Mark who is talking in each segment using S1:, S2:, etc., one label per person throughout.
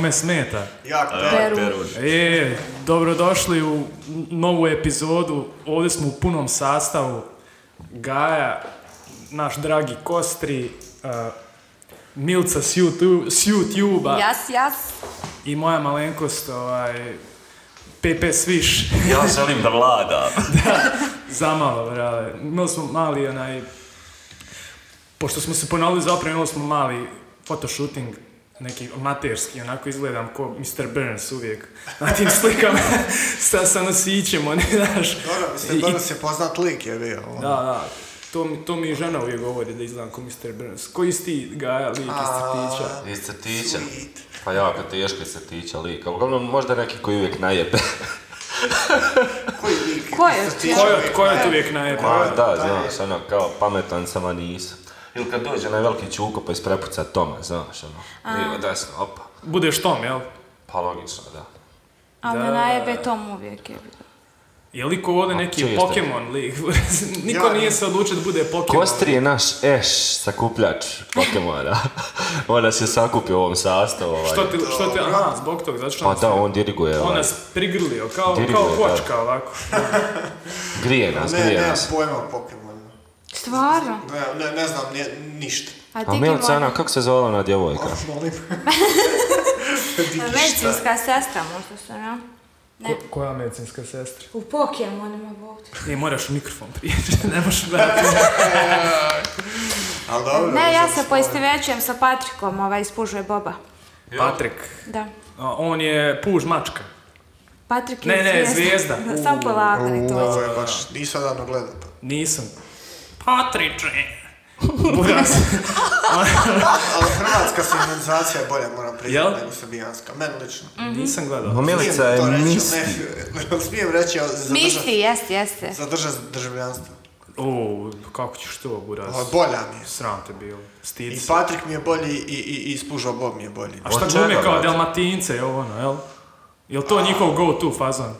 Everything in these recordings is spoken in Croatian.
S1: me smeta.
S2: Jak
S3: Peru.
S1: E, dobrodošli u novu epizodu. Ovdje smo u punom sastavu. Gaja, naš dragi Kostri, uh, Milca s YouTube- s YouTube-a
S3: Jas, jas.
S1: i moja malenkost, ovaj, Pepe Sviš,
S4: Ja želim da vlada.
S1: zamalo, brale. Imali smo mali, onaj, pošto smo se ponavili zapravo, imali smo mali fotoshooting, neki amaterski, onako izgledam ko Mr. Burns uvijek na tim slikama sa, sa nosićem, one, znaš.
S2: Dobro,
S1: I-
S2: mislim,
S1: i-
S2: Brns je poznat lik je bio. ono.
S1: Da, da. To, mi- to mi žena uvijek govori da izgledam ko Mr. Burns. Koji si ti Gaja, lik iz crtića?
S4: Iz crtića.
S2: Sweet.
S4: Pa jako teško iz crtića lika. Uglavnom možda neki koji uvijek najebe.
S2: Koji lik?
S3: Ko je?
S2: Isto ti
S1: Ko je,
S2: čovjek,
S1: ko je
S2: ne?
S1: tu uvijek najbolji?
S4: Ma da,
S2: da,
S4: znaš, ono, kao pametan sam, a nisam. Ili kad dođe onaj veliki čuko pa isprepuca Toma, znaš, ono, lijevo, desno, opa.
S1: Budeš Tom, jel?
S4: Pa logično, da.
S3: A me najebe tom uvijek je.
S1: Je li ko ovdje
S4: A,
S1: neki
S4: čiji ste?
S1: Pokemon lik? Niko
S2: Ja,
S1: nije
S2: ne.
S1: se odlučio da bude Pokemon.
S4: Kostri je naš Ash, sakupljač Pokemona. On nas je sakupio u ovom sastavu. Ovaj.
S1: Što ti, što ti, aha, zbog toga, zato što
S4: Pa
S1: nas-
S4: da, on diriguje,
S1: on
S4: ovaj.
S1: nas prigrlio, kao,
S4: Diriguje,
S1: kao
S4: da.
S1: kočka ovako.
S4: grije nas,
S2: Ne,
S4: grije
S2: nemam
S4: nas.
S2: pojma o Pokemonu.
S3: Stvarno?
S2: Ne, ne, ne znam nije- ništa.
S3: A
S4: A Milca, ona, kako se zvala ona djevojka?
S2: Molim.
S3: Medicinska sestra možda se, ne? Ne.
S1: koja medicinska sestra?
S3: U Pokemonima, bog te.
S1: Ne, moraš u mikrofon prijeći, ne možeš gledati.
S2: Ali dobro.
S3: Ne, ja se
S2: mislim,
S3: poistovećujem sa Patrikom, ovaj ispužuje Boba.
S1: Patrik,
S3: Da.
S1: a, on je puž mačka.
S3: Patrik
S1: Ne,
S3: je
S1: ne,
S3: zvijezda.
S1: zvijezda.
S3: Da, Samo polako nek to
S2: Ovo
S3: dođe.
S2: je baš, nisam odavno gledao to.
S1: Nisam. Patriče! Buras.
S2: Ali hrvatska sinonizacija je bolja, moram
S1: Jel?
S2: priznati, nego srbijanska. Meni lično.
S3: Mhm.
S1: Nisam
S4: Ma
S1: gledao.
S4: Pa Milica je
S2: Smijem to reći,
S4: misti.
S2: ne, Smijem reći, ali
S3: Misti,
S2: zadrža,
S3: jeste, jeste.
S2: zadrža državljanstvo.
S1: O, kako ćeš to, Buras?
S2: Ali bolja mi je.
S1: Sram te bilo. Stid
S2: I
S1: se.
S2: Patrik mi je bolji i, i, i Spužo Bob mi je bolji.
S1: A šta
S4: pa- Od
S1: glume
S4: čega,
S1: kao
S4: brate?
S1: Dalmatince i ovo ono, jel? Jel to njihov go-to fazon?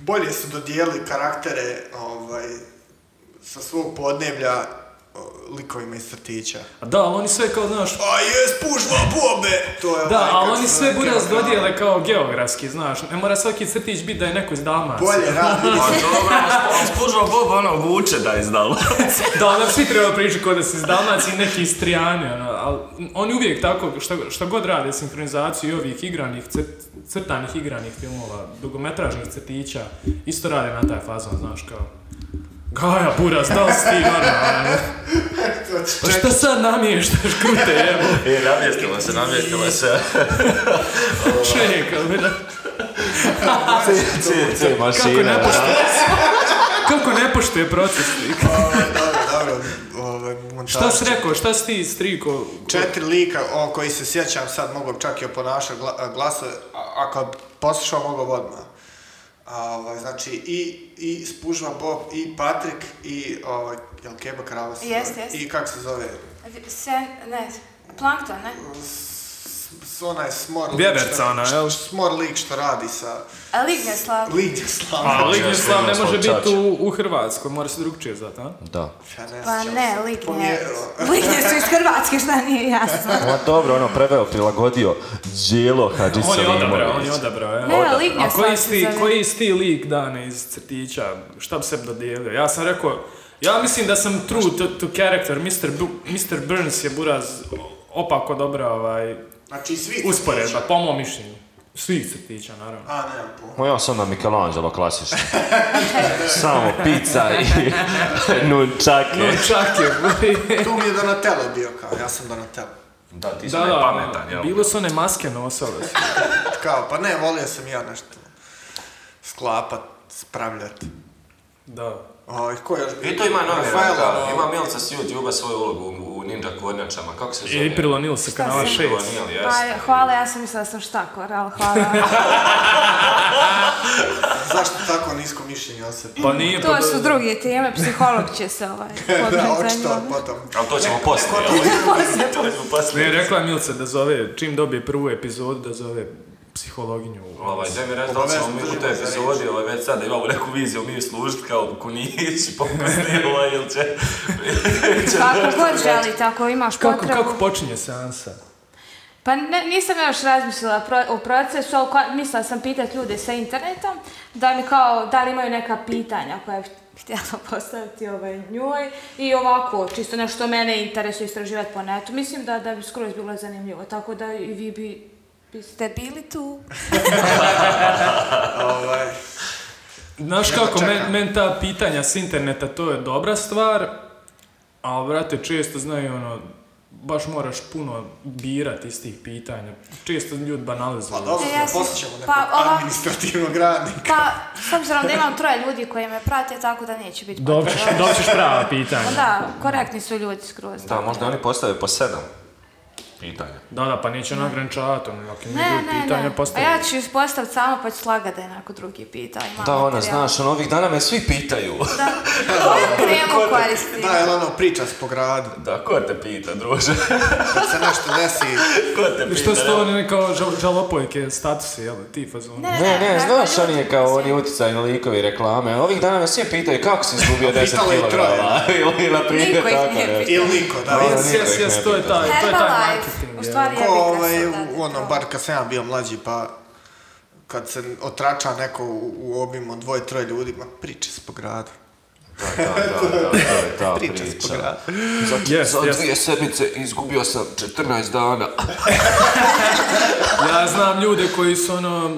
S2: Bolje su dodijeli karaktere ovaj, sa svog podneblja o, likovima iz crtića.
S1: A Da, ali oni sve kao, znaš,
S2: A je Spužva Bobe! To je
S1: Da,
S2: onaj
S1: ali
S2: kako
S1: oni
S2: se
S1: sve
S2: zove,
S1: buraz
S2: Kevin
S1: dodijele kao geografski, znaš. Ne mora svaki crtić biti da je neko iz Dalmacije.
S2: Bolje radi.
S4: Pa dobro, on spužva Bob, ono, vuče da je izdalo.
S1: Da, onda svi trebaju pričati kod da su iz Dalmacije i neki iz Trijane, ono. Ali oni uvijek tako, šta, šta god rade, sinhronizaciju i ovih igranih, crt, crtanih igranih filmova, dugometražnih crtića, isto rade na taj fazon, znaš, kao... Gaja, buraz, da li si ti, ono, ono? Pa šta sad namještaš, krute, evo,
S4: E, namjestilo se, namjestilo se.
S1: čekaj, ono.
S4: Cije, cije,
S1: kako
S4: mašina.
S1: ne poštuje, kako ne poštuje proces, lik.
S2: Ovaj, dobro, dobro. Ovaj, montaž.
S1: Šta si rekao, šta si ti striko?
S2: Četiri lika o koji se sjećam sad mogu čak i oponašati gla, glasa, a- ako bi poslušao mogu odmah. A, ovaj, znači i, i Spužva Bob, i Patrik, i ovaj, jel Keba Krava se zove?
S3: Jeste, jeste.
S2: I kak se zove?
S3: Se, ne, plankton, ne?
S2: S, s, onaj smor lik
S1: Vjeverca
S2: što-
S1: ona, jel?
S2: Smor lik što radi sa...
S3: Ligne slav.
S2: Lidje slava.
S1: Pa Lignjeslav ne
S4: Lignjeslav
S1: može
S4: Čačić.
S1: biti u, u Hrvatskoj, mora se drugčije zvati, a?
S4: Da.
S2: Ja ne
S3: Pa
S2: sjećam
S3: ne,
S2: se.
S3: ligne.
S2: Pomjerilo.
S3: Ligne su iz Hrvatske, šta nije jasno.
S4: Ma dobro, ono, preveo, prilagodio Đelo Hadži
S1: On je odabrao, on je odabrao, ja.
S3: Ne,
S1: Odabrao.
S3: Lignjeslav
S1: A koji
S3: se
S1: sti,
S3: zove.
S1: koji sti lik dane iz crtića, šta bi sebi dodijelio? Ja sam rekao, ja mislim da sam true to, to character, Mr. Bu- Mr. Burns je buraz opako dobra ovaj,
S2: Znači svi...
S1: usporedba, po mom mišljenju. Svih crtića, naravno.
S2: A, ne, po...
S4: Ma ja sam na Michelangelo klasično. Samo pizza i
S1: No,
S4: nunčake.
S1: čak je,
S2: Tu mi je Donatello bio kao, ja sam Donatello.
S4: Da, ti
S1: da, da, bilo su one maske nosile. su.
S2: Kao, pa ne, volio sam ja nešto sklapat, spravljat.
S1: Da.
S2: Oj, ko je još bio?
S4: I E, to ima novi
S2: Rafaela,
S4: raka,
S2: ono.
S4: ima Milca s YouTube-a svoju ulogu u- u Ninja Kornjačama, kako se zove?
S1: I prilonilo se kanala
S3: si?
S1: 6.
S4: Kornil, jes.
S3: Pa, hvala, ja sam mislila da sam štakor, ali hvala.
S2: Zašto tako nisko mišljenje o sebi?
S1: Pa nije
S3: to su drugi teme, psiholog će se ovaj
S2: da,
S3: podmet
S2: očito,
S3: zanimati.
S2: potom.
S4: Ali to ćemo poslije, jel? To ćemo
S1: Ne,
S4: poslije.
S1: rekla je Milca da zove, čim dobije prvu epizodu, da zove psihologinju.
S4: Ovaj, daj mi reći da li ćemo mi u toj
S2: Obavezno,
S4: epizodi, ovaj, već sada imamo neku viziju, mi služiti kao kunići, pokusni, ovaj, ili će...
S5: pa
S3: Kako god želite, ako imaš
S1: Kako,
S3: potrebu.
S1: kako počinje seansa?
S3: Pa ne, nisam ja još razmislila pro- o procesu, ali ko- mislila sam pitati ljude sa internetom da mi kao, da li imaju neka pitanja koja bi htjela postaviti ovaj njoj i ovako, čisto nešto mene interesuje istraživati po netu. Mislim da, da bi skroz bilo zanimljivo, tako da i vi bi biste bili tu.
S2: Ovaj,
S1: Znaš
S2: Jedva
S1: kako, men,
S2: čekam.
S1: men ta pitanja s interneta, to je dobra stvar, a brate, često znaju ono, baš moraš puno birat iz tih pitanja. Često ljudi banalizuju.
S2: pa dobro,
S6: E, ja sam-
S2: zaposlit ćemo nekog
S6: pa ova-
S2: administrativnog radnika.
S6: Pa, s obzirom da imam troje ljudi koji me prate, tako da neće biti
S1: Dobit ćeš- dobit ćeš prava pitanja.
S6: Pa Da, korektni su ljudi skroz.
S4: Da, možda oni postave po sedam pitanja.
S1: Da, da, pa neće ona grančati, ono, ako
S6: Ne,
S1: imaju
S6: ne,
S1: pitanja
S6: ne. A
S1: postavljaju.
S6: ja ću postaviti samo pa ću slagat da je onako drugi pitao. ima
S4: Da, ona,
S6: materijala.
S4: znaš, ono, ovih dana me svi pitaju.
S6: Da. Koju kremu koristi?
S2: Da, jel ono, priča s po gradu.
S4: Da, ko te pita, druže?
S2: Kad se nešto desi,
S4: Ko te pita?
S1: Što su to
S4: evo?
S1: one kao žal, žalopojke statusi, jel, ti fazoni?
S6: Ne,
S4: Ne, ne,
S6: tako
S4: znaš, on
S6: ljudi
S4: je kao
S6: mislim.
S4: oni uticajni likovi reklame. Ovih dana me svi pitaju kako si izgubio 10
S2: pitalo je
S4: kg. Ili na primjer
S6: Niko ih
S4: tako
S6: nije
S4: nešto.
S6: pitao.
S2: ili niko, da.
S4: Da,
S2: jel-
S1: Jes, jes,
S4: niko ih
S1: jes,
S4: ne
S1: to je
S4: pita.
S1: taj, to je taj
S6: Herbalife,
S1: marketing.
S6: u
S1: jel.
S6: stvari
S2: Ko,
S6: jebika
S2: ovaj,
S6: sad, da,
S2: u ono,
S6: to.
S2: bar kad sam ja bio mlađi, pa kad se otrača neko u, u obimu dvoje, troje ljudi, ma priče se po gradu.
S4: Da, da, da, da, to je ta
S2: Priča s po
S4: priča.
S2: gradu.
S4: Za,
S1: Yes,
S4: za
S1: yes.
S4: dvije sedmice izgubio sam 14 dana.
S1: Ja znam ljude koji su ono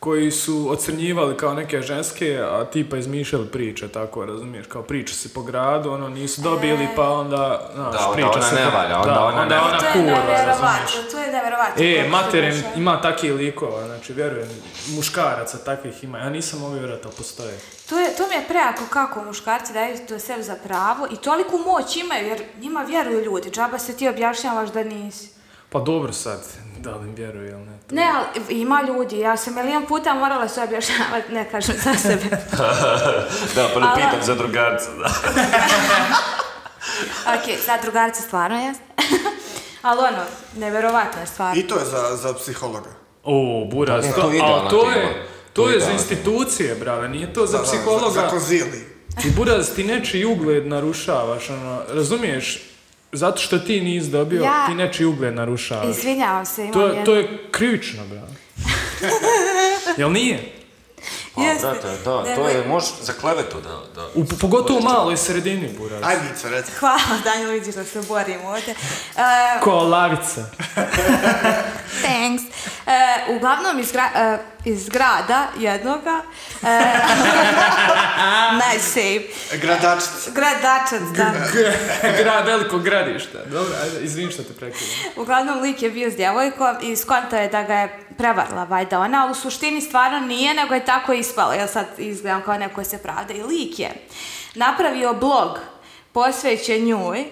S1: koji su ocrnjivali kao neke ženske, a tipa izmišljali priče, tako razumiješ, kao priče se po gradu, ono nisu dobili, pa onda, znaš,
S4: Da, onda
S1: priča
S4: ona
S1: se...
S4: ne
S1: po-
S4: valja, onda ona ne valja.
S6: To je
S1: kurva, razumiješ.
S6: nevjerovatno, to je nevjerovatno.
S1: E,
S6: koliko
S1: materin,
S6: duša.
S1: ima takih likova, znači, vjerujem, muškaraca takvih ima, ja nisam mogu vjerojatno postoje.
S6: To, je, to mi je prejako kako muškarci daju to sebi za pravo i toliku moć imaju jer njima vjeruju ljudi, džaba se ti objašnjavaš da nisi.
S1: Pa dobro sad, da li im vjeruju ili ne. to-
S6: Ne, ali ima ljudi, ja sam milijon puta morala se objašnjavati, ne kažem za sebe.
S4: Da, pa ne
S6: Ali-
S4: pitam za drugarca, da.
S6: ok, za drugarce stvarno jes. ali ono, nevjerovatna je stvar.
S2: I to je za, za psihologa.
S1: O, buraz,
S4: Ne,
S1: to,
S4: E, to je
S1: ali
S4: idealna
S1: to
S4: tema.
S1: je,
S4: To
S1: to
S4: je
S1: je za
S4: idealna
S1: institucije, brale, nije to za
S2: Da, da,
S1: psihologa.
S2: Za, za konzili.
S1: I buraz, ti nečiji ugled narušavaš, ono, razumiješ? Zato što ti nisi dobio,
S6: Ja-
S1: ti nečiji ugled narušavaš.
S6: Izvinjavam se, imam
S1: To, je-
S6: jednu-
S1: to je krivično, brale. Jel nije?
S4: Pa,
S6: Jeste.
S4: brate, da, to
S6: Nemoj-
S4: je, možeš za klevetu, da, da.
S1: U, pogotovo u maloj sredini, buraz.
S2: Aj, Mica, reci.
S6: Hvala, Danilo, vidiš da se borimo ovdje. E,
S1: Ko lavica.
S6: thanks. E, uglavnom iz, gra, e, iz grada jednoga, e, nice save,
S2: E, Gradačica.
S6: grad Dačac, da.
S1: Grad, veliko gradište. Dobro, ajde, izvim što te prekidam.
S6: Uglavnom, lik je bio s djevojkom i skontao je da ga je prevarila vajda ona, ali u suštini stvarno nije, nego je tako ispalo. Ja sad izgledam kao neko ko se pravda. I lik je napravio blog posvećen njoj,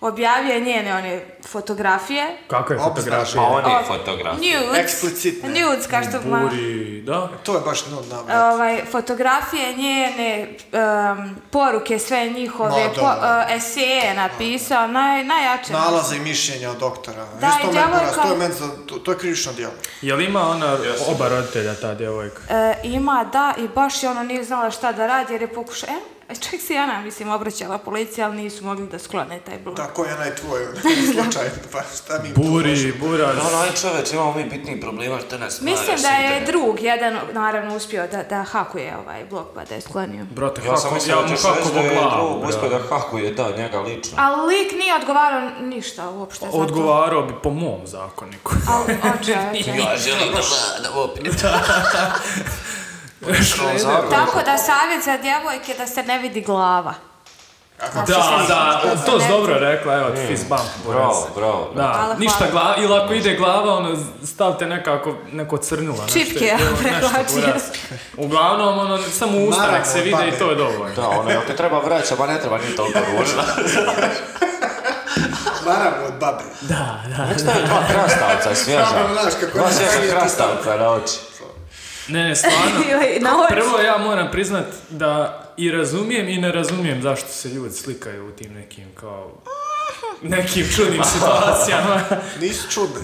S6: objavio je njene one fotografije,
S1: Kako je
S2: Obznaka.
S1: fotografija?
S4: Pa on je
S6: O,
S4: fotograf.
S6: nudes,
S2: Eksplicitne.
S6: nudes, kao što ma-
S1: Buri, da.
S2: To je baš nudna vrat.
S6: ovaj, fotografije njene, em, poruke sve njihove,
S2: Ma,
S6: po,
S2: da.
S6: e, eseje je napisao, naj, najjače.
S2: Nalaze i mišljenja od doktora.
S6: Da,
S2: Viš,
S6: i
S2: to,
S6: djevojka-
S2: men, to, je men za, to, to je krivično djelo.
S1: Jel ima ona oba roditelja, ta djevojka?
S6: E, ima, da, i baš je ono nije znala šta da radi jer je pokušala, e, čak se i ona, mislim, obraćala policiji, ali nisu mogli da sklone taj blog.
S2: Tako je onaj tvoj slučaj. Pa šta mi tu možemo?
S1: Buri, buraz.
S4: Da, onaj čoveč, imamo mi bitniji problema što nas
S6: Mislim
S4: maraš
S6: da je
S4: internet.
S6: drug jedan, naravno, uspio da, da hakuje ovaj blog pa da je sklonio.
S1: Brate,
S4: Ja sam
S1: kako,
S4: mislio
S1: ja mu
S4: da ćeš
S1: kako
S4: reći da je
S1: glavu,
S4: drug uspio da hakuje, da, njega lično.
S6: Ali lik nije odgovarao ništa uopšte za to.
S1: Odgovarao bi po mom zakoniku.
S6: Ali, oče, oče.
S4: Ja želim da vladam opet.
S6: Tako da savjet za djevojke da se ne vidi glava.
S1: Da, da, to si dobro rekla, evo
S2: Mm,
S1: ti fist bump. Boris.
S4: Bravo, bravo.
S1: Da,
S6: Hvala,
S1: ništa
S6: hvala.
S1: glava, ili ako ide glava, ono, stavte nekako, neko crnula. nešto,
S6: Čipke,
S1: evo,
S6: znači. ja
S1: nešto,
S6: prevlačio.
S1: Boris. Uglavnom, ono, samo usta nek se
S2: Naravno,
S1: vide i to je
S2: pamet.
S1: dovoljno.
S4: Da, ono, jel te treba vraća, pa ne treba ni toliko ružna.
S2: Naravno od babe.
S1: Da, da.
S4: Nek stavi dva krastavca svježa.
S2: Samo znaš kako
S4: Dva
S2: je
S4: svježa
S2: stavio,
S4: krastavca na oči.
S1: Ne, ne, stvarno.
S6: Joj, na oči.
S1: Prvo ja moram priznat da i razumijem i ne razumijem zašto se ljudi slikaju u tim nekim kao nekim čudnim situacijama.
S2: Nisu čudne.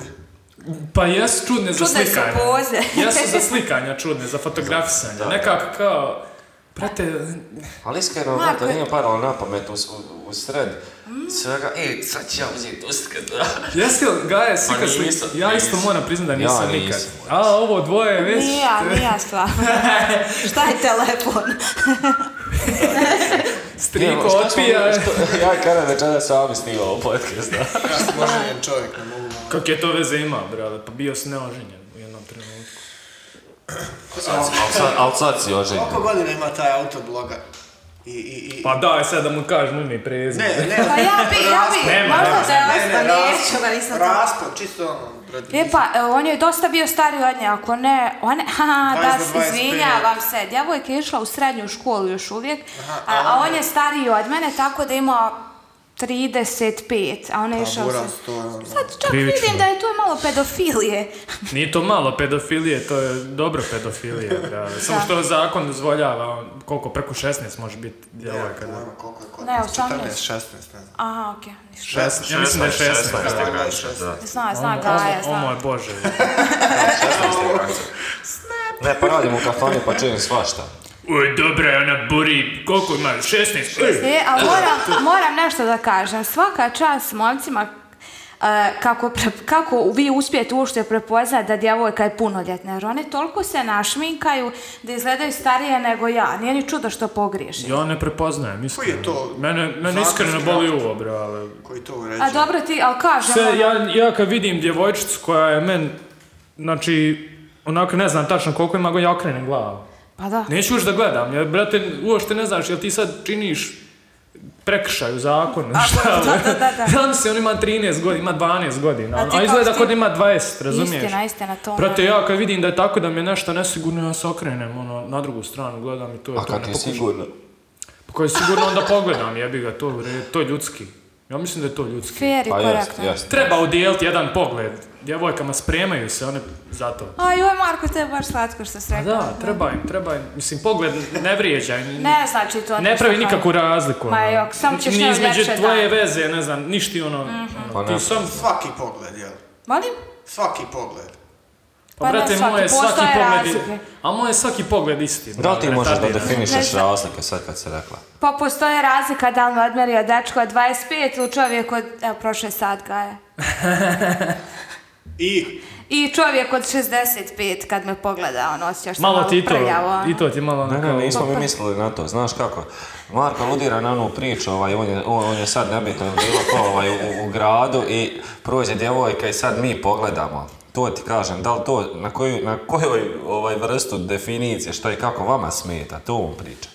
S1: Pa jesu čudne, za
S6: Čudne su
S1: slikanje.
S6: poze.
S1: jesu za slikanja čudne, za fotografisanje. Nekako kao, Prate,
S4: Ali iskreno,
S6: Marko
S4: brate,
S6: je-
S4: nije paralo na pamet uz, u- u sred svega. E, sad ću ja uzeti uskat.
S1: jesi li, Gaja, si
S4: Pa
S1: kad si-
S4: nisam,
S1: Ja isto
S4: nisam.
S1: moram priznat da nisam
S4: Ja nisam.
S1: nikad. A ovo dvoje je već...
S6: Nija, nija stvarno. Šta je telefon?
S1: Striko otpija.
S4: Ja i Karen večera sami snimamo podcast, da.
S2: Ja sam oženjen čovjek, ne mogu.
S1: Kak je to veze ima, brale? Pa bio si neoženjen u jednom trenutku.
S4: Al sad, al sad si oženjen.
S2: Koliko godina ima taj autor bloga? I, i, i...
S1: Pa daj sad da mu kažem ime i prezime.
S2: ne, ne,
S6: Pa ja bi, ja bi,
S1: Nema,
S6: možda
S1: nema,
S6: da je
S2: ne, ne,
S6: ostao, neću ga,
S2: raspad,
S6: nisam
S2: raspad, čisto ono, pred...
S6: E pa, e, on je dosta bio stari od nje, ako ne, on, haha,
S2: 20
S6: da,
S2: do 25.
S6: izvinjavam se, djevojka je išla u srednju školu još uvijek,
S2: Aha,
S6: a,
S2: a
S6: a
S2: on
S6: on je stariji od mene, tako da ima 35, a on je išao...
S2: buraz,
S6: sa-
S2: to je ono.
S6: Sad čak
S1: Krivično.
S6: vidim da je tu malo pedofilije.
S1: Nije to malo pedofilije, to je dobro pedofilije, brale. Samo
S6: Da.
S1: što zakon dozvoljava, koliko, preko 16 može biti djevojka. da.
S2: Pojma koliko je kod
S6: Ne,
S2: nas,
S6: 18.
S2: 14, 16, ne znam.
S6: Aha, okej, ništa.
S4: pa
S2: Šest-
S1: Ja mislim da je Ono, 16.
S4: je
S2: da.
S4: granica, da.
S6: Zna,
S1: O
S6: zna
S1: moj-
S6: Gaja,
S1: O moj
S6: zna.
S1: bože.
S4: 16 je granica. Ne, pa radim u kafani pa čujem svašta.
S1: Uj, dobra je ona buri, koliko ima? 16? Ej.
S6: E, ali moram, moram nešto da kažem. Svaka čast momcima e, kako, pre- kako vi uspijete uopšte prepoznat da djevojka je punoljetna, jer one toliko se našminkaju da izgledaju starije nego ja. Nije ni čudo što pogriješi.
S1: Ja ne prepoznajem, iskreno.
S2: Koji je to
S1: Mene, mene
S2: zakonski
S1: iskreno boli
S2: akt?
S1: uvo, brale.
S2: Koji to uređuje?
S6: A dobro ti, ali kažem,
S1: Sve,
S6: ono,
S1: ja, ja kad vidim djevojčicu koja je men, znači, onako ne znam tačno koliko ima, ja okrenem glavu.
S6: pa da.
S1: Neću još da gledam, jer, brate, uopšte ne znaš, jel ti sad činiš prekršaj u zakonu, šta?
S6: da, da, da, da.
S1: Znam se, on ima 13 godina, ima 12 godina,
S6: A
S1: ono,
S6: ti
S1: a,
S6: kao
S1: izgleda
S6: ti-
S1: kod ima 20, razumiješ?
S6: Istina, istina, to.
S1: Prate, ja kad vidim da je tako da mi je nešto nesigurno, ja se okrenem, ono, na drugu stranu gledam i to je
S4: A
S1: to.
S4: kad
S1: ne
S4: je
S1: pokušam-
S4: sigurno?
S1: Pa Koji sigurno onda pogledam, jebi ga, to, je u redu, to je ljudski. Ja mislim da je to ljudski.
S6: Fair i
S4: Pa
S6: korektno.
S4: jasno, jasno.
S1: Treba udijeliti jedan pogled. Djevojkama spremaju se, one zato.
S6: Aj, joj, Marko, to je baš slatko što si
S1: A
S6: rekao.
S1: Pa da, treba im, treba im. Mislim, pogled ne vrijeđa. i
S6: Ne znači to.
S1: Ne
S6: ništa,
S1: pravi
S6: kao-
S1: nikakvu razliku.
S6: Ma
S1: ono.
S6: jok, samo ćeš
S1: Ni
S6: njoj
S1: između
S6: ljepše
S1: tvoje
S6: da- Mhm.
S1: veze, ne znam, ništi ono... ono,
S4: Pa ne.
S1: ti sam...
S2: Svaki pogled, jel?
S6: Molim?
S2: Svaki pogled.
S1: Pa,
S6: Pa ne,
S1: brate,
S6: svaki,
S1: moje svaki
S6: postoje
S1: pogled...
S6: razlike.
S1: A moje svaki pogled isti.
S4: Da li ti
S1: brate,
S4: možeš da
S1: retardiran.
S6: Ne
S4: definišeš
S6: znam.
S4: razlike sad kad si rekla?
S6: Pa postoje razlika da li me odmerio dečko od 25 ili čovjek od, evo, prošle sat ga je.
S2: I
S6: I čovjek od 65 kad me pogleda, ono, osjećaš se malo,
S1: Malo ti i to,
S6: prljavo, ono.
S1: i to ti malo
S4: Ne, ne,
S1: onako...
S4: nismo mi mislili na to, znaš kako. Marko ludira na onu priču, ovaj, on, je, on on je sad nebitno bilo ko ovaj, u, u gradu i prođe djevojka i sad mi pogledamo. To ti kažem, da li to, na, koju, na kojoj ovaj, vrstu definicije, što i kako vama smeta, to on priča.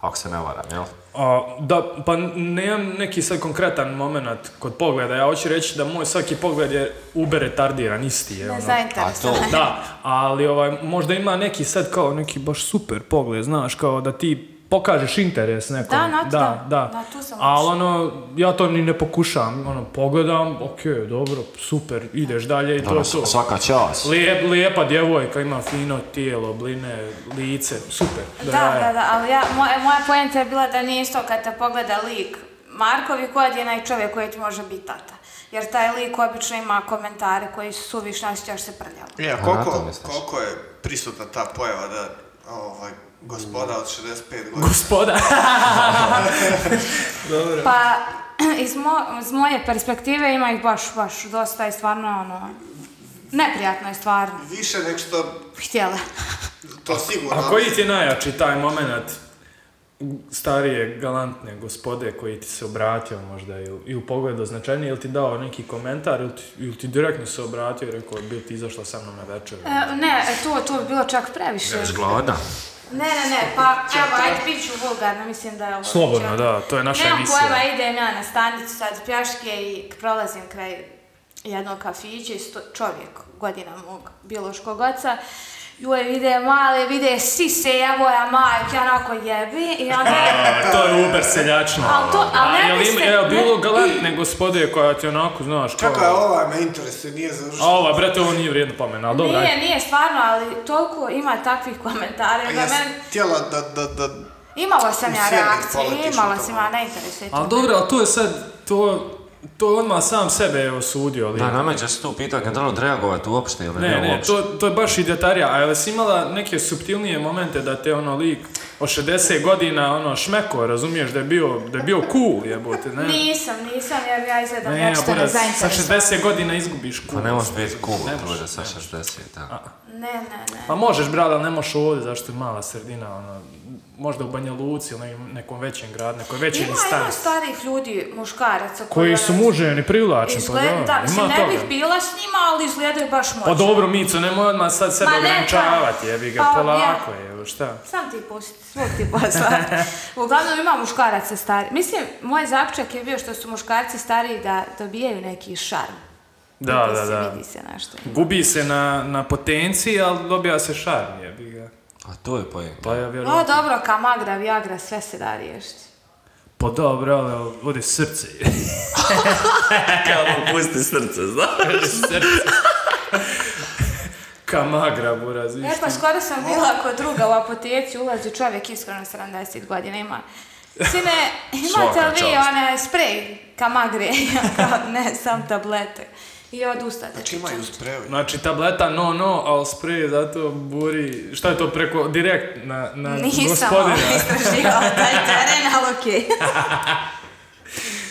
S4: Ako se ne varam, jel?
S1: A, da, pa nemam neki sad konkretan moment kod pogleda. Ja hoću reći da moj svaki pogled je uber retardiran, isti je.
S6: Ne
S1: ono.
S4: A to,
S6: zainteresan.
S1: Da, ali ovaj, možda ima neki sad kao neki baš super pogled, znaš, kao da ti pokažeš interes nekom.
S6: Da, na to
S1: da,
S6: da.
S1: da.
S6: Na tu sam
S1: Ali ono, ja to ni ne pokušam, ono, pogledam, okej, dobro, super, ideš dalje i to
S4: ono,
S1: je to.
S4: svaka čast.
S1: Lijep, lijepa djevojka, ima fino tijelo, bline, lice, super.
S6: Da,
S1: je.
S6: da, da, ali ja, moja, moja poenta je bila da nije isto kad te pogleda lik Markovi kod je onaj čovjek koji ti može biti tata. Jer taj lik obično ima komentare koji su suvišni, osjećaš se prljavo.
S2: Ja,
S1: Pa
S4: A, na to
S2: e, koliko,
S4: misliš.
S2: koliko je prisutna ta pojava da ovaj, gospoda od 65 godina...
S1: Gospoda.
S6: Pa, iz, mo- iz moje perspektive ima ih baš, baš dosta i stvarno, ono, neprijatno je stvarno.
S2: Više nek što...
S6: Htjela.
S2: To sigurno...
S1: A koji ti je najjači taj moment starije, galantne gospode koji ti se obratio možda i u, i u pogledu značajnije, ili ti dao neki komentar ili ti, ili ti direktno se obratio i rekao bil ti izašla sa mnom na večer?
S6: E, ne, e, to, to bi bilo čak previše.
S4: Glada.
S6: Ne, ne, ne, pa evo, ajde, bit ću vulgarna, mislim da je ovo...
S1: Slobodno, da, to je naša
S6: Nemam
S1: emisija.
S6: pojma, idem ja na stanicu sad pjaške i prolazim kraj jednog kafića i sto, čovjek godina mog biološkog oca Joj, vide male, vide sise, evo ja majke, ja onako jebi i onda...
S1: A, E, to je uber seljačno.
S6: Al to- al ne
S1: jel
S6: bi
S1: im-
S6: se-
S1: jel
S6: ne-
S1: bilo galantne gospode koja ti onako, znaš, kao...
S2: Čekaj, ova me interesuje, nije završila.
S1: A ova, brate, ovo nije vrijedno pomena, ali dobro,
S6: Nije,
S1: ajde.
S6: nije stvarno, ali toliko ima takvih komentara da
S2: Ja sam
S6: men...
S2: htjela da, da, da...
S6: Imala sam ja
S2: U sjeni
S6: reakcije,
S2: politično
S6: imala
S2: to
S6: sam,
S2: malo.
S6: a ne interesuje
S1: Ali
S6: to.
S1: dobro, ali to je sad, to, to odmah sam sebe je osudio. ali-
S4: Da, nameće se tu pitanje, da li odreagovati uopšte ili ne,
S1: Ne, ne,
S4: uopšte.
S1: to, to je baš i detalja, a jel si imala neke subtilnije momente da te ono lik od 60 godina ono šmeko, razumiješ, da je bio, da je bio cool jebote, ne?
S6: Nisam, nisam, jer ja izgledam
S1: E. Ne,
S6: nešto
S1: Abura, sa
S6: nezainteresovana.
S1: 60 godina izgubiš cool.
S4: Pa ne možeš biti cool,
S1: Ne možeš,
S4: druže, sa 60, da.
S6: Ne, ne, ne.
S1: Pa možeš, brale, ali ne možeš ovdje, zašto je mala sredina, ono, možda u Banja Luci ili nekim- nekom većem gradu, nekoj većoj
S6: Ima, ima
S1: instanci.
S6: starih ljudi, muškaraca
S1: Koji su
S6: ono,
S1: muževni, privlačni, pa
S6: Izgleda,
S1: dobro,
S6: da, mislim,
S1: ima
S6: ne
S1: toga.
S6: bih bila s njima, ali izgledaju baš moćno.
S1: Pa dobro, Mico, nemoj odmah sad sebe
S6: Ma ne,
S1: ograničavati, jebi ga,
S6: pa,
S1: polako je, evo, šta?
S6: Sam ti pusti, svog ti poslat. Uglavnom ima muškaraca stari. Mislim, moj zaključak je bio što su muškarci stariji da dobijaju neki šarm.
S1: Da,
S6: Vidi
S1: da,
S6: se,
S1: da.
S6: Vidi se nešto.
S1: Gubi se na, na potenciji, ali dobija se šarm, jebi ga.
S4: A to je pojenta.
S1: Pa ja
S6: O,
S1: vjerujem.
S6: dobro, kamagra, viagra, sve se da riješiti.
S1: Pa dobro, ali vodi srce.
S4: Kamo, pusti srce, znaš?
S1: srce. Kamagra, buraz,
S6: E,
S1: ništa.
S6: pa skoro sam bila kod druga u apoteci, ulazi čovjek iskreno 70 godina, ima... Sine, imate
S4: Svaka
S6: li vi
S4: čast.
S6: onaj sprej kamagre? Ja kao, ne, sam tablete. I odustate.
S2: Znači imaju spreju.
S1: Znači, tableta no, no, ali sprej zato buri... Šta je to preko, direkt na, na
S6: Nisam
S1: gospodina?
S6: ovo istraživala taj teren, ali okej.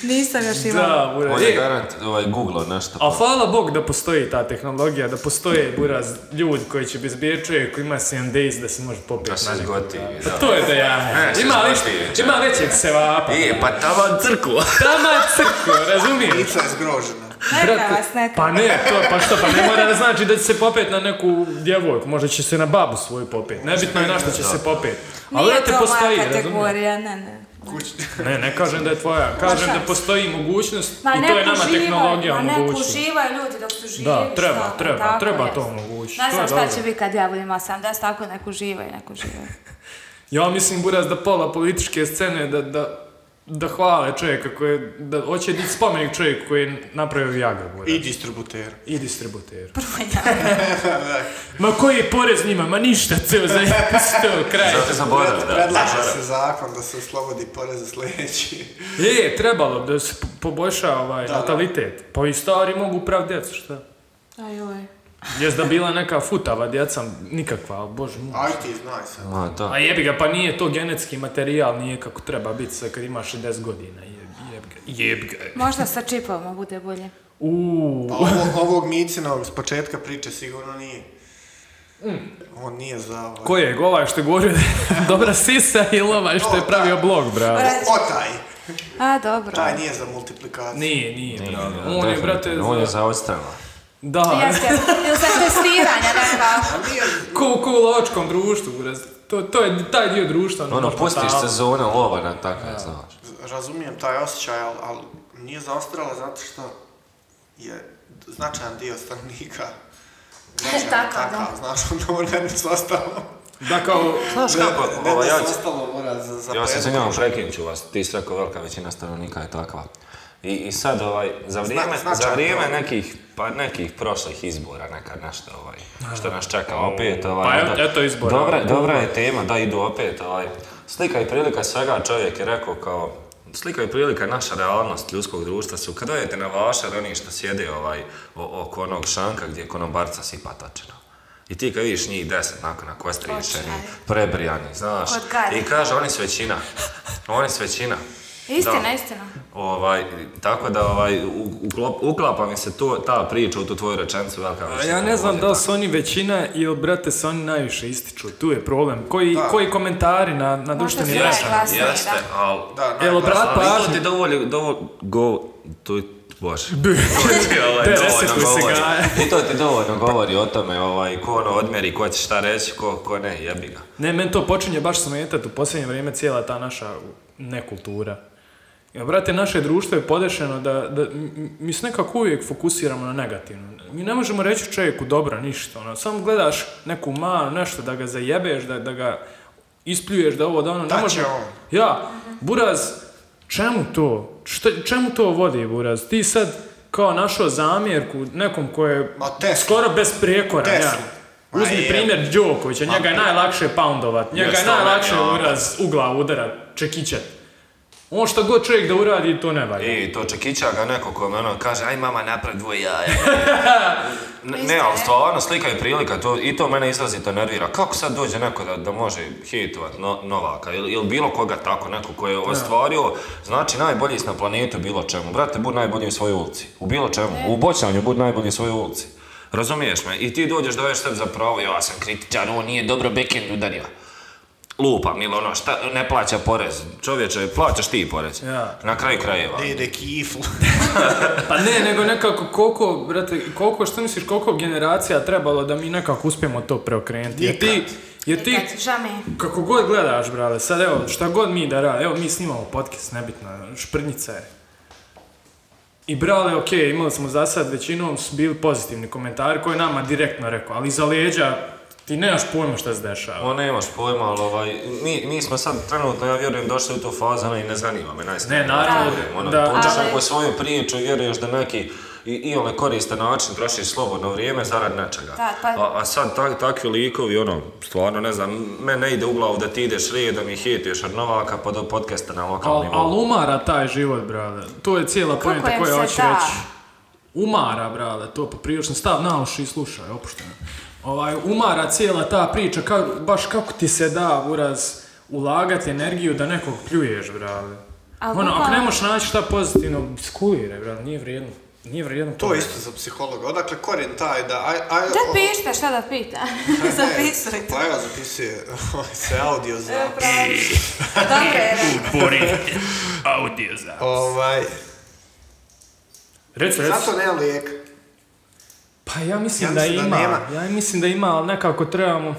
S6: Nisam još imala.
S1: Da, buraz.
S4: On je
S1: E,
S4: garant ovaj, googlao nešto.
S1: A hvala Bog da postoji ta tehnologija, da postoje buraz ljudi koji će bez biječuje, koji ima 7 days da se može popiti
S4: Da se
S1: na nekog.
S4: zgotivi,
S1: Pa
S4: da.
S1: to je da ja
S4: E, se
S1: Ima,
S4: zgotivi,
S1: već,
S4: čak.
S1: ima većeg sevapa.
S4: E, pa tavan crku.
S1: Tama crko, razumiješ?
S2: Lica je zgrožena.
S6: Neka
S1: Brate,
S6: vas, neka.
S1: Pa ne, to, pa što, pa ne mora da znači da će se popet na neku djevojku, možda će se na babu svoju popet, nebitno je na što će se popet. Ali
S6: Nije
S1: brate,
S6: to
S1: postoji,
S6: moja
S1: razumiješ?
S6: kategorija, ne, ne.
S2: Kuć...
S1: Ne, ne kažem da je tvoja, kažem
S6: Možda.
S1: da postoji mogućnost
S6: Ma
S1: i to je
S6: nek
S1: nama
S6: uživaju,
S1: tehnologija
S6: ma nek
S1: omogućila.
S6: uživaju ljudi dok su živi.
S1: Da, treba,
S6: šta, ono,
S1: treba,
S6: tako
S1: treba
S6: je.
S1: to omogućiti.
S6: Ne
S1: to je
S6: znam šta
S1: dobro.
S6: će biti kad ja budem 80, tako nek uživaju, nek uživaju.
S1: Ja mislim, Buraz, da pola političke scene da, da, da hvale čovjeka koji je, da hoće biti spomenik čovjeku koji je napravio Viagra, Buraz.
S2: I
S1: I,
S2: distributera.
S1: distributer.
S2: Da.
S1: Ma koji je porez njima? Ma ništa, ceo za to, kraj.
S4: Zato sam borav, da.
S2: Predlaže se zakon da se oslobodi porez za sljedeći.
S1: E, trebalo bi da se po- poboljša ovaj
S2: Da, da.
S1: natalitet. Pa i stari mogu prav djecu, šta?
S6: Ajoj.
S1: Jes da bila neka futava djeca, nikakva, ali bože moj.
S2: Aj ti znaj sad.
S4: Ma, da.
S1: A jebi ga, pa nije to genetski materijal, nije kako treba biti sad kad imaš 60 godina, jeb, jeb ga, jeb ga.
S6: Možda sa čipovima bude bolje.
S1: Uuu,
S2: Pa ovo, ovog Micinovog s početka priče sigurno nije. On nije za ovaj.
S1: ko je, ovaj što je govorio da je dobra sisa ili ovaj što je pravio blog, bravo?
S2: O, o taj.
S6: A, dobro.
S2: Taj nije za multiplikaciju.
S1: Nije, nije,
S4: Nije,
S1: bravo.
S4: da,
S1: On je,
S4: definitivno.
S1: brate,
S4: On je
S1: za-
S4: za odstrela.
S2: ovaj.
S1: da,
S6: Jeste, ili sa testiranja, neka.
S2: A nije
S1: ko, ko u lovačkom društvu, brate. to, to je taj dio društva. ne
S4: Ono,
S1: može
S4: pustiš
S1: tamo.
S4: sezona lova na takav, znaš.
S2: razumijem taj osjećaj, ali, ali nije zaostrala zato što je značajan dio stanovnika. Značajan
S6: Takav, da.
S2: takav, znaš, onda mora jedno s ostalom.
S1: Da kao,
S4: Znaš kako,
S2: Ne,
S4: ova,
S2: da
S4: ovaj, ja
S2: s ostalom mora za, za
S4: Ja se
S2: pet-
S4: izvinjavam, prekinut ću vas, ti si rekao velika većina stanovnika je takva. I, i sad ovaj, za vrijeme, za
S2: značajan
S4: vrijeme
S2: problem.
S4: nekih, pa nekih prošlih izbora, neka nešto ovaj, što nas čeka opet
S1: Pa
S4: ovaj.
S1: evo-
S4: onda-
S1: eto izbora.
S4: Dobra, dobra je tema, da idu opet ovaj. Slika i prilika svega čovjek je rekao kao, slika i prilika naša realnost ljudskog društva su kad odete na vašar oni što sjede ovaj, o- oko onog šanka gdje konobarca sipa tačeno. I ti kad vidiš njih deset nakon na kostrišeni, prebrijani, znaš,
S6: Kod Gare.
S4: i kaže oni su većina, oni su većina.
S6: Istina,
S4: Da.
S6: istina.
S4: Ovaj, tako da ovaj, u- uklop- uklapa mi se to, ta priča u tu tvoju rečenicu velika
S1: Pa
S4: većina.
S1: Ja ne znam
S4: Ovdje
S1: da li
S4: tako.
S1: su oni većina ili, brate, se oni najviše ističu. Tu je problem. Koji, koji komentari na, na društvenim
S6: su
S1: mrežama?
S6: najglasniji,
S4: Jeste, ali...
S2: Da,
S1: Jel
S2: najglasniji.
S1: obrat
S4: Ali to
S1: pažnju?
S4: ti dovolj, dovolj, go, to je, bože.
S1: To je deset koji se gaje.
S4: I to ti dovoljno govori o tome, ovaj, ko ono odmeri, ko će šta reći, ko, ko ne, jebi ga.
S1: Ne, meni to počinje baš smetat u posljednje vrijeme cijela ta naša nekultura. Ja, brate, naše društvo je podešeno da, da m- mi se nekako uvijek fokusiramo na negativno. Mi ne možemo reći čovjeku dobro, ništa. Ono, samo gledaš neku malu, nešto da ga zajebeš, da, da ga ispljuješ, da ovo, da ono. Ne
S2: Da će
S1: može-
S2: on.
S1: Ja, Buraz, čemu to? Šta, čemu to vodi, Buraz? Ti sad kao našao zamjerku nekom ko je
S2: Ma, Tesla.
S1: skoro bez prijekora.
S2: Tesla.
S1: ja.
S2: Ma,
S1: Uzmi
S2: je.
S1: primjer Đokovića, njega je najlakše poundovat, njega je
S4: Jeste, on
S1: najlakše
S4: je, ja.
S1: uraz u glavu udarat, čekićat. On što god čovjek da uradi, to ne valja.
S4: I to čekića ga neko ko mi ono kaže, aj mama napravi dvoje jaja. ne, ne, ali stvarno slika je prilika, to, i to mene izrazito nervira. Kako sad dođe neko da, da može hitovat no, Novaka ili, ili bilo koga tako, neko ko je ostvario, znači najbolji si na planetu u bilo čemu. Brate, budi najbolji u svojoj ulici, u bilo čemu, u boćanju budi najbolji u svojoj ulici. Razumiješ me? I ti dođeš da sebi za pravo, ja sam kritičan, on nije dobro backhand udario. Lupam ili ono, šta, ne plaća porez. Čovječe, plaćaš ti porez.
S1: Ja.
S4: Na kraju krajeva.
S2: Dede kiflu.
S1: Pa ne, nego nekako koliko, brate, koliko, što misliš, koliko generacija trebalo da mi nekako uspijemo to preokrenuti? Jer ti, jer ti,
S6: Nikad, žao mi je.
S1: kako god gledaš, brale, sad evo, šta god mi da radimo, evo mi snimamo podcast, nebitno, šprnjica je. I brale, ok, imali smo za sad većinom su bili pozitivni komentari koji je nama direktno rekao, ali iza leđa ti nemaš pojma šta se dešava.
S4: Ma Pa nemaš pojma, ali ovaj, mi, mi smo sad trenutno, ja vjerujem, došli u tu fazu, ono, i ne zanima me, najskrije.
S1: Ne, naravno,
S4: Ono,
S1: da.
S4: pođeš
S6: Ali-
S4: neku svoju priču i vjeruješ da neki i, i ole koriste način, trošiš slobodno vrijeme zarad nečega.
S6: Da, pa-
S4: a, a sad tak, takvi likovi, ono, stvarno, ne znam, me ne ide u glavu da ti ideš redom i hituješ od Novaka pa do podcasta na
S1: Al,
S4: lokalnim.
S1: al umara taj život, brale. To je cijela pojenta
S6: im
S1: koja
S6: se
S1: hoću
S6: da?
S1: reći. Umara, brale, to poprilično. Stav na uši i slušaj, opušteno. Ovaj, umara cijela ta priča, ka, baš kako ti se da, uraz, ulagati energiju da nekog pljuješ, brale.
S6: Al
S1: ono, ako
S6: bukvalno-
S1: ne možeš naći šta pozitivno, skuliraj, brale, nije vrijedno. Nije vrijedno
S2: To je isto za psihologa. Odakle korijen taj da... Aj, aj,
S6: Da
S2: o-
S6: pišite šta da pita.
S2: Ne,
S6: Zapisali to.
S2: Pa evo zapisuje ovaj, se audio za...
S6: E, pravo. Dobro je.
S2: E.
S1: Bori, audio za.
S2: Ovaj,
S1: Reci, reci.
S2: zato nema lijeka.
S1: Pa ja mislim
S2: Ja
S1: da
S2: mislim da
S1: ima,
S2: nema.
S1: ja mislim da ima, ali nekako trebamo...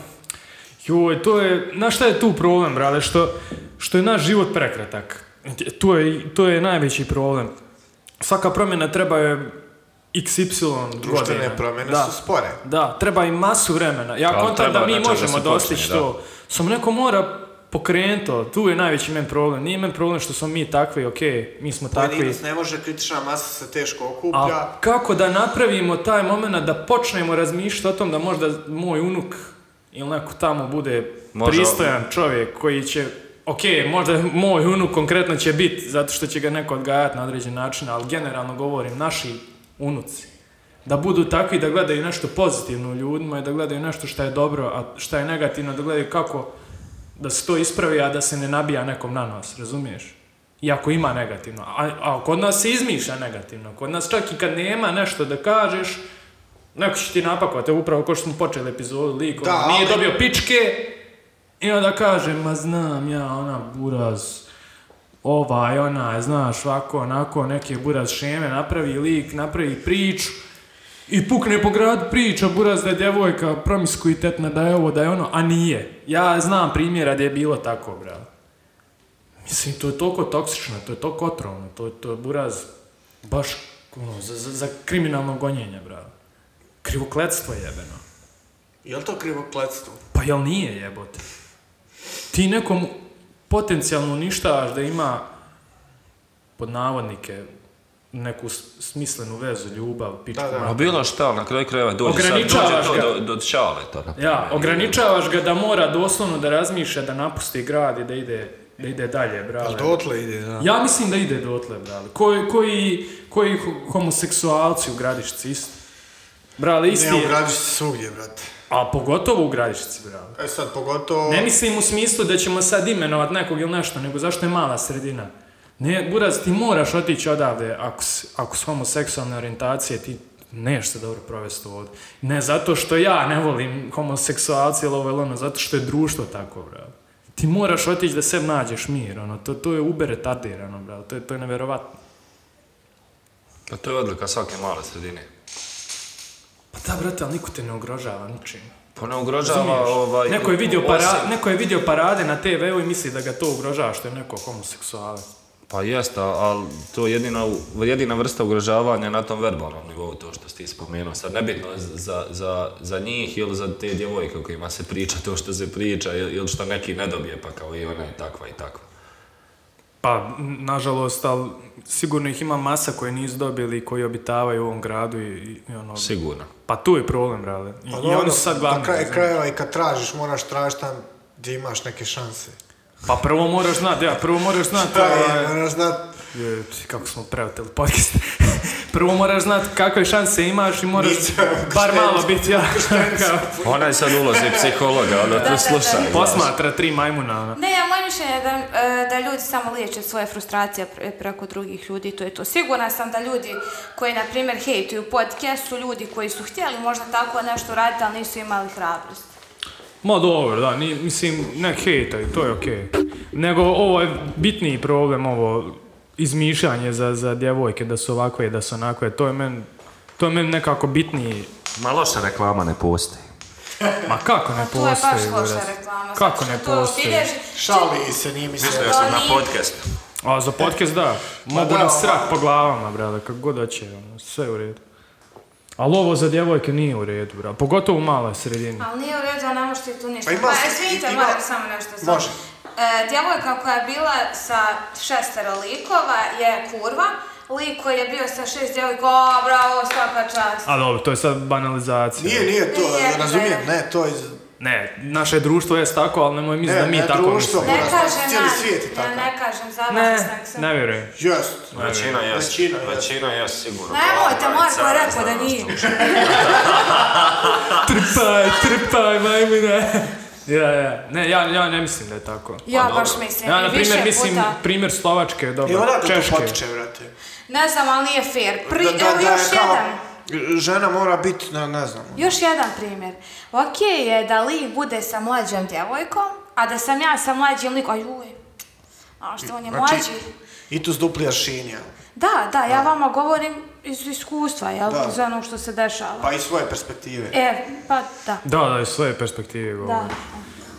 S1: Joj, to je, znaš šta je tu problem, brale, što, što je naš život prekratak. To je, to je najveći problem. Svaka promjena treba je xy godina.
S2: Društvene promjene
S1: Da.
S2: su spore.
S1: Da, treba i masu vremena. Ja
S4: Ali
S1: kontam da
S4: treba
S1: mi
S4: nečega
S1: možemo
S4: da se
S1: dostići
S4: počne, da.
S1: to. Samo neko mora pokrenuti to. Tu je najveći men problem. Nije men problem što smo mi takvi, okej, mi smo
S2: Pa
S1: takvi.
S2: Pojedinac ne može, kritična masa se teško okuplja.
S1: A kako da napravimo taj moment da počnemo razmišljati o tom da možda moj unuk ili neko tamo bude
S4: Može-
S1: pristojan čovjek koji će Ok, možda moj unuk konkretno će biti zato što će ga neko odgajati na određen način, ali generalno govorim, naši unuci da budu takvi da gledaju nešto pozitivno u ljudima i da gledaju nešto što je dobro, a što je negativno, da gledaju kako da se to ispravi, a da se ne nabija nekom na nos, razumiješ? Iako ima negativno. A, a kod nas se izmišlja negativno. Kod nas čak i kad nema nešto da kažeš, neko će ti napakovati, upravo ko što smo počeli epizodu lik,
S2: Da,
S1: ono, nije
S2: ali-
S1: dobio pičke i onda kaže, ma znam ja, ona buraz, ovaj, onaj, znaš, ovako, onako, neke buraz šeme, napravi lik, napravi priču, i pukne po gradu priča, buraz da je djevojka promiskuitetna, da je ovo, da je ono, a nije. Ja znam primjera gdje je bilo tako, bravo. Mislim, to je toliko toksično, to je toliko otrovno, to, to je buraz baš ono, za, za, za kriminalno gonjenje, bravo. Krivokletstvo jebeno.
S2: Je li to krivokletstvo?
S1: Pa jel nije jebote? Ti nekom potencijalno uništavaš da ima pod navodnike neku s- smislenu vezu, ljubav, pičku
S2: Da, da.
S1: mater.
S4: Ma bilo šta, ali na kraju krajeva dođe sad, dođe
S1: Ograničavaš
S4: to
S1: ga.
S4: do, do šaleta, na
S1: Ja,
S4: primjer.
S1: ograničavaš ga da mora doslovno da razmišlja, da napusti grad i da ide, da ide dalje, brale.
S2: Ali dotle ide, da.
S1: Ja mislim da ide dotle, brale. Koji, koji, koji ho- homoseksualci u Gradišci isto? Brale, isti
S2: Ne, u
S1: je.
S2: Gradišci svugdje, brate.
S1: A pogotovo u Gradišci, brale.
S2: E sad, pogotovo...
S1: Ne mislim u smislu da ćemo sad imenovat nekog ili nešto, nego zašto je mala sredina. Ne, Buraz, ti moraš otići odavde ako si, ako si homoseksualne orijentacije, ti neš se dobro provesti ovdje. Ne zato što ja ne volim homoseksualci ili ovo ili ono, zato što je društvo tako, bravo. Ti moraš otići da sebi nađeš mir, ono, to, to je ubere retardirano, bravo, to je, to je nevjerovatno.
S4: Pa to je odlika svake male sredine.
S1: Pa da, brate, ali niko te ne ugrožava ničim.
S4: Pa ne ugrožava
S1: Razumiješ?
S4: ovaj...
S1: neko, je vidio
S4: osim-
S1: para- neko je vidio parade na TV-u i misli da ga to ugrožava što je neko homoseksualac.
S4: Pa jeste, ali to je jedina, jedina vrsta ugrožavanja na tom verbalnom nivou, to što ste spomenuo. Sad nebitno za, za, za njih ili za te djevojke o kojima se priča to što se priča ili, ili što neki ne dobije, pa kao i ona je takva i takva.
S1: Pa, n- nažalost, ali sigurno ih ima masa koje nisu dobili i koji obitavaju u ovom gradu i, i- i ono...
S4: Sigurno.
S1: Pa tu je problem, brale. I,
S2: Pa
S1: i
S2: dobro,
S1: oni su sad glavni.
S2: Na kraju
S1: razumiješ?
S2: krajeva i kad tražiš, moraš tražiti tam gdje imaš neke šanse.
S1: Pa prvo moraš znat, ja, prvo moraš znat...
S4: Pa
S2: Da,
S1: ovaj,
S2: je, moraš znat.
S1: Je, psi, kako smo preoteli podcast. Prvo moraš znat kakve šanse imaš i moraš
S2: Nisam,
S1: bar
S2: krštenci.
S1: malo biti ja. kao
S5: Ona je sad u ulozi psihologa, ono, ona to sluša.
S1: Posmatra tri ono. majmuna. Ona.
S6: Ne, ja moje mišljenje je da, e, da ljudi samo liječe svoje frustracije pre- preko drugih ljudi, to je to. Sigurna sam da ljudi koji, na primjer, hejtuju podcast su ljudi koji su htjeli možda tako nešto raditi, ali nisu imali hrabrost.
S1: Ma dobro, da, ni, mislim, ne hejtaj, to je okej. Nego ovo je bitniji problem, ovo izmišljanje za, za djevojke da su ovakve i da su onakve. To je meni to je meni nekako bitniji.
S4: Ma loša reklama ne postoji.
S1: Ma kako ne
S6: To je
S1: postoji?
S6: baš loša
S1: brate?
S6: reklama.
S1: Kako
S6: zato
S1: ne
S6: što to
S1: postoji?
S6: obilježi-
S2: Šali se, nije mislio.
S5: Mislio sam na podcast.
S1: A za podcast da, mogu
S2: da,
S1: nam
S2: ovo-
S1: srak po glavama, brada, kako god hoće, ono, sve u redu. Ali ovo za djevojke nije u redu, brada, pogotovo u maloj sredini.
S6: Ali nije u redu, a ne možete tu ništa.
S2: Pa
S6: Pa
S2: ima-
S6: izvinite,
S2: ima-
S6: moram samo nešto samo.
S2: Može.
S6: E, djevojka koja je bila sa šestero likova je kurva. Lik koji je bio sa šest djevojka, o, bravo, svaka čast.
S1: A dobro, to je sad banalizacija.
S2: Nije, nije to,
S6: Nije,
S2: razumijem,
S6: ne.
S2: ne, to je... iz-
S1: Ne, naše društvo je tako, ali nemoj misliti
S2: Ne,
S1: da mi
S2: E, ne,
S1: tako
S2: društvo. pa
S1: mislimo.
S6: Ne
S2: Moraš
S6: kažem
S2: cijeli
S6: nas,
S2: svijet je
S6: ja
S2: takav.
S6: ne kažem,
S1: Ne,
S6: zavljala sam se.
S1: ne vjerujem.
S2: Just.
S4: Većina jest.
S2: Većina
S4: Većina,
S2: jest.
S4: jest, sigurno.
S6: Nemojte,
S4: Glavna
S6: Marko
S4: je
S6: je
S4: cara,
S6: rekao da
S4: znaš.
S6: nije.
S1: Trpaj, trpaj, majmune. Ja, ja. Ne, ja, ja ne mislim da je tako.
S6: Ja baš mislim,
S1: Ja, na
S6: i više
S1: primjer, mislim,
S6: puta.
S1: primjer Slovačke je
S2: I
S1: dobro,
S2: odakle to
S1: Češke.
S2: potiče, brate?
S6: Ne znam, ali nije fair. Pri,
S2: Da- da-
S6: evo
S2: da je
S6: još
S2: kao-
S6: jedan.
S2: Žena mora biti, ne, ne znam.
S6: Još jedan primjer. Ok je da Lee bude sa mlađom djevojkom, a da sam ja sa mlađim likom, ajuj, a što on je
S2: Znači-
S6: mlađi.
S2: I tu s dupli aršinija.
S6: Da, da, ja vama govorim iz iskustva, jel,
S2: Da.
S6: iz onog što se dešava.
S2: Pa i svoje perspektive.
S6: E, pa da,
S1: Da, da, iz svoje perspektive
S6: da.
S1: govorim.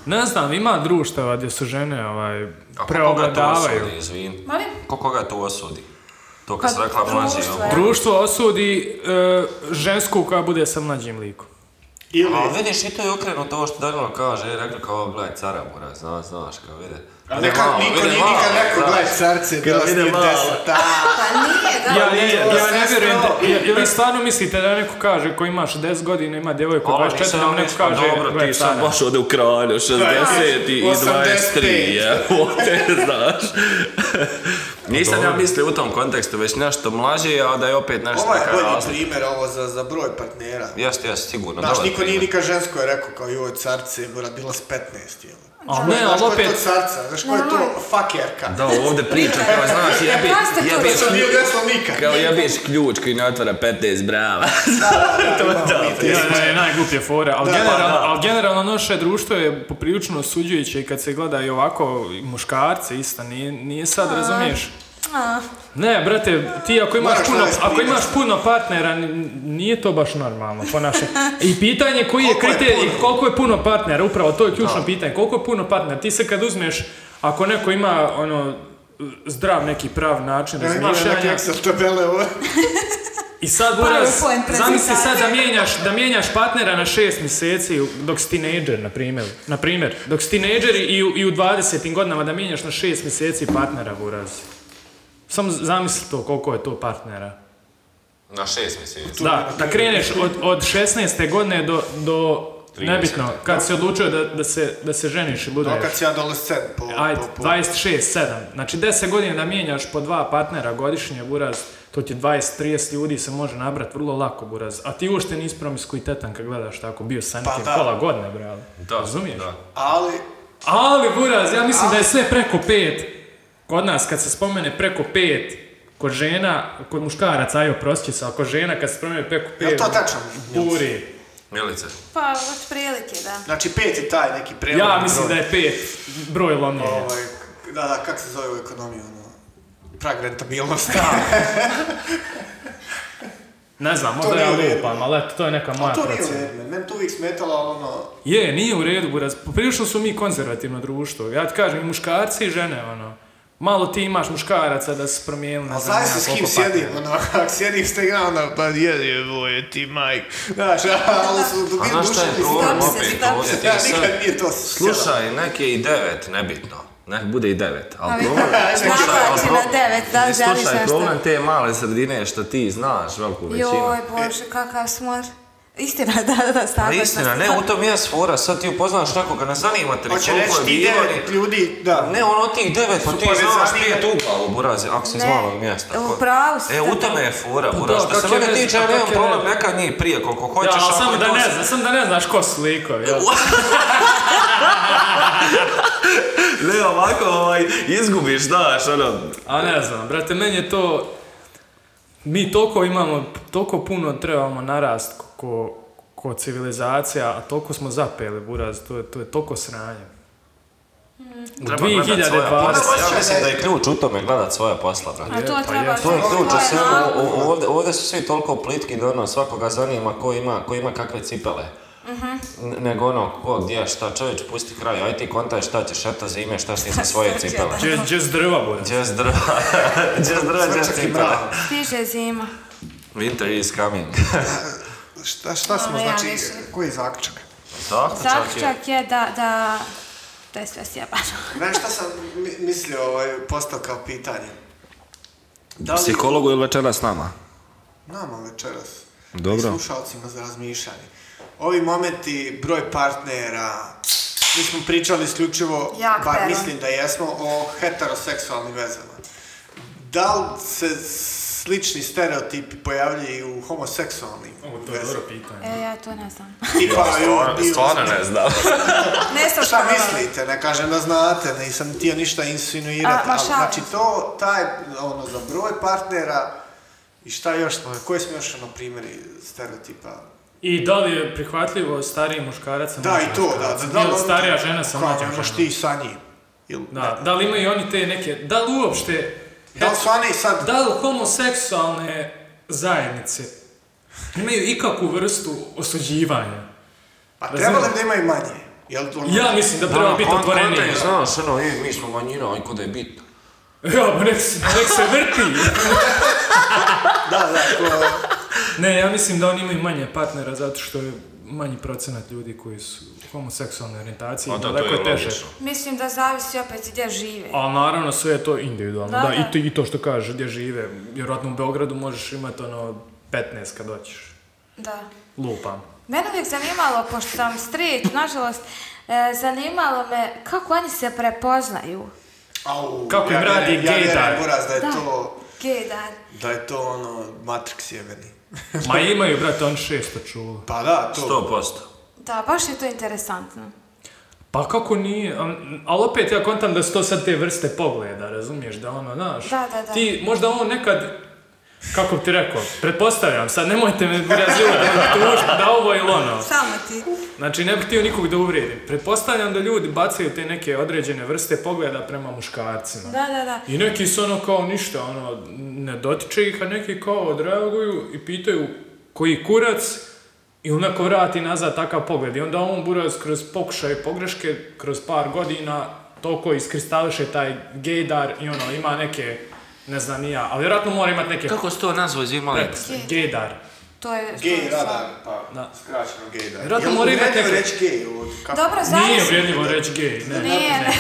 S1: Ne znam, ima društava gdje su žene ovaj,
S4: A ko koga to
S1: preovladavaju.
S4: osudi, izvin?
S6: Molim?
S4: Ko koga to osudi? To kad
S6: Pa,
S4: se rekla mlađi,
S6: društvo,
S4: ovo.
S6: ja.
S1: Društvo osudi e, žensku koja bude sa mlađim likom.
S2: Ili...
S4: A vidiš, i to je okrenuto ovo što Danilo kaže, je rekli kao, gledaj, cara mora, znaš, znaš, kao vide. Vide
S2: Nekad
S4: malo,
S2: niko
S4: vide
S2: nije
S4: malo,
S2: nikad rekao,
S4: znaš.
S2: gledaj, carce, da vas
S5: vide
S2: nije
S5: malo.
S2: deset, a,
S6: Pa nije, da.
S1: Ja, ne,
S2: ovo
S1: ja
S2: sve
S1: ne vjerujem da,
S2: strava.
S1: je- je li stvarno mislite da neko kaže ko imaš 10 godina, ima djevojku
S4: Ali
S1: 24, da mu
S4: nisam
S1: neko
S4: ništa,
S1: kaže
S4: dobro,
S1: gle,
S5: Ti sam
S1: Sara.
S5: baš ode u kralju, 60 i 23,
S2: 85.
S5: je, znaš.
S4: Nisam ja mislio u tom kontekstu, već nešto mlađi, a da je opet nešto
S2: Ovo je
S4: neka
S2: bolji
S4: razlika.
S2: primjer ovo za, za broj partnera.
S4: Jeste, jeste, sigurno.
S2: Znaš,
S4: dobar
S2: niko nije
S4: primjer.
S2: nikad žensko je rekao kao joj carce, mora bila s 15, jel?
S1: A ne,
S2: Znaš
S1: ali
S2: ko je
S1: opet,
S2: to carca, znaš ko je to fuckerka?
S5: Da, ovdje priča kao, znaš, jebi,
S6: Ja ste to
S5: jebi,
S2: To se nije desilo nikad.
S5: kao jebiš ključ koji ne otvara 15 brava.
S1: Ja, ja, ja, najgluplje fore, ali, generalno, ali generalno naše društvo je poprilično osuđujuće i kad se gleda i ovako i muškarce isto, nije, nije sad, razumiješ? Ne, brate, ti ako imaš
S2: Moraš
S1: puno,
S2: navesti
S1: ako imaš
S2: primjer.
S1: puno partnera, n- nije to baš normalno po našem. I pitanje koji je
S2: Koliko je
S1: kriterij,
S2: puno?
S1: koliko je puno partnera, upravo to je ključno pitanje, koliko je puno partnera. Ti se kad uzmeš, ako neko ima ono zdrav neki prav način
S2: Ja imam neke
S1: razmišljanja,
S2: Excel tabele ovo.
S1: i sad Buras,
S6: PowerPoint
S1: zamisli sad da
S6: prezentacija.
S1: mijenjaš, da mijenjaš partnera na šest mjeseci u- dok si tinejdžer, na primjer. Na primjer, dok si tinejdžer i u, i u 20. godinama da mijenjaš na šest mjeseci partnera Buras. Samo z- zamisli to koliko je to partnera.
S4: Na šest mjeseci.
S1: Da, da kreneš od, od 16. godine do, do
S4: 30.
S1: nebitno, kad si odlučio da, da, se, da se ženiš i budeš.
S2: No, kad si adolescent po... po-
S1: Ajde,
S2: po-
S1: 26, 7. Znači 10 godina da mijenjaš po dva partnera godišnje, buraz, to ti je 20-30 ljudi se može nabrat vrlo lako, buraz. A ti uopšte nisi promiskuitetan kad gledaš tako, bio sam
S2: Pa
S1: ti
S2: da.
S1: pola godine, brale.
S4: Da,
S1: Razumiješ?
S4: da.
S2: Ali,
S1: Ali, buraz, ja mislim da je sve preko 5. Kod nas, kad se spomene preko 5, kod žena, kod muškaraca, ajo, prosti se, a kod žena kad se spomene preko 5...
S2: Jel to tačno, Nils?
S1: Buri.
S4: Milice.
S6: Pa, otprilike, da.
S2: znači pet je taj neki prelomni
S1: Ja mislim da
S2: broj.
S1: je 5 broj lomljenja.
S2: Ovaj, da, da, kak se zove u ekonomiji, ono... Prag rentabilnosti.
S1: Ne znam, možda
S2: nije
S1: ja
S2: u redu.
S1: lupam, ali eto, to je neka moja
S2: to nije
S1: procena.
S2: u redu, meni to uvijek smetalo, ali ono...
S1: Je, nije u redu, buraz. Poprilično su mi konzervativno društvo. Ja ti kažem, i muškarci i žene, ono. Malo ti imaš muškaraca da se promijenu.
S2: A znaš se s kim sjedim, ono, ako sjedim s tega, onda, pa jedi je boje ti majk. Znaš, ali su
S4: A
S2: dubinu
S4: znaš šta je
S2: duševni
S4: problem
S6: znam se,
S4: opet
S6: znam
S4: ovdje?
S2: Ja
S4: Ti sad-
S2: nikad nije to sjedim.
S4: Slušaj, nek je i devet, nebitno. Nek bude i devet, ali problem...
S6: Navlači
S4: ali
S6: na
S4: pro-
S6: devet, da li želiš
S4: Slušaj,
S6: nešto?
S4: problem te male sredine što ti znaš veliku većinu.
S6: Joj, Bože, kakav smor. Istina, da, da,
S4: Pa
S6: stvarno.
S4: istina, ne, u tom je fora, sad ti upoznaš nekoga, ne zanima te ni
S2: Hoće
S4: koliko
S2: reći
S4: je
S2: ti
S4: bilo,
S2: devet ljudi, da.
S4: ni- Ne, ono ti devet, pa
S2: Su
S4: ti
S2: povezani.
S4: znaš pet uglava u Burazi, ako si iz
S6: Ne,
S4: malog mjesta.
S6: u
S4: Ko-
S6: pravu Pa, si,
S4: E, u
S6: da.
S4: tome je fora,
S1: Pa da,
S4: Buraz. Što se
S1: kak je
S4: mene
S1: vez-
S4: tiče, ja
S1: kak
S4: nemam
S1: je
S4: problem,
S1: vez-
S4: neka njih prije koliko
S1: Ja,
S4: hoćeš.
S1: ali
S4: ako
S1: samo
S4: je
S1: pa- da
S4: to-
S1: ne znaš, samo da ne znaš ko su likovi, jel?
S5: Ne, ovako, ovaj, izgubiš, znaš, ono,
S1: A ne znam, brate, meni je to... Mi toliko imamo, toliko puno trebamo narast ko- ko, ko civilizacija, a toliko smo zapeli, buraz, to je, to je toliko sranje. U
S4: Treba gledat svoja
S1: 2020.
S4: posla. Ja
S2: Hoće
S4: mislim
S2: da
S4: da je ključ u tome gledat svoja posla, brate.
S6: A to treba...
S4: To je ključ,
S6: to
S4: a sve
S6: na-
S4: ovo- o- ovdje, ovdje su svi toliko plitki da ono, svakoga zanima ko ima, ko ima kakve cipele. N- Nego ono, ko, gdje, šta, čovječ, pusti kraj, aj ti kontaj šta ćeš, eto zime, šta si sa svoje cipele.
S1: Just, just drva, buraz.
S4: Just drva, just drva, just
S2: Srčak i
S4: cipele.
S2: mrav.
S6: Stiže zima.
S4: Winter is coming.
S2: Šta, šta smo,
S6: ja
S2: znači,
S6: više.
S2: koji je zaključak?
S4: Pa Zaključak
S6: Zaključak je da, da, da je sve sjebano.
S2: Znaš šta sam mi- mislio, ovaj, postao kao pitanje? Da li
S5: psihologu ili večera s nama?
S2: nama večeras
S5: Dobro.
S2: i slušalcima za razmišljanje? Ovi momenti, broj partnera, mi smo pričali isključivo,
S6: Jak
S2: bar
S6: veran.
S2: mislim da jesmo, o heteroseksualnim vezama. Da li se slični stereotipi pojavljuju i u homoseksualnim
S1: Ovo, to je dobro
S2: vezama?
S1: pitanje.
S6: E, ja to ne znam.
S2: Tipa, i u- i u-
S5: ne znam.
S6: Ne sam
S2: Šta
S6: provala.
S2: mislite? Ne kažem da znate, nisam htio ništa insinuirati,
S6: A, ma
S2: ali
S6: šalim
S2: znači
S6: se.
S2: to, taj, ono, za broj partnera i šta još smo, koji smo još, ono, primjeri stereotipa?
S1: I da li je prihvatljivo stariji muškarac sa
S2: Da,
S1: mlađim
S2: i to, da,
S1: muškarcem?
S2: da, da,
S1: Ili
S2: ono,
S1: Znači, starija žena sa
S2: kao,
S1: mlađom
S2: nemaš
S1: ženom?
S2: ti sa njim. Ili,
S1: Da, da li imaju oni te neke, da li uopšte,
S2: da li su oni sad,
S1: da li homoseksualne zajednice imaju ikakvu vrstu osuđivanja?
S2: pa
S1: razumem.
S2: trebali bi da imaju manje? Jel to ono-
S1: Ja mislim da treba
S4: Ono,
S1: biti
S4: kon-
S1: otvoreniji.
S4: kontaj, Znaš, ono, i, mi smo manjina, aj kuda je bitno.
S1: Ja, pa nek, se- nek se vrti.
S2: Da, da, ko,
S1: ne, ja mislim da oni imaju manje partnera zato što je manji procenat ljudi koji su homoseksualne orijentacije.
S5: A Pa da, to
S1: daleko
S5: je
S1: je teže.
S5: logično.
S6: Mislim da zavisi opet gdje žive.
S1: A naravno sve je to individualno, da,
S6: Da,
S1: i,
S6: da.
S1: to, i to što kažeš, gdje žive. Vjerojatno u Beogradu možeš imati ono 15 kad doćeš.
S6: Da.
S1: Lupam.
S6: Mene uvijek zanimalo, pošto sam street, nažalost, e, zanimalo me kako oni se prepoznaju.
S2: au,
S1: Kako im
S2: ja
S1: radi
S2: vjerujem- ja vjerujem,
S1: gaydar.
S2: Buraz, da je
S6: Da.
S2: to,
S6: Gejdar.
S2: da je to, ono, Matrix jebeni.
S1: Ma imaju, brate, on 600 čula.
S2: Pa da, to.
S4: 100%.
S6: Da, baš je to interesantno.
S1: Pa kako nije, Al- ali opet ja kontam da su to sad te vrste pogleda, razumiješ, da ono, znaš,
S6: Da, da, da.
S1: ti možda on nekad, kako bi ti rekao, pretpostavljam, sad nemojte me razljubiti, da, tuž- da ovo ili ono,
S6: Samo ti.
S1: znači ne bih htio nikog da uvrijedim, pretpostavljam da ljudi bacaju te neke određene vrste pogleda prema muškarcima.
S6: Da, da, da.
S1: I neki su ono kao ništa, ono, ne dotiče ih, a neki kao odreaguju i pitaju koji kurac i onda neko vrati nazad takav pogled. I onda on buraz kroz pokušaj pogreške, kroz par godina, toliko iskristališe taj gejdar i ono, ima neke, ne znam ni ja, ali vjerojatno mora imati neke
S4: Kako su to nazvao iz imali?
S1: prepostavke. Gejdar.
S6: To je... to
S2: Gej
S6: je stvar.
S2: radar, pa
S1: Da.
S2: skraćeno gej radar.
S1: Vjerojatno moraju imati
S2: uvredljivo
S1: neko-
S2: reći gej? ovo, kako-
S6: Dobro,
S1: Nije
S6: zavisi.
S1: uvredljivo reći gej, ne.
S6: Nije, ne.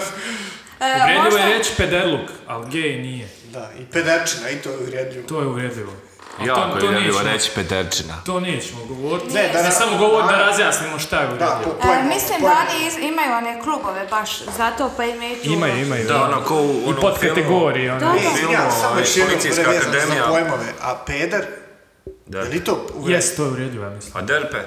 S6: E,
S1: Uvredljivo
S6: možda-
S1: je reći pederluk, ali gej nije.
S2: Da, i pedačina, i to je uvredljivo.
S1: To je uvredljivo.
S4: Pa
S1: A
S5: Jako je ljevo
S1: nećemo-
S5: reći peterčina.
S1: To nećemo govoriti.
S2: Ne, da
S1: Da
S2: ne-
S1: samo govorim da
S2: Da.
S1: razjasnimo šta je
S2: Da,
S1: uvredljivo.
S2: po
S6: E,
S2: pojmu.
S6: mislim
S2: pojmu.
S6: da oni iz- imaju one klubove baš zato pa imaju tu...
S1: Imaju, imaju.
S4: Da, ono, ko u onom
S1: I pod kategorije, ono.
S6: Da.
S2: E, izvinjavam se, samo
S4: ovaj,
S2: još jednom
S4: Policijska
S2: prevezano
S4: akademija.
S2: Za pojmove, a peder,
S4: Da.
S2: je li to uvredljivo?
S1: Jes, to je uvredljivo, ja mislim.
S4: A Pa derpe?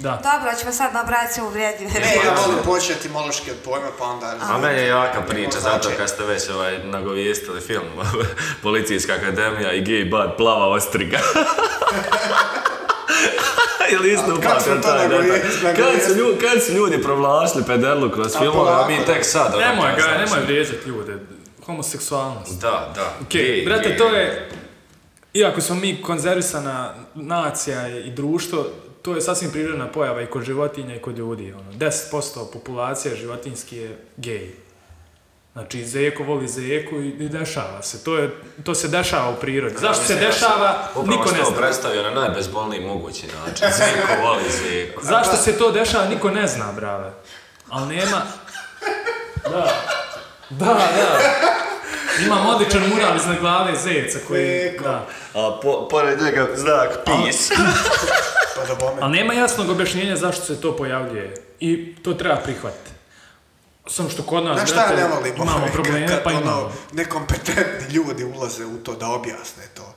S1: Da.
S6: Dobro, ćemo sad nabrati sve uvredljive.
S2: Ne, ja volim početi mološke od pojma, pa onda...
S4: A meni je jaka priča, zato
S2: Znači-
S4: kad ste već ovaj, nagovijestili film Policijska akademija i gej bad plava ostriga. Ili isto
S2: A kako smo
S4: upamtim
S2: to
S4: taj detalj.
S2: nagovijest-
S4: Kad su
S2: nagovijestili?
S4: ljudi, kad su ljudi provlašili pederlu kroz
S2: A
S4: filmove, a
S2: polako.
S4: mi tek sad. ono,
S1: Nemoj
S4: znaš.
S1: ga, nemoj vrijeđati ljude. Homoseksualnost.
S4: Da, da.
S1: Okej,
S4: Gej,
S1: brate,
S4: gej.
S1: to je... Iako smo mi konzervisana nacija i društvo, to je sasvim prirodna pojava i kod životinja i kod ljudi. Ono. 10% populacije životinjski je gej. Znači, zeko voli zeku i, i dešava se. To, je, to se dešava u prirodi. Zašto se
S4: Mislim, ja sam
S1: dešava,
S4: upravo
S1: niko ne
S4: to
S1: zna.
S4: predstavio na najbezbolniji mogući način. Zeko voli zeko.
S1: Zašto se to dešava, niko ne zna, brale. Ali nema... Da. Da, da. Imam odličan mural iznad glave zeca koji...
S2: Zeko.
S1: Da.
S4: A po, pored njega znak pis.
S2: Pa da bome.
S1: Ali nema jasnog objašnjenja zašto se to pojavljuje. I to treba prihvatiti. Samo što kod nas,
S2: Znaš šta
S1: brate,
S2: ne volim?
S1: imamo
S2: ovaj,
S1: probleme,
S2: kad,
S1: pa
S2: ono,
S1: imamo.
S2: Nekompetentni ljudi ulaze u to da objasne to.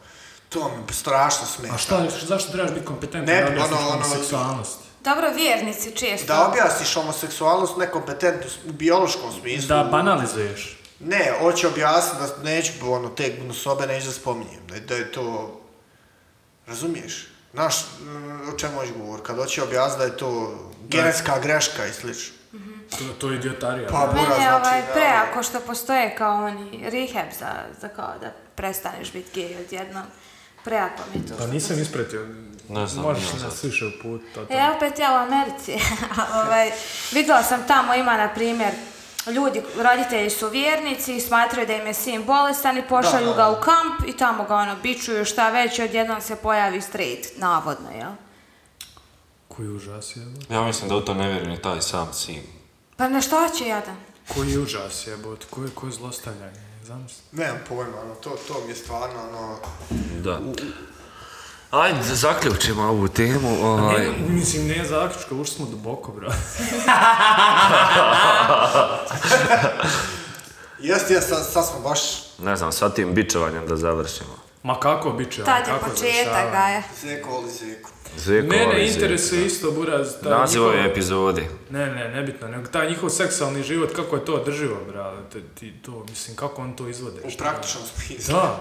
S2: To mi strašno smeta.
S1: A šta, zašto trebaš biti kompetentan
S2: Ne,
S1: da objasniš
S2: ono, ono-
S1: homoseksualnost?
S6: Dobro, vjernici često.
S2: Da objasniš homoseksualnost nekompetentno u biološkom smislu.
S1: Da pa banalizuješ.
S2: Ne, hoće objasniti da neću ono, te gnusobe neću da spominjem. Da, je- da je to... Razumiješ? Znaš mm, o čemu hoću govor? Kad hoće objasniti da je to genetska greška i slično.
S1: To, to je idiotarija.
S2: Pa,
S1: brate.
S2: bura,
S6: Mene je
S2: znači,
S6: ovaj,
S2: da,
S6: preako što postoje kao oni rehab za, za kao da prestaneš biti gej odjednom. Preako mi je to.
S1: Pa nisam ispratio.
S4: Ne znam,
S1: Možeš
S4: ne znam.
S1: nas više uput.
S6: E, opet ja u Americi. ovaj, vidjela sam tamo ima, na primjer, ljudi, roditelji su vjernici i smatraju da im je sin bolestan i pošalju
S2: Da, da.
S6: ga u kamp i tamo ga ono bičuju šta već i odjednom se pojavi straight, navodno, jel?
S1: Koji užas je, bot.
S4: Ja mislim da u to ne vjerujem ni taj sam sin.
S6: Pa na što će jadan?
S1: Koji užas je, bot. Koje, koje zlostavljanje. Zamisli.
S2: Nemam pojma, ono, to, to mi je stvarno, ono...
S5: Da. Ajde, da zaključimo ovu temu. Ovaj.
S1: Ne, mislim, ne zaključka, ušli smo duboko, bro.
S2: Jeste, jeste, sad, sad smo baš
S5: Ne znam, sa tim bičovanjem da završimo.
S1: Ma kako biće?
S6: Tad je
S1: Pa kako
S6: početak,
S1: završava?
S6: gaja.
S2: zeko ali zeko.
S5: Zeko,
S1: Mene
S5: ali
S1: interesuje isto, buraz, taj
S5: Naziv ove
S1: njihov-
S5: epizodi.
S1: Ne, ne, nebitno, nego taj njihov seksualni život, kako je to održivo, brate, ti to, mislim, kako on to izvode?
S2: U
S1: šta?
S2: praktičnom smislu.
S1: Da.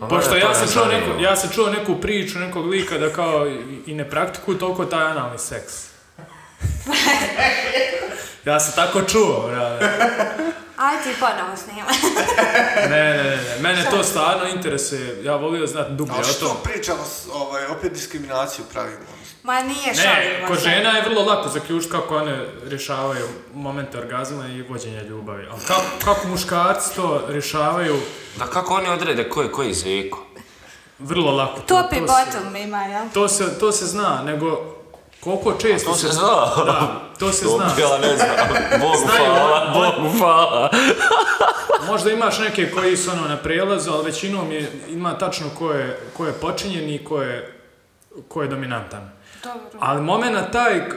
S5: Pa
S1: Pošto
S5: mene to
S1: ja
S5: ne
S1: sam, čuo
S5: zanima.
S1: neku, ja sam čuo neku priču nekog lika da kao i- i ne praktikuju toliko taj analni seks. ja sam tako čuo, brate.
S6: Aj ti ponovo snimaj.
S1: Ne, ne, ne, ne, mene to stvarno interesuje, ja volio znati dublje
S2: Ali
S1: o tom.
S2: što pričamo, s- ovaj, opet diskriminaciju pravimo. ono,
S6: Ma nije
S1: Ne,
S6: ono. šaljivo.
S1: kod
S6: sad.
S1: žena je vrlo lako zaključiti kako one rješavaju momente orgazma i vođenja ljubavi. Ali kako, kako muškarci to rješavaju,
S4: Da kako oni odrede ko je koji zeko?
S1: vrlo lako.
S6: Topi
S1: to se-
S6: bottom ima, jel?
S1: To se, to se zna, nego koliko često...
S5: To se zna.
S1: Da, to se zna.
S5: Ja ne znam. Bogu
S1: Znaju,
S5: hvala, Bogu hvala.
S1: Možda imaš neke koji su ono na prelazu, ali većinom je, ima tačno ko je, ko je počinjen i ko je, ko je dominantan.
S6: Dobro.
S1: Ali momena taj, k- e,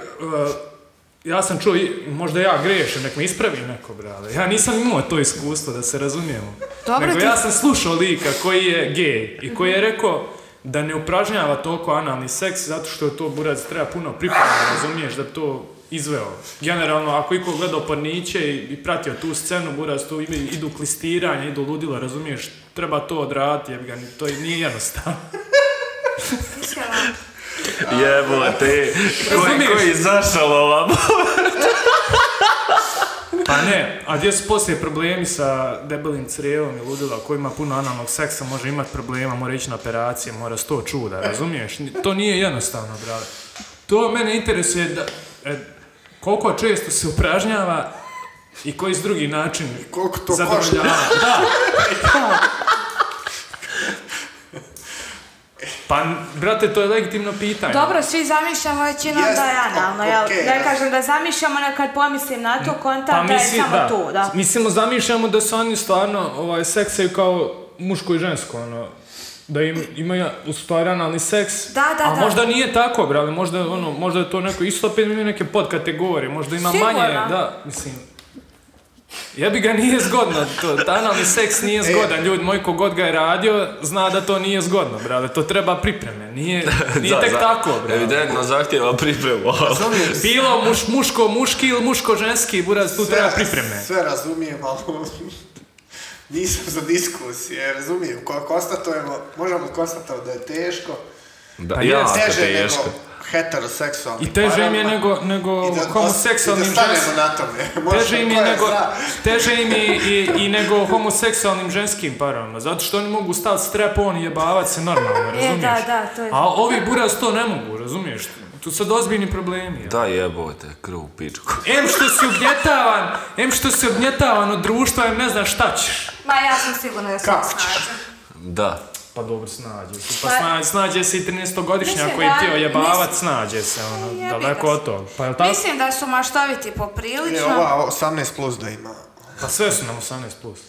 S1: ja sam čuo, i- možda ja grešim, nek me ispravi neko, brale. Ja nisam imao to iskustvo, da se razumijemo.
S6: Dobro
S1: Nego
S6: ti-
S1: ja sam slušao lika koji je gej i koji je rekao da ne upražnjava toliko analni seks zato što je to burac treba puno priprema, razumiješ, da bi to izveo. Generalno, ako iko gledao porniće i, i pratio tu scenu, burac, tu ide- idu klistiranje, idu ludilo, razumiješ, treba to odraditi, jer ga, ni- to i nije jednostavno.
S6: Iskreno.
S5: Jebote, koji
S1: Razumiješ?
S5: koji izašao ovam?
S1: Pa ne, a gdje su poslije problemi sa debelim crijevom i ludila koji ima puno analnog seksa, može imati problema, mora ići na operacije, mora sto čuda, razumiješ? Ni- To nije jednostavno, brale. To mene interesuje da, e, koliko često se upražnjava i koji s drugi način
S2: koliko to
S1: zadovoljava.
S2: košta.
S1: Da. Da. Pa, brate, to je legitimno pitanje.
S6: Dobro, svi zamišljamo većinom
S2: Jest,
S6: da je analno,
S2: o-
S6: jel?
S2: okej,
S6: ne
S2: jest.
S6: kažem da zamišljamo, ali kad pomislim na to, kontam da je
S1: misli-
S6: samo to, da.
S1: Mislimo, zamišljamo da se oni stvarno ovaj, seksaju kao muško i žensko, ono, da im, imaju u stvari analni seks.
S6: Da, da,
S1: A
S6: da.
S1: možda nije tako, brale, možda, ono, možda je to neko, isto opet imaju neke podkategorije, možda ima
S6: Sigurno.
S1: manje, da, mislim. Jebi ga, nije zgodno to, ta analni seks
S5: E.
S1: nije zgodan, ljudi, moj kogod ga je radio, zna da to nije zgodno, brale, to treba pripreme, nije, nije
S5: Da,
S1: tek
S5: za-
S1: tako, brale.
S5: Evidentno zahtjeva pripremu.
S2: Razumijem,
S1: Bilo muš, muško muški ili muško ženski, buraz, tu
S2: sve-
S1: treba pripreme.
S2: Sve razumijem, ali ono, nisam za diskusije, razumijem. Ko konstatujemo, možemo konstatovati da je teško.
S5: Da,
S1: Pa
S5: ja,
S1: jest,
S2: Teže
S5: teško.
S2: nego heteroseksualni.
S1: I teže im je
S2: parovima.
S1: nego, nego
S2: I da-
S1: homoseksualnim
S2: I da stanemo
S1: ženskim.
S2: na tome. Možda
S1: Teže im je
S2: ko
S1: nego,
S2: zna.
S1: teže im je i, i nego homoseksualnim ženskim parovima, zato što oni mogu stati strep on i jebavat se normalno, razumiješ?
S6: E, da, da, to je-
S1: A ovi buraz to ne mogu, razumiješ? Tu sad ozbiljni problemi. Ja.
S5: Da jebote, krv u pičku.
S1: Em što si ugnjetavan, em što si ugnjetavan od društva, em ne znaš šta ćeš.
S6: Ma ja sam sigurna da sam
S2: Kako
S6: snađa.
S5: Da.
S1: Pa dobro, snađe se. Pa
S6: Pa-
S1: snađe, snađe se i 13-godišnjak
S6: Mislim
S1: koji je
S6: da-
S1: htio jebavat,
S6: mislim-
S1: snađe se, ono,
S6: Jebi ga
S1: daleko
S6: se.
S1: od toga. Pa jel tako?
S6: Mislim da su maštoviti
S2: E,
S6: poprilično.
S2: ova 18 plus da ima.
S1: Pa sve su nam 18+. Plus.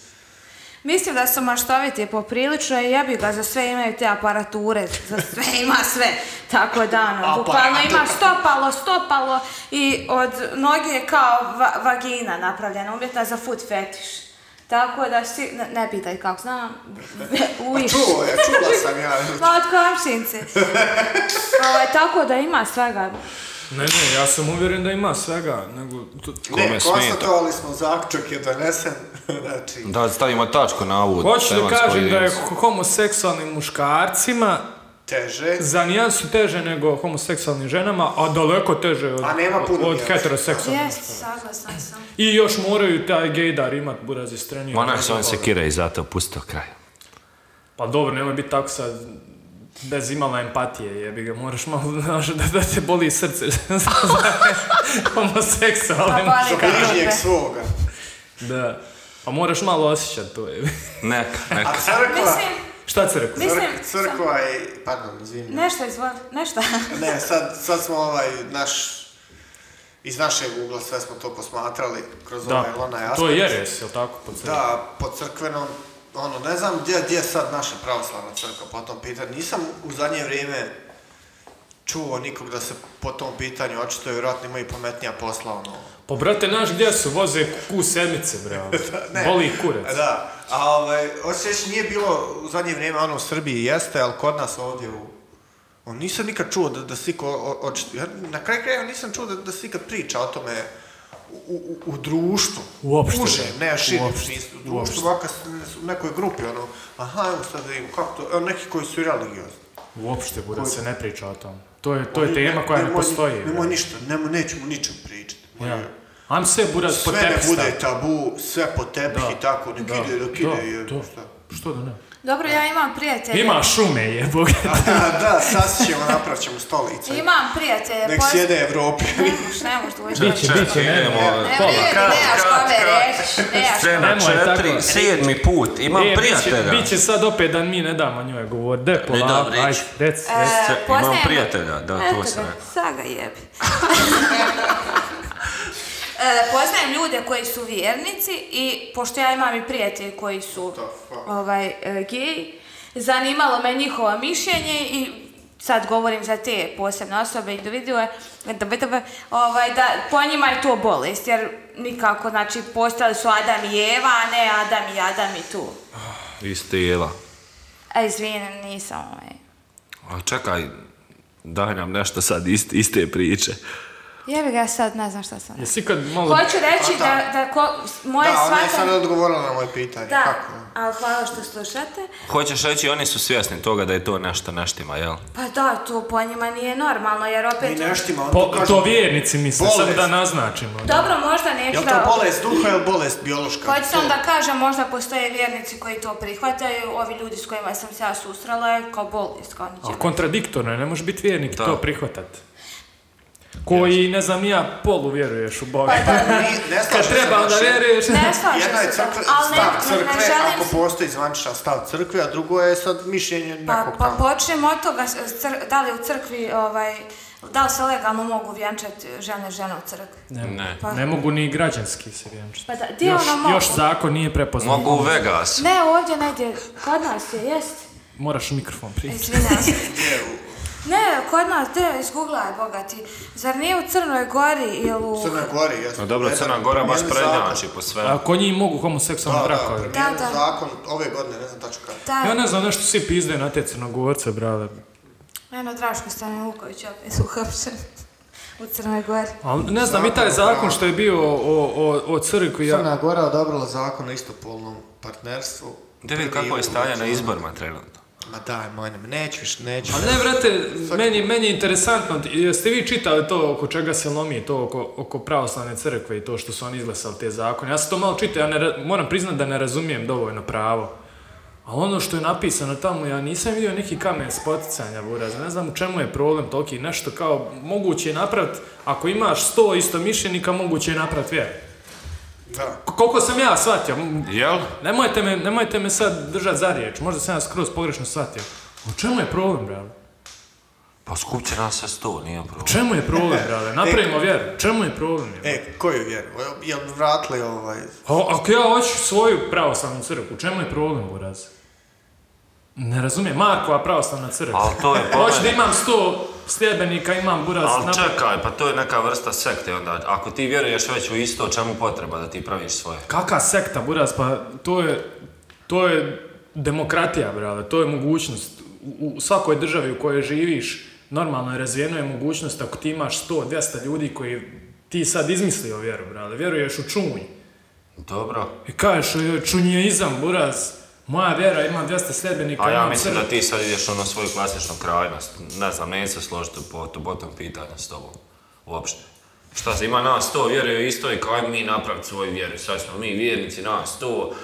S6: Mislim da su maštoviti poprilično i jebi ga, za sve imaju te aparature, za sve ima sve. Tako da, ono, bukvalno ima stopalo, stopalo i od noge je kao va- vagina napravljena, umjetna za food fetiš. Tako da si, ne, ne pitaj kako, znam, uviš.
S2: Čuo Pa je, čula sam ja.
S6: Ma od komšinci. Ovaj, tako da ima svega.
S1: Ne, ne, ja sam uvjeren da ima svega, nego... To,
S2: Ne,
S5: Kome smeta?
S2: konstatovali smo zaključak je donesen, znači...
S5: Da stavimo tačku na ovu
S1: Hoću da
S5: tematsku
S1: kažem da je
S5: jedinicu.
S1: homoseksualnim muškarcima
S2: Teže.
S1: za nijansu teže nego homoseksualnim ženama, a daleko teže od,
S2: A nema puno
S1: od
S2: nijansi.
S1: heteroseksualnih.
S6: Jest, saglasna sam.
S1: I još moraju taj gejdar imat, burazi strani.
S5: Ma ne, on se kira i zato pustio kraj.
S1: Pa dobro, nemoj biti tako sad bez imala empatije, jebi ga, moraš malo znaš, da, da te boli srce za
S6: Pa
S1: homoseksualnim.
S6: boli ga
S2: Bližnjeg
S6: dupe.
S2: svoga.
S1: Da. Pa moraš malo osjećat to, jebi.
S5: Neka,
S2: A
S5: neka.
S2: crkva...
S6: Mislim,
S1: Šta se rekao?
S6: mislim,
S2: Crk- crkva je... Pardon, izvini.
S6: nešto izvoli, nešto.
S2: Ne, sad, sad smo ovaj naš... Iz našeg ugla sve smo to posmatrali kroz
S1: Da,
S2: ovaj ili onaj aspekt.
S1: to je jeres, jel tako? Po crkvi?
S2: Da, po crkvenom, ono, ne znam gdje, gdje je sad naša pravoslavna crkva po tom pitanju. Nisam u zadnje vrijeme čuo nikog da se po tom pitanju očito je vjerojatno ima i pametnija posla, ono.
S1: Pa brate, naš gdje su, voze Q7-ice, bre, ono. boli kurac.
S2: Da, a ovaj, osjeć nije bilo u zadnje vrijeme, ono, u Srbiji jeste, ali kod nas ovdje u... On, nisam nikad čuo da, da se iko o- očito... Ja na kraju krajeva nisam čuo da, da se ikad priča o tome u, u, u društvu.
S1: Uopšte,
S2: Uže, ne, širim,
S1: Uopšte,
S2: u društvu, makar se- u nekoj grupi, ono, aha, evo sad da vidim, kako to, evo neki koji su i religiozni.
S1: Uopšte, bude se ne priča o tom. To je, to je tema koja ne
S2: Nemoj-
S1: postoji. bre.
S2: Nemoj ništa, nemoj, nećemo ničem pričati.
S1: Ja. Am se buraz po
S2: Sve ne
S1: tebi
S2: bude
S1: staviti.
S2: tabu, sve po tepih
S1: Da,
S2: i tako, nek
S1: da,
S2: ide, dok
S1: da,
S2: ide, je,
S1: da.
S2: šta.
S1: Što da ne?
S6: Dobro, ja imam prijatelje.
S1: Ima šume, jeboga.
S2: A, da, sad ćemo, napravit ćemo stolice.
S6: Imam prijatelje.
S2: Nek
S6: poz-
S2: sjede Evropljani.
S6: Ne možeš, ne možeš doći.
S1: Biće, biće, ne,
S5: idemo.
S1: ne,
S6: Ne
S1: pola.
S6: vrijedi,
S5: Krat,
S6: nemaš
S5: krat,
S6: kome
S5: krat.
S6: reći, nemaš
S5: Scena
S1: Nemoj
S5: četiri,
S1: tako.
S5: sedmi put, imam
S1: E,
S5: prijatelja. E,
S1: Biće, biće sad opet da mi ne damo njoj govor. De, polako,
S5: dobro,
S1: ajde,
S5: ići.
S1: rec, rec.
S6: E,
S5: Se- imam
S6: poznajem-
S5: prijatelja, da,
S6: Eto
S5: to
S6: ga,
S5: sam rekao.
S6: Saga jebi. E, poznajem ljude koji su vjernici i pošto ja imam i prijatelje koji su ovaj, e, gej, zanimalo me njihovo mišljenje i sad govorim za te posebne osobe individue, dobe, dobe, ovaj, da po njima je to bolest, jer nikako, znači, postali su Adam i Eva, a ne Adam i Adam i tu.
S5: Iz tijela.
S6: A izvini, nisam ovaj.
S5: Ali čekaj, daj nam nešto sad ist, iste priče.
S6: Jebi ga sad, ne znam šta sam.
S1: Jesi kad malo...
S6: Hoću reći
S2: A, da.
S6: da, da ko, moje
S2: Da, ona je sad
S6: shvatanje...
S2: odgovorila na moje pitanje.
S6: Da,
S2: Kako?
S6: ali hvala što slušate.
S5: Hoćeš reći, oni su svjesni toga da je to nešto neštima, jel?
S6: Pa da, to po njima nije normalno, jer
S2: Mi
S6: opet...
S2: neštima, on
S1: Po,
S2: to kaže...
S1: to vjernici misle, samo
S2: Bolest.
S1: da naznačimo.
S6: Dobro, možda neću
S2: Jel
S6: da... Pa
S2: to bolest duha ili bolest biološka?
S6: Hoću sam da kažem, možda postoje vjernici koji to prihvataju, ovi ljudi s kojima sam se ja susrela je kao bolest, kao
S1: A
S6: ničeg.
S1: kontradiktorno je, ne može biti vjernik i
S5: Da.
S1: to prihvatat. Koji, ne znam, ni ja polu vjeruješ u Boga.
S6: Pa da, da.
S2: Ni- Ne
S1: Kad
S2: slažem se,
S1: treba, onda
S2: znači,
S1: vjeruješ.
S6: Ne slažem
S2: Jedna je
S6: se,
S2: crkve,
S6: ali ne,
S2: stav
S6: ne, ne
S2: crkve,
S6: želim
S2: ako postoji zvaničan stav crkve, a drugo je sad mišljenje
S6: Pa,
S2: nekog
S6: pa
S2: tamo.
S6: počnemo od toga, s- s- cr- da li u crkvi, ovaj, da li se legalno mogu vjenčati žene žene u crkvi?
S1: Ne,
S5: Ne.
S6: Pa-
S1: ne mogu ni građanski se vjenčati.
S6: Pa da, gdje
S1: Još,
S6: ono mogu?
S1: još zakon nije prepoznat.
S5: Mogu u Vegas.
S6: Ne, ovdje negdje, kod nas je, jest.
S1: Moraš mikrofon prići.
S6: Izvinjavam se. Ne, kod nas, de, izgugla je bogati. Zar nije u Crnoj Gori ili u...
S2: Crna Gora, jesu.
S5: No dobro, Crna Gora baš prednjači po svemu.
S1: A ko njih mogu homoseksualni
S2: Da, da,
S1: brakovi?
S2: promijenili
S6: Da, da.
S2: zakon ove godine, ne znam tačno kada.
S6: Da,
S1: Ja ne znam, nešto svi pizde na te crnogorce, brale.
S6: eno Draško Stane Vuković opet su uhapšen u Crnoj Gori.
S1: Ali ne znam, i taj zakon što je bio o, o, o crkvi, ja,
S2: Crna Gora odobrila zakon o istopolnom partnerstvu.
S5: Da vidi kako je stanje na izborima trenutno.
S2: Ma daj, mojne, neću više, neću.
S1: A ne, brate, meni, meni je interesantno, jeste vi čitali to oko čega se lomi, to oko, oko pravoslavne crkve i to što su oni izglasali te zakone? Ja sam to malo čitao, ja ne, ra- moram priznati da ne razumijem dovoljno pravo. A ono što je napisano tamo, ja nisam vidio neki kamen spoticanja, buraz, ne znam u čemu je problem toliki, nešto kao, moguće je napraviti, ako imaš sto istomišljenika, moguće je napraviti vjeru.
S2: Da.
S1: K- Koliko sam ja shvatio, m-
S5: Jel?
S1: Nemojte me, nemojte me sad držati za riječ, možda sam ja skroz pogrešno shvatio. U čemu je problem, brale?
S4: Pa skupit će nas se sto, nije problem.
S1: Čemu je problem, brale?
S4: E,
S1: Napravimo vjeru. Čemu je problem? Je?
S2: E, koju vjeru? Jel- Jel vratili ovaj...
S1: A, ako ja hoću svoju pravoslavnu crkvu, čemu je problem, buraz? Ne razumijem, Markova pravoslavna crkva.
S4: Ali to je
S1: Hoću da
S4: problem.
S1: imam sto sljedbenika, imam buraz.
S4: Ali
S1: napravim-
S4: čekaj, pa to je neka vrsta sekte onda. Ako ti vjeruješ već u isto, čemu potreba da ti praviš svoje?
S1: Kaka sekta, buraz, pa to je, to je demokratija, brale, to je mogućnost. U, u svakoj državi u kojoj živiš, normalno je razvijeno je mogućnost ako ti imaš 100, 200 ljudi koji ti sad izmislio vjeru, brale, vjeruješ u čunj.
S4: Dobro.
S1: I kažeš, "E, čunjeizam, buraz, moja vjera ima 200 sljedbenika,
S4: A ja
S1: imam
S4: mislim
S1: crkvu."
S4: da ti sad ideš ono svoju klasičnu krajnost. Ne znam, neću se složiti po, po tom pitanju s tobom. Uopšte. Šta se ima nas to, vjeruje isto i kao ajmo mi napraviti svoju vjeru. Sad smo mi vjernici, nas to.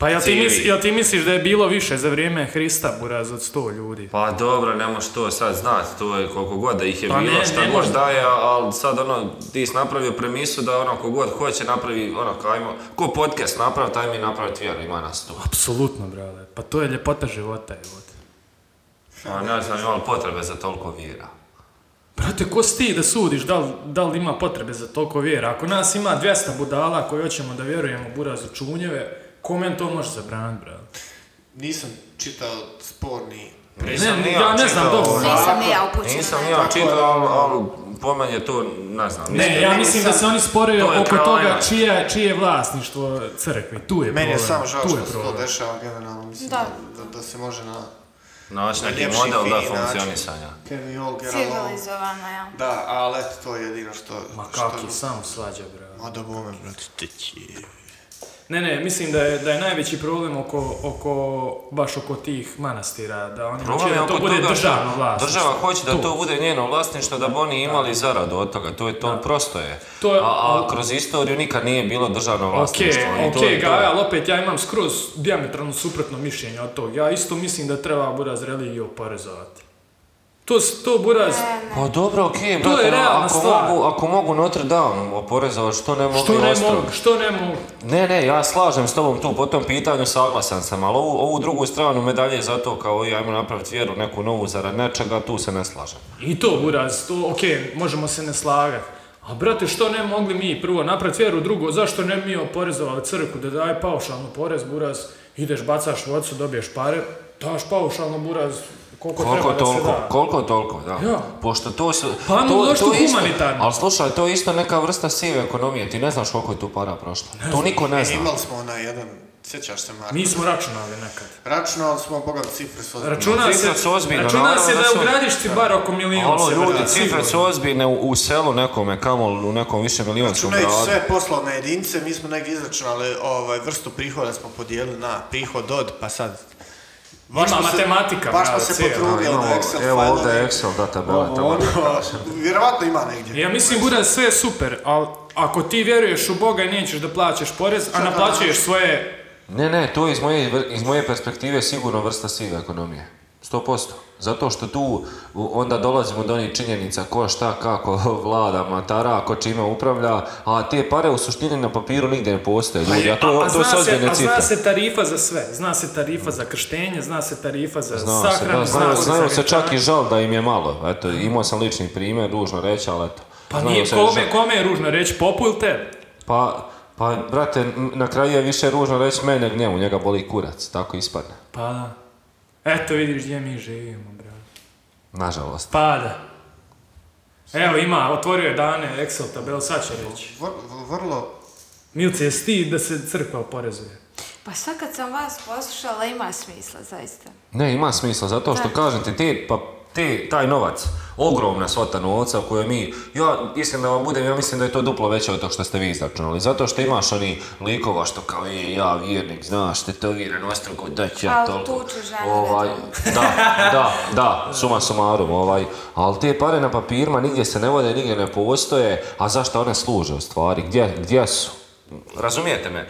S1: Pa jel ti,
S4: Civi.
S1: mis, jel ti misliš da je bilo više za vrijeme Hrista, buraz, od 100 ljudi?
S4: Pa dobro, ne možeš to sad znat, to je koliko god da ih je
S1: Pa
S4: bilo,
S1: ne,
S4: šta
S1: ne
S4: god
S1: može.
S4: da je, ali sad ono, ti si napravio premisu da ono kogod hoće napravi, ono, kao ajmo, ko podcast napravi, taj mi napraviti vjeru, ima nas to.
S1: Apsolutno, brale, pa to je ljepota života, jebote.
S4: A ne znam, imali potrebe za toliko vjera.
S1: Brate, ko si ti da sudiš da li, da li ima potrebe za toliko vjera? Ako nas ima 200 budala koji hoćemo da vjerujemo burazu čunjeve, kome to može zabraniti, brate?
S2: Nisam čitao sporni...
S4: Nisam ni
S1: ja ne znam
S4: čitao,
S1: dobro.
S4: ovaj,
S6: Nisam ni ja upućena.
S4: Nisam
S6: na
S4: ni ja
S6: to.
S4: čitao, ali, ali po meni je to, ne znam,
S1: Ne, ja mislim da se oni spore
S4: To je
S1: oko toga
S4: krajnost.
S1: čije, čije je vlasništvo crkvi. Tu je
S2: Meni je
S1: Pa problem.
S2: samo žao
S1: tu
S2: što
S1: je
S2: se to
S1: problem.
S2: dešava generalno, mislim da,
S6: Da.
S2: da, da se može na...
S4: naći neki
S2: Ljepši,
S4: model da
S2: fini način.
S4: funkcionisanja.
S2: Can we all get along?
S6: Civilizovano, ja.
S2: Da, ali eto, to je jedino što...
S1: Ma
S2: što-
S1: kaki, Pa samo svađa, brate.
S2: Ma da bome, brate, ti će-
S1: Ne, ne, mislim da je, da je najveći problem oko, oko, baš oko tih manastira, da oni
S4: Problem
S1: hoće
S4: je
S1: Znači, da to
S4: oko
S1: bude
S4: toga što
S1: državno vlasništvo.
S4: Država hoće da to bude njeno vlasništvo, da bi oni imali zaradu od toga. To je to, prosto je.
S1: To je-
S4: a, a kroz istoriju nikad nije bilo državno
S1: Ok,
S4: vlasništvo. i to
S1: ok,
S4: je to.
S1: Gaja, ali opet ja imam skroz diametralno suprotno mišljenje od toga. Ja isto mislim da treba buraz religiju oporezovati. To, s- to buraz...
S4: Pa dobro, ok, brate,
S1: je
S4: no,
S1: realna
S4: ako,
S1: stvar.
S4: mogu, ako mogu Notre Dame oporezovat, što ne mogu
S1: Što
S4: i
S1: ne
S4: Ostrog?
S1: mogu, što ne mogu.
S4: Ne, ne, ja slažem s tobom tu po tom pitanju, saglasan sam, ali ovu, ovu drugu stranu medalje za to kao i ajmo napraviti vjeru neku novu zarad nečega, tu se ne slažem.
S1: I to buraz, to ok, možemo se ne slagati. A brate, što ne mogli mi prvo napraviti vjeru, drugo, zašto ne mi oporezovali crku da daje paušalno porez, buraz, ideš, bacaš vocu, dobiješ pare, daš paušalno buraz, koliko,
S4: Koliko
S1: treba da se
S4: toliko,
S1: da.
S4: koliko toliko, da.
S1: Ja.
S4: Pošto to su...
S1: Pa ajmo
S4: to,
S1: uložiti u
S4: je isto-
S1: humanitarno.
S4: Ali slušaj, to je isto neka vrsta sive ekonomije, ti ne znaš koliko je tu para prošlo. to niko ne
S2: E,
S4: zna.
S2: imali smo onaj jedan, sjećaš se, Marko?
S1: Nismo računali nekad.
S2: Računali smo, boga mi, cifre su ozbiljne.
S1: Računa se,
S4: Cifre su ozbiljne,
S1: računa
S4: naravno
S1: se
S4: da
S1: da
S4: su-
S1: u gradišci bar oko milijuna
S4: Ono,
S1: se
S4: ljudi,
S1: vrati,
S4: cifre su
S1: sigurno. Znači,
S4: ozbiljne u, u selu nekome, kamo u nekom više milijonskom
S2: Računajući
S4: gradu.
S2: sve poslovne jedinice, mi smo negdje izračunali ovaj, vrstu prihoda smo podijelili na prihod od, pa sad... Baš
S1: Ima
S2: smo se-
S1: matematika,
S2: Baš smo
S1: brate,
S2: se
S1: cijela.
S4: Da,
S2: potrudili
S4: imamo-
S2: na Excel
S4: evo
S2: failu.
S4: ovdje je Excel da tabela,
S2: Ovo,
S4: tabela.
S2: ono, Vjerovatno ima negdje.
S1: Ja mislim, bude sve super, ali ako ti vjeruješ u Boga, nećeš da plaćaš porez, a naplaćuješ svoje...
S4: Ne, ne, to je iz moje, vr- iz moje perspektive sigurno vrsta sive ekonomije. 100%. Zato što tu u, onda dolazimo do onih činjenica ko šta, kako vlada, matara, ko čime upravlja, a te pare u suštini na papiru nigdje ne postoje, ljudi, a to, to
S1: zna
S4: su
S1: se,
S4: ozbiljne
S1: a zna
S4: cifre.
S1: se tarifa za sve. Zna se tarifa za krštenje, zna se tarifa za
S4: Znao se,
S1: sahranu,
S4: da,
S1: zna
S4: znaju,
S1: se
S4: znaju
S1: za
S4: se čak i
S1: vjenčanje.
S4: žal da im je malo. Eto, imao sam lični primjer, dužno reći, ali eto.
S1: Pa
S4: znaju
S1: nije,
S4: se žal-
S1: kome, kome je ružno reći, popu ili te?
S4: Pa, pa, brate, n- na kraju je više ružno reći meni nego njemu, njega boli kurac, tako ispadne.
S1: Pa da. Eto vidiš gdje mi živimo, brate.
S4: Nažalost.
S1: Pada. Evo ima, otvorio je dane Excel tabel, sad će reći.
S2: Vr- Vrlo
S1: Milce, jesi ti da se crkva oporezuje?
S6: Pa sad kad sam vas poslušala, ima smisla, zaista.
S4: Ne, ima smisla, zato što kažem ti, te, pa, te, taj novac, ogromna svota novca koju mi, ja mislim da vam budem, ja mislim da je to duplo veće od tog što ste vi izračunali, zato što imaš oni likova što kao je, ja vjernik, znaš, te to vjeran ostruko, da ću ja
S6: Al
S4: toliko.
S6: tuče žene,
S4: Ovaj, da, da, da, suma sumarum, ovaj, ali te pare na papirima nigdje se ne vode, nigdje ne postoje, a zašto one služe u stvari, gdje, gdje su? Razumijete me,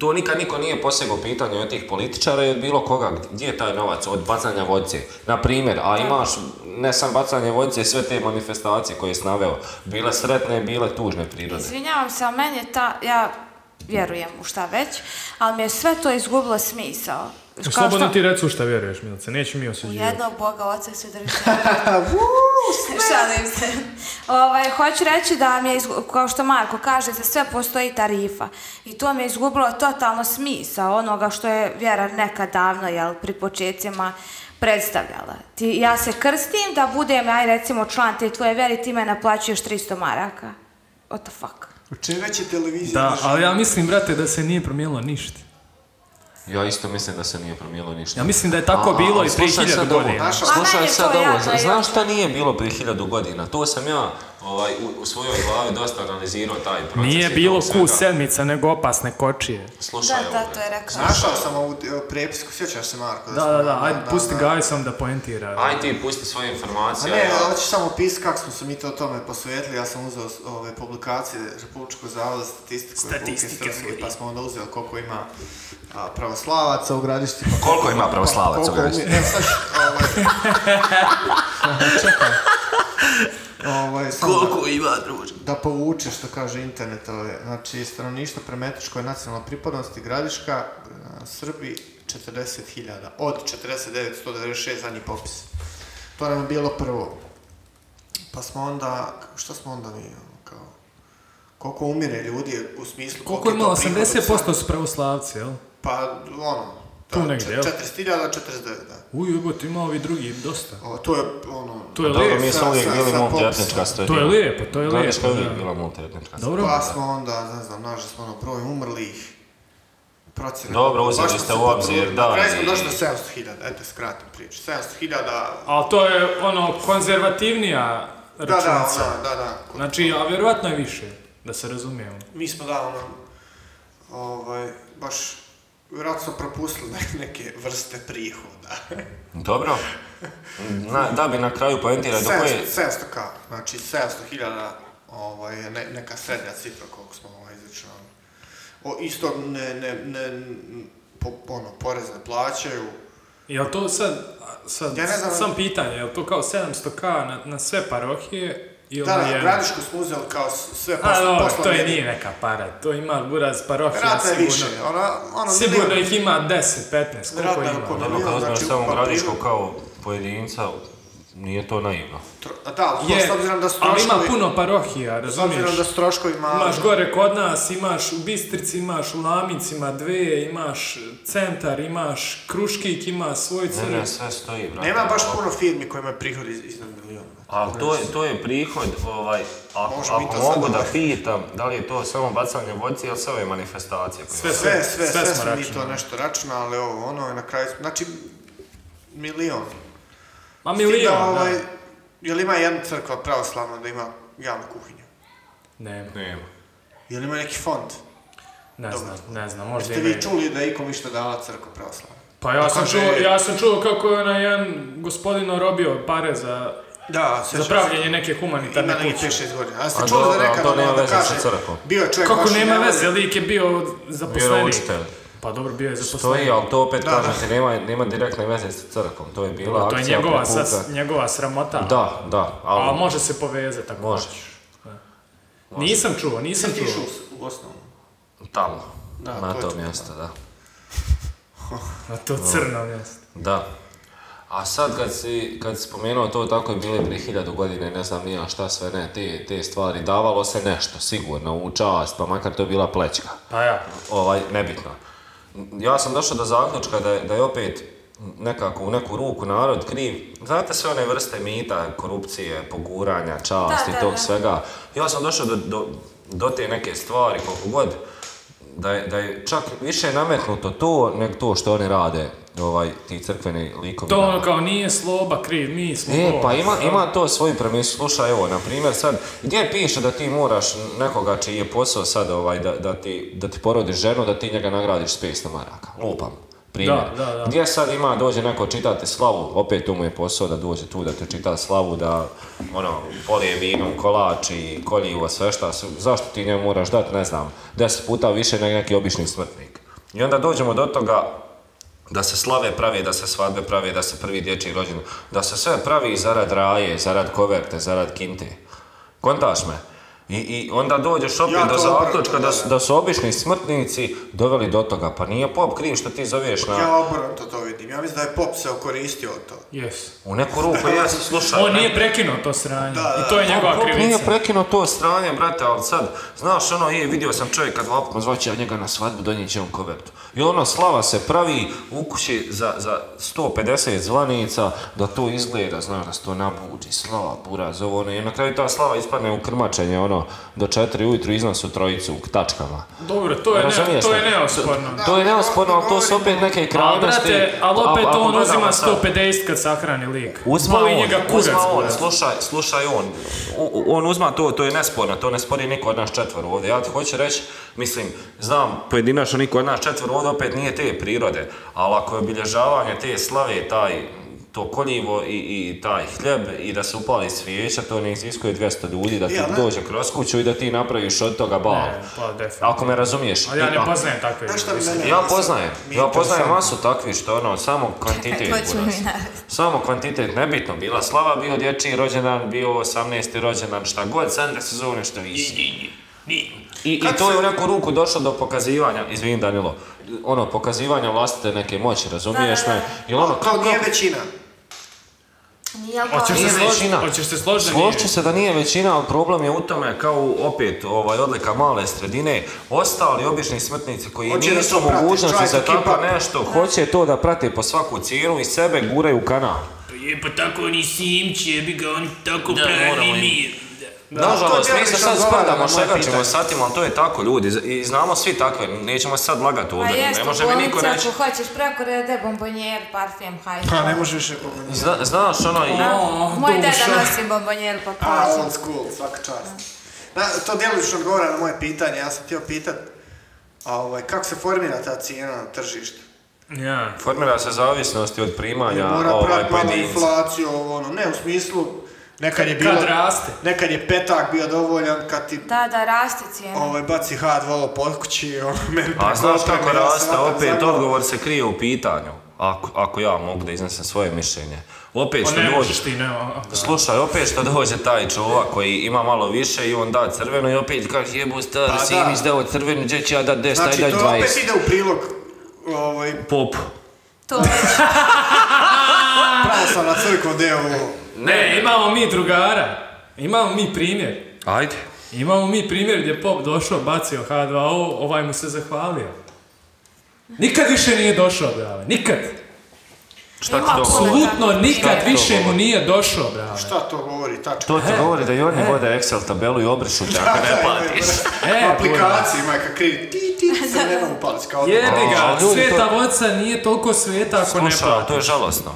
S4: to nikad niko nije posegao pitanje od tih političara i od bilo koga, gdje je taj novac od bacanja vodice? Na primjer, a imaš ne samo bacanje vodice, sve te manifestacije koje sam naveo, bile sretne, bile tužne prirode.
S6: Izvinjavam se, ali meni je ta, ja vjerujem u šta već, ali mi je sve to izgubilo smisao. kao
S1: Slobodno
S6: što-
S1: ti recu šta vjeruješ, Milice, neću mi
S6: U
S1: osuđivati.
S6: jednog Boga oca se drži. Šalim se. Ovaj, hoću reći da vam je, izgu- kao što Marko kaže, za sve postoji tarifa. I to mi je izgubilo totalno smisa onoga što je vjera nekad davno, jel, pri početcima predstavljala. Ti, ja se krstim da budem, aj recimo, član te tvoje vjere, ti me naplaćuješ 300 maraka. What the fuck?
S2: Od čega će televizija?
S1: Da,
S2: naša?
S1: ali ja mislim, brate, da se nije promijenilo ništa.
S4: Ja isto mislim da se nije promijenilo ništa.
S1: Ja mislim da je tako
S4: A, a,
S1: bilo i
S4: slušaj
S1: prije hiljadu
S4: sad ovo.
S1: godina.
S2: Naša-
S4: Slušaj
S6: Pa meni je
S4: sad
S6: to
S4: ovo,
S6: jadno i
S4: znaš šta nije bilo prije hiljadu godina? To sam ja ovaj, u, u svojoj glavi dosta analizirao taj proces.
S1: Nije
S2: Znači,
S4: i
S1: bilo
S4: tog svega.
S1: Q sedmica, nego opasne kočije.
S4: Slušaj
S6: Da,
S4: ovo.
S6: da, to je rekao.
S2: Našao sam ovu e, prepisku, sjećaš se Marko?
S1: Da,
S2: smo-
S1: da, da, ajde, pusti Gaju sam da poentira.
S4: Aj ti pusti svoje
S2: A
S4: informacije.
S2: ne,
S4: ja-
S2: hoću samo pisati kako smo se mi to tome posvetili, ja sam uzeo s- ove publikacije Republičkog zavoda za statistiku
S1: Statistika
S2: Republike Srpske, pa smo onda uzeli koliko ima a, pravoslavaca u gradišti. Pa
S4: Koliko ima pravoslavaca u
S2: koliko
S4: Gradištu?
S2: mi- Evo sad, ovaj... Čekaj. Ovaj, samo da-
S5: ima druže?
S2: da povuče što kaže internet ove. Znači, stanovništvo premetničkoj nacionalnoj pripadnosti Gradiška, eh, Srbi 40.000, od 49.196 zadnji popis. To nam je bilo prvo. Pa smo onda, što smo onda mi, ono, kao, koliko umire ljudi u smislu...
S1: Koliko je
S2: to
S1: imalo?
S2: prihod od
S1: 80%
S2: sad?
S1: su pravoslavci, jel?
S2: Pa, ono,
S1: Tu negdje, jel?
S2: 40.000, 49, da.
S1: Uj, jebote, ima ovi drugi dosta.
S2: O, to je, ono...
S1: To je
S4: Dobro,
S1: lijepo,
S4: mi smo
S2: sa-
S4: uvijek
S2: sa-
S4: bili
S2: sa
S4: multietnička
S2: popisom.
S4: sredina.
S1: to je lijepo, to je lijepo.
S4: Gradiška je uvijek
S1: da.
S4: bila multietnička sredina.
S1: Dobro,
S2: Pa smo onda, ne znam, našli smo ono broj umrlih, procjena.
S4: Dobro, uzeli
S2: Baš smo
S4: ste
S2: se
S4: u obzir,
S2: potrudili.
S4: da,
S2: Na kraju smo
S4: i-
S2: došli do 700.000, eto, skratim priču. 700.000,
S1: ali to je ono konzervativnija
S2: da, ono. da,
S1: računica.
S2: ona, da, da. ko-
S1: Znači, a vjerovatno je više, da se razumijemo.
S2: Mi smo, da, ono, ovaj, baš, vjerojatno smo propustili ne- neke vrste prihoda.
S4: E, Dobro. Na, da bi na kraju poentirali do
S2: 700
S4: koje...
S2: 700k, znači 700.000, ovaj, je ne, neka srednja cifra koliko smo ovaj, izračunali. O, isto ne, ne, ne, n- po, ono, porez ne plaćaju,
S1: Jel to sad, a, sad
S2: Ja ne znam-
S1: sam pitanje, jel to kao 700k na, na sve parohije ili
S2: Da,
S1: na
S2: da,
S1: jednu?
S2: Gradišku smo uzeli kao s- sve
S1: A,
S2: posle,
S1: dobro,
S2: posle
S1: to je nije neka para, to ima buraz parohija
S2: Vjerojatno je
S1: sigurno.
S2: više, ona, ono,
S1: Sigurno
S2: milion-
S1: ih ima 10, 15, koliko
S2: Vjerojatno je oko
S1: ima?
S4: Dobro, kad uzmeš
S2: Znači,
S4: samo
S2: pa
S4: Gradišku
S2: prije-
S4: kao pojedinca, nije to naivno.
S2: tro- Da, ali to
S1: Je,
S2: s obzirom da su
S1: ali ima
S2: troškovi,
S1: puno parohija,
S2: s
S1: razumiješ?
S2: obzirom da su troškovi mali,
S1: Imaš gore kod nas, imaš u Bistrici, imaš u Lamincima dve, imaš centar, imaš Kruškik, ima svoj
S4: Ne, ne,
S1: crni.
S4: sve stoji, brate.
S2: nema baš puno firmi kojima je prihod iz, iznad milijuna.
S4: Ali to je, to je prihod, ovaj, ako,
S2: Može biti
S4: ako
S2: to sad
S4: mogu da
S2: ovaj.
S4: pitam, da li je to samo bacanje vodice ili sve ove manifestacije koje
S1: Sve,
S2: Sve, sve, sve,
S1: smo
S2: smo mi to
S1: računali.
S2: nešto računali, ovo, ono, i na kraju, znači, milion.
S1: Ma
S2: S tim da,
S1: milion, da.
S2: ovaj, Jel ima jedna crkva pravoslavna da ima javnu kuhinju?
S1: Ne,
S4: Nema.
S2: Jel ima neki fond?
S1: ne
S2: Dobro.
S1: znam, ne znam, možda
S2: Jeste
S1: ima.
S2: vi čuli da je ikom išta dala crkva pravoslavna?
S1: Pa ja sam,
S2: Kaže-
S1: čuo, ja sam čuo kako je onaj jedan gospodin robio pare za,
S2: Da,
S1: za
S2: sjećam se.
S1: pravljenje neke humanitarne
S2: Ima neki
S1: kuće.
S2: 5-6 godina. A
S4: A
S2: ste čuli
S4: dobro,
S2: da
S4: ali
S2: nekad
S4: to
S2: ono
S4: nema
S2: da
S4: veze sa
S2: kaže,
S4: crkvom.
S2: bio je čovjek
S1: Kako
S2: baš
S1: nema
S2: nevolji-
S1: veze, lik je bio
S4: Bio je
S1: zaposlenik.
S4: učitelj.
S1: Pa dobro, bio je zaposlenik.
S4: Stoji, ali to opet
S2: Da,
S4: kažem
S2: da.
S4: ti, nema, nema direktne veze sa crkom, to je bila
S1: To je
S4: akcija
S1: njegova,
S4: prikuplja-
S1: sad, njegova sramota.
S4: Da, da, ali...
S1: A može se povezati ako
S4: Može.
S1: hoćeš. Da. Nisam čuo, nisam
S2: Ti si išao
S1: čuo.
S2: u- u osnovnu.
S4: Tamo,
S2: Da,
S4: na
S2: to je
S4: to
S2: to.
S4: mjesto, da.
S1: Na to crno mjesto.
S4: Da. A sad kad si, kad si spomenuo to, tako je bile prije hiljadu godine, ne znam nija šta sve ne, te, te stvari, davalo se nešto, sigurno, u čast, pa makar to bila plećka.
S1: Pa ja.
S4: ovaj, nebitno. Ja sam došao do zaključka da je, da je opet nekako u neku ruku narod kriv. Znate sve one vrste mita, korupcije, poguranja, časti,
S6: Da, da,
S4: tog
S6: da.
S4: svega. Ja sam došao do, do, do te neke stvari, koliko god, da je, da je čak više nametnuto to nego to što oni rade, ovaj, ti crkveni likovi.
S1: To
S4: nama.
S1: ono kao nije sloba kriv, mi smo
S4: E,
S1: to.
S4: pa ima, ima to svoju premisu. Slušaj, evo, na primjer sad, gdje piše da ti moraš nekoga čiji je posao sad ovaj, da, da, ti, da ti porodiš ženu, da ti njega nagradiš s 500 maraka? Lupam. Primjer.
S1: Da, da, da.
S4: Gdje sad ima, dođe neko čitati slavu, opet tu mu je posao da dođe tu da ti čita slavu, da ono, polije vinom kolač i koljivo, sve šta, su- zašto ti njemu moraš dati, ne znam, deset puta više nego neki obični smrtnik. I onda dođemo do toga, da se slave pravi, da se svadbe pravi, da se prvi dječji rođendan, da se sve pravi zarad raje, zarad koverte, zarad kinte. Kontaš me? I, I onda dođeš opet
S2: Ja
S4: do
S2: to
S4: zaključka da,
S2: obrnuto, da,
S4: su-
S2: da.
S4: da su obični smrtnici doveli do toga. Pa nije pop kriv što ti zoveš na...
S2: Ja obrnuto to vidim. Ja mislim da je pop se okoristio od toga.
S1: Yes.
S4: U neku ruku ja sam slušao.
S1: On nije prekinuo to sranje.
S2: da.
S1: I to je njegova
S4: Pop nije
S1: krivica.
S4: prekinuo to stranje, brate, ali sad, znaš, ono, je, vidio sam čovjeka dva puta, zvaće ja njega na svadbu, donijet će on kovertu. I ono, slava se pravi u kući za, za 150 zvanica, da to izgleda, znaš, da se to nabuđi, slava, buraz, ovo, ono, i na kraju ta slava ispadne u krmačenje, ono, do četiri ujutru iznosu trojicu u tačkama.
S1: Dobro, to je, ne,
S4: Razumiješ
S1: to
S4: me?
S1: je neosporno.
S4: To je neosporno, ali to su opet neke
S1: Ali
S4: krajnosti.
S1: brate, ali opet
S4: Ako- ako
S1: on
S4: gledamo
S1: uzima
S4: sad-
S1: 150 kad sahrani lik.
S4: Uzma
S1: Boli
S4: on,
S1: njega kurac.
S4: uzma on,
S1: brate.
S4: slušaj, slušaj on. U- u- on uzma to, to je nesporno, to ne spori niko od nas četvoru ovdje. Ja ti hoću reći, mislim, znam pojedinačno niko od nas četvoru ovdje opet nije te prirode, ali ako je obilježavanje te slave, taj to koljivo i, i taj hljeb i da se upali svijeća, to ne iziskuje 200 ljudi da ti
S2: Ja, ne.
S4: dođe kroz kuću i da ti napraviš od toga bal.
S1: E, Ne, pa definitivno.
S4: Ako me razumiješ.
S1: A ja
S4: I-
S1: ne poznajem takve
S2: Znaš šta
S1: ljude.
S2: bi mene-
S4: ja poznajem,
S2: Mi je
S4: ja poznajem
S2: interesantno.
S4: masu takvih što ono, samo kvantitet
S6: To ćemo
S4: buraz.
S6: mi naraviti.
S4: Samo kvantitet, nebitno, bila slava, bio dječji rođendan, bio 18. rođendan, šta god, sam da se zove nešto više. I, i
S2: Kad
S4: to je
S2: se-
S4: u neku ruku došlo do pokazivanja, izvin Danilo, ono, pokazivanja vlastite neke moći, razumiješ
S6: Da, da,
S4: me?
S6: da.
S4: Jel ono,
S2: To
S4: kako,
S2: nije većina.
S6: Nije li
S1: Hoćeš se
S4: Nije
S1: složiti?
S4: većina.
S1: Hoćeš se složiti? da
S4: Složit ću
S1: nije?
S4: se da nije većina, ali problem je u tome kao u- opet ovaj odlika male sredine, ostali obični smrtnici koji
S2: Hoće da
S4: nisu
S2: to
S4: u
S2: prate,
S4: mogućnosti
S2: try
S4: za
S2: to keep
S4: tako
S2: up.
S4: nešto, hoće to da prate po svaku cijenu i sebe guraju u kanal.
S7: Je, pa tako oni simče, bi ga oni tako
S4: Da, moramo
S7: pravili
S4: im.
S7: mir.
S2: to
S4: Nažalost,
S2: ti ja
S4: mi se
S2: nisam
S4: sad
S2: odgovarao na
S4: spadamo,
S2: moje
S4: šagaćemo
S2: pitanje.
S4: satima, ali to je tako ljudi z- i znamo svi takve, nećemo sad lagati
S6: Pa
S4: ovdje,
S6: jest,
S4: ne
S6: u
S4: može mi niko
S6: bolnici
S4: reći.
S6: ako hoćeš preko rede bombonjer, parfem, hajde.
S2: Pa ne može više komentirati.
S4: Zna- znaš ono i...
S6: Moj deda nosi bombonjer pa
S2: A,
S6: kaže.
S2: old school, svaka čast. Na, to djelovično odgovara na moje pitanje, ja sam htio pitat, a, ovaj, kako se formira ta cijena na tržištu?
S1: Ja.
S4: Formira se zavisnosti od primanja
S2: Mora
S4: ovaj,
S2: prat malo
S4: pojedinca.
S2: inflaciju, ovo ono, ne u smislu, nekad je bilo...
S1: Kad raste.
S2: Nekad je petak bio dovoljan, kad ti
S6: Da, da, raste cijena.
S2: ovaj, baci H2 pod kući, ono, meni
S4: A znaš
S2: preko
S4: kako
S2: oka, ja sam
S4: raste,
S2: otak
S4: opet
S2: zaglav.
S4: odgovor se krije u pitanju. Ako, ako ja mogu da iznesem svoje mišljenje. Opet
S1: Pa
S4: što
S1: ne
S4: dođe,
S1: možeš ti, ne. a- a-
S4: slušaj, opet što dođe taj čovak koji ima malo više i on da crveno i opet kaže jebu star,
S2: Pa
S4: Simić
S2: da.
S4: dao crvenu, gdje ću ja da 10,
S2: Znači,
S4: daj
S2: to opet
S4: 20.
S2: ide u prilog ovaj,
S4: Pop.
S6: To već
S2: pravoslavna crkva deo
S1: Ne, imamo mi drugara. Imamo mi primjer.
S4: Ajde.
S1: Imamo mi primjer gdje je pop došao, bacio H2O, ovaj mu se zahvalio. Nikad više nije došao, brale. Nikad.
S4: Šta ti
S6: Ima
S4: to
S6: apsolutno.
S4: govori?
S1: Absolutno nikad
S4: Šta to
S1: više mu
S4: govori?
S1: nije došao, brale.
S2: Šta to govori, tačka?
S4: To ti govori da i oni vode Excel tabelu i obrišu te ako ne platiš.
S1: E,
S2: E, aplikacija, majka krivi, ti, ti, sad nema mu palic, kao
S1: Jebi
S2: odgovor.
S1: ga,
S4: A, ljudi,
S1: sveta
S4: to-
S1: voca nije toliko sveta ako ne
S4: Slušaj, ali
S1: plati.
S4: to je žalosno.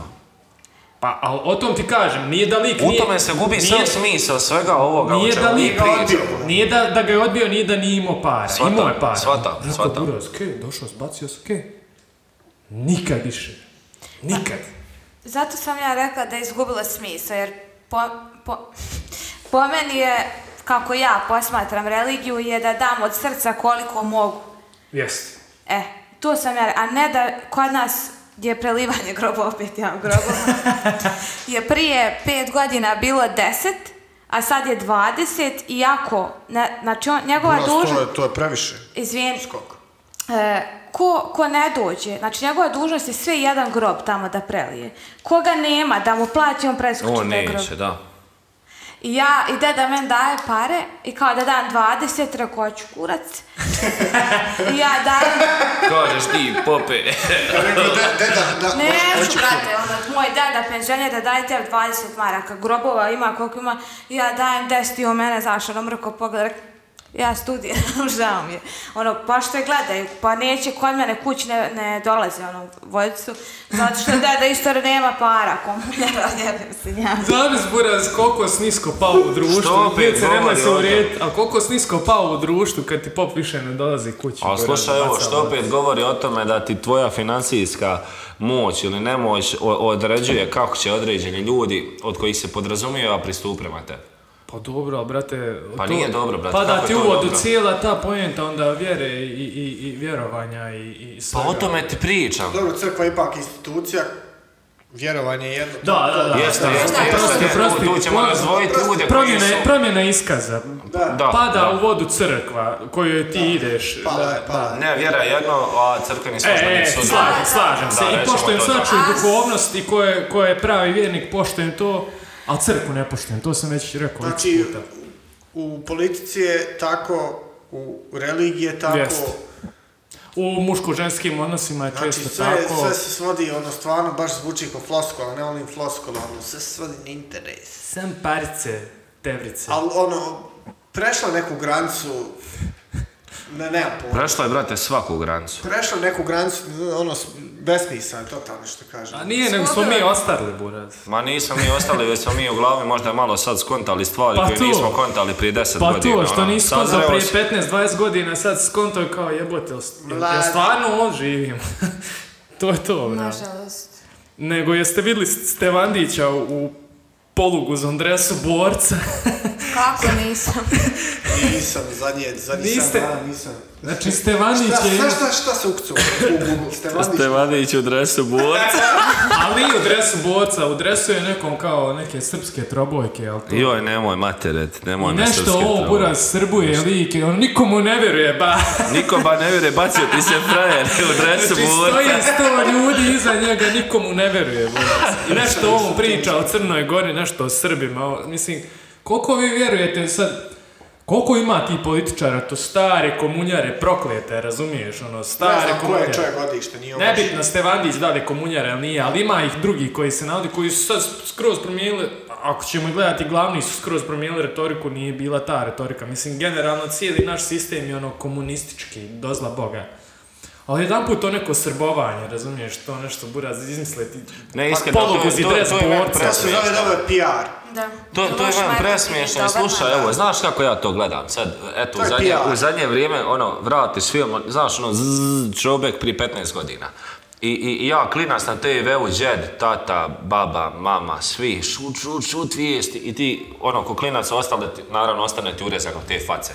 S1: Pa, ali o tom ti kažem, nije da lik
S4: U
S1: nije-
S4: tome se gubi
S1: nije-
S4: sam smisao svega ovoga o
S1: Nije da
S4: čemu mi
S1: lik
S2: ga
S4: pričamo.
S2: odbio.
S1: Nije da, da ga je odbio, nije da nije imao para.
S4: Svatam,
S1: imao je para.
S4: svatam,
S1: Rekao,
S4: svatam.
S1: "Buraz, okej, došao, zbacio se, okej. Nikad više. Nikad.
S6: Zato sam ja rekla da je izgubila smisao, jer po, po, po meni je, kako ja posmatram religiju, je da dam od srca koliko mogu.
S1: Jest.
S6: E, to sam ja, re- a ne da kod nas je prelivanje groba, opet ja u grobovima, je prije pet godina bilo deset, a sad je 20 i ako, na, znači on, njegova
S2: Buraz,
S6: dužnost...
S2: to, je, to je previše.
S6: Izvijem,
S2: Skok.
S6: e, ko, ko ne dođe, znači njegova dužnost je sve jedan grob tamo da prelije. Koga nema da mu plaći, on preskoči
S4: On
S6: taj grob.
S4: neće, da.
S6: I ja, i deda men daje pare i kao da dam 20, rekao hoću kurac. I ja dajem,
S4: Kažeš ti, pope.
S2: Ja rekao, de- deda, da,
S6: neću
S2: hoću
S6: brate, ono, moj deda penzioner da dajte 20 maraka, grobova ima koliko ima, I ja dajem 10 i on mene zašao, ono mrko pogled, rekao, ja studiram, žao mi je. Ono, pa što je gledaju, pa neće kod mene kući ne, ne dolaze, ono, vodicu, zato što deda isto nema para, komunjera, jebim se njemu.
S1: Zavis Buraz, koliko si nisko pao u društvu.
S4: Što opet
S1: Djece, nemoj se
S4: govori
S1: uvrijediti, ali koliko si nisko pao u društvu kad ti pop više ne dolazi kući.
S4: A
S1: Buraz,
S4: slušaj ovo,
S1: baca
S4: što
S1: ovo.
S4: opet govori o tome da ti tvoja financijska moć ili nemoć o- određuje kako će određeni ljudi od kojih se podrazumijeva pristup prema tebi.
S1: Pa dobro, ali brate...
S4: Pa
S1: to-
S4: nije dobro, brate,
S1: Pa da
S4: kako
S1: ti
S4: je to
S1: uvodu
S4: dobro?
S1: cijela ta pojenta onda vjere i, i, i vjerovanja i, i
S4: Pa
S1: svega.
S4: o tome ti pričam.
S2: Dobro, crkva je ipak institucija Vjerovanje je jedno.
S1: Da, da, da.
S4: Jeste, jeste,
S1: Prosti,
S4: jeste.
S1: prosti.
S4: Tu ćemo
S1: Pro-
S4: razdvojiti ljude koji su...
S1: Promjene, promjene iskaza.
S4: Da,
S1: Pada
S4: da. Pa,
S1: u vodu crkva kojoj ti ideš.
S2: Pala
S1: Da,
S2: je, pala je.
S4: Ne, vjera je jedno, a crkveni
S1: E,
S4: službenik su...
S1: e, slažem, slažem se.
S4: Da,
S1: I
S4: recimo
S1: poštujem
S4: to, da.
S1: svačiju duhovnost i ko je, ko je pravi vjernik, poštujem to, ali crkvu ne poštujem, to sam već rekao x
S2: Znači,
S1: puta.
S2: u politici je tako, u religiji je tako,
S1: Jeste. U muško-ženskim odnosima je
S2: Znači,
S1: često
S2: sve,
S1: tako.
S2: sve se svodi, ono, stvarno baš zvuči kao floskola, ne onim floskolama, ono, sve se svodi na interes.
S1: Sam parice, tevrice.
S2: Ali, ono, prešla neku granicu, ne, ne, pojma.
S5: Prešla je, brate, svaku granicu.
S2: Prešla neku granicu, ono, s- besmisleno je totalno što kažem.
S1: A nije, nego smo mi ostarli, buraz.
S4: Ma nismo mi ostali, već smo mi u glavi možda malo sad skontali stvari
S1: Pa
S4: koje
S1: to.
S4: nismo kontali prije 10
S1: Pa
S4: godina.
S1: to, što
S4: ono.
S1: nisi
S4: Sad
S1: skonto
S4: evo,
S1: prije 15-20 godina, sad skonto je kao jebote, jel, jel
S2: Mlad.
S1: stvarno on živim? to je to, brate.
S6: Nažalost.
S1: Nego jeste vidjeli Stevandića u, u polugu za dresu borca?
S6: Kako nisam?
S2: Nisam, zadnje, zadnji
S1: Niste-
S2: sam dan, nisam.
S1: Znači, Stevanić
S2: Šta,
S1: je...
S2: šta, šta, šta se ukcu? U Google, Stevanić.
S5: Stevanić u dresu borca.
S1: Ali nije u dresu borca, u dresu je nekom kao neke srpske trobojke, jel to?
S5: Joj, nemoj materet, nemoj
S1: I
S5: me
S1: nešto
S5: srpske
S1: ovo
S5: traume.
S1: buraz srbuje like, on nikomu ne vjeruje, ba.
S5: Niko ba ne vjere, bacio ti se frajer u dresu
S1: Znači,
S5: borca.
S1: stoji sto ljudi iza njega, nikomu ne vjeruje, buraz. I nešto ovo priča o Crnoj Gori, nešto o Srbima, ovo, mislim, koliko vi vjerujete sad, koliko ima ti političara, to stare komunjare, proklete, razumiješ, ono,
S2: Ne
S1: stare
S2: znam ko je čovjek godište, nije ovo.
S1: Nebitno Stevandić da li je komunjar ili nije, ali ima ih drugi koji se navodi, koji su sad skroz promijenili, pa ako ćemo ih gledati glavni su skroz promijenili retoriku, nije bila ta retorika. Mislim, generalno cijeli naš sistem je ono komunistički, dozla Boga. Ali jedan put to neko srbovanje, razumiješ, to nešto buraz izmisliti.
S4: Ne, iskreno, to,
S1: Poluguz i
S4: to,
S1: dres
S4: to, je meni
S1: borca.
S2: To se zove
S4: presmiješno.
S2: dobro PR.
S6: Da.
S4: To, to je
S6: Loš
S4: vam
S6: marketing,
S4: presmiješno i
S6: dobar
S4: slušaj, evo, znaš kako ja to gledam sad, eto,
S2: To
S4: u
S2: je
S4: zadnje,
S2: PR.
S4: u zadnje vrijeme, ono, vratiš film, znaš, ono, zzz, čobek prije 15 godina. I, i, i ja klinac na TV-u, džed, tata, baba, mama, svi, šut, šut, šut, vijesti i ti, ono, ko klinac ostale, ti- naravno, ostane ti urezano te face.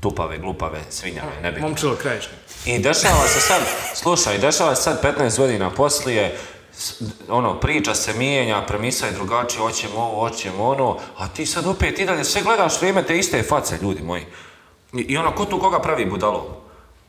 S4: Tupave, glupave, svinjave, nebitno.
S1: Momčilo krajišnik.
S4: I dešava se sad, slušaj, dešava se sad 15 godina poslije, s- ono, priča se mijenja, premisa je drugačija, hoćemo ovo, hoćemo ono, a ti sad opet i dalje sve gledaš vrijeme te iste face, ljudi moji. I, i ono, ko tu koga pravi budalom?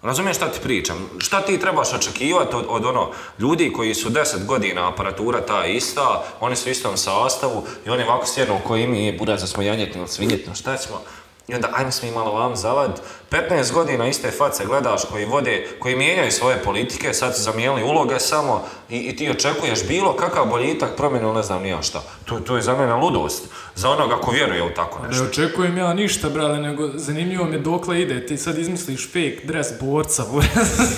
S4: Razumiješ šta ti pričam? Šta ti trebaš očekivati od, od ono ljudi koji su 10 godina aparatura ta ista, oni su u istom sastavu i oni ovako sjednu koji mi je buraz da smo janjetni ili svinjetni, šta smo? I onda, ajmo svi malo vam zavad. 15 godina iste face gledaš koji vode, koji mijenjaju svoje politike, sad su zamijenili uloge samo i, i ti očekuješ bilo kakav boljitak, promjenu, ili ne znam nija šta. To, to je za mene ludost. Za onoga ko vjeruje u tako
S1: Ne
S4: nešto.
S1: očekujem ja ništa, brale, nego zanimljivo mi je dokle ide. Ti sad izmisliš fake dres borca, buraz.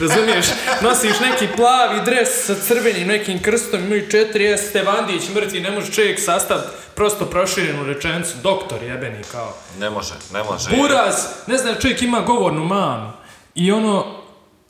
S1: razumiješ? Nosiš neki plavi dres sa crvenim nekim krstom, imaju 4S, Stevandić, mrtvi, ne može čovjek sastav prosto proširenu rečenicu, doktor jebeni kao.
S4: Ne može, ne može.
S1: Buraz, ne znam, čovjek ima govornu manu. I ono,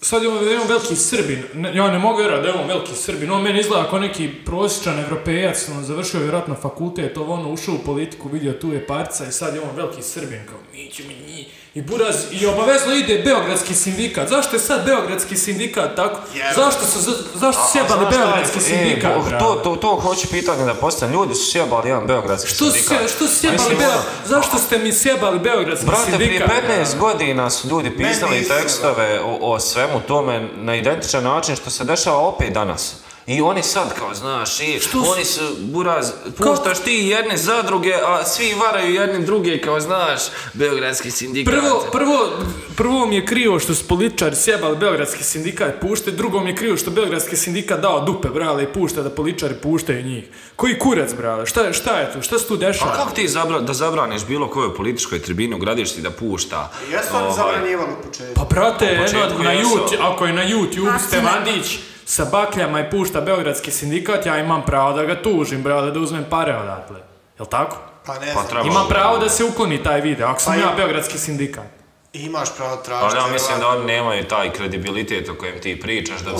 S1: sad je on, je on veliki srbin, Ne, ja ne mogu vjerati da je on veliki srbin, on meni izgleda kao neki prosječan evropejac, on završio je vjerojatno fakultet, ovo ono, ušao u politiku, vidio tu je parca i sad je on veliki srbin, kao mi ćemo njih. I Buraz, i obavezno ide Beogradski sindikat. Zašto je sad Beogradski sindikat tako?
S2: Jebe.
S1: Zašto su, za- zašto su
S4: A
S1: sjebali
S4: znaš šta je?
S1: Beogradski
S4: E,
S1: sindikat?
S4: bo-
S1: brate?
S4: to, to, to hoću pitanje da postavim. Ljudi su sjebali jedan beogradski
S1: Što su
S4: sindikat.
S1: sje- što su sjebali
S4: Mislim, ono,
S1: Beograd? Zašto ste mi sjebali Beogradski
S4: Brate,
S1: sindikat?
S4: prije 15 godina su ljudi pisali
S2: nisam,
S4: tekstove o, o svemu tome na identičan način što se dešava opet danas. I oni sad kao, znaš, i oni su, buraz, puštaš ti jedne zadruge, a svi varaju jedni druge kao, znaš,
S5: Beogradski sindikat.
S1: Prvo, prvo, prvo mi je krivo što su političari sjebali Beogradski sindikat pušte, drugo mi je krivo što Beogradski sindikat dao dupe, brale, i pušta da političari puštaju njih. Koji kurac, brale, šta, je- šta je tu, šta se tu dešava?
S2: Pa
S4: kako ti zabra, da zabraniš bilo kojoj političkoj tribini u gradišti da pušta?
S2: Jesu oni
S4: ovaj,
S2: zabranjivali u početku?
S1: Pa brate,
S4: početku
S1: eno, na
S4: jesu.
S1: YouTube, ako je na YouTube Stevandić sa bakljama i pušta Beogradski sindikat, ja imam pravo da ga tužim, brale, da uzmem pare odatle. Jel tako?
S2: Pa ne
S4: Pa
S2: znam.
S4: treba.
S1: Imam pravo da se ukloni taj video, ako sam
S2: Pa i-
S1: ja Beogradski sindikat.
S2: Imaš pravo tražiti.
S4: Ali ja mislim da
S2: vjerovatno.
S4: oni nemaju taj kredibilitet o kojem ti pričaš da...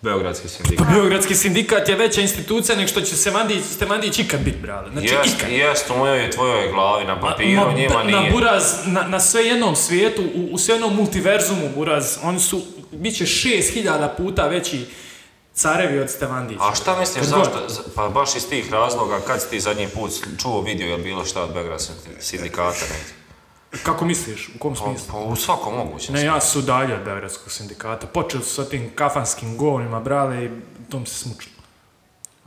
S4: Beogradski sindikat.
S1: Pa Beogradski sindikat je veća institucija nego što će se Mandić, Stevandić ikad biti, brale. Znači,
S4: Jest,
S1: ikad.
S4: jest u mojoj i tvojoj glavi, na papiru,
S1: Ma, pa,
S4: njima
S1: na
S4: nije.
S1: Buraz, na, na sve jednom svijetu, u, u sve jednom multiverzumu Buraz, oni su, bit će 6000 puta veći Carevi od Stevandića.
S4: A šta misliš
S1: Kad god.
S4: zašto? za- Pa baš iz tih razloga, kad si ti zadnji put čuo, vidio ili bilo šta od Beograd sindikata negdje?
S1: Kako misliš? U kom smislu?
S4: Pa, pa u svakom mogućem.
S1: Ne, ja su dalje od Beogradskog sindikata. Počeli su sa tim kafanskim govnima, brale, i tom se smučilo.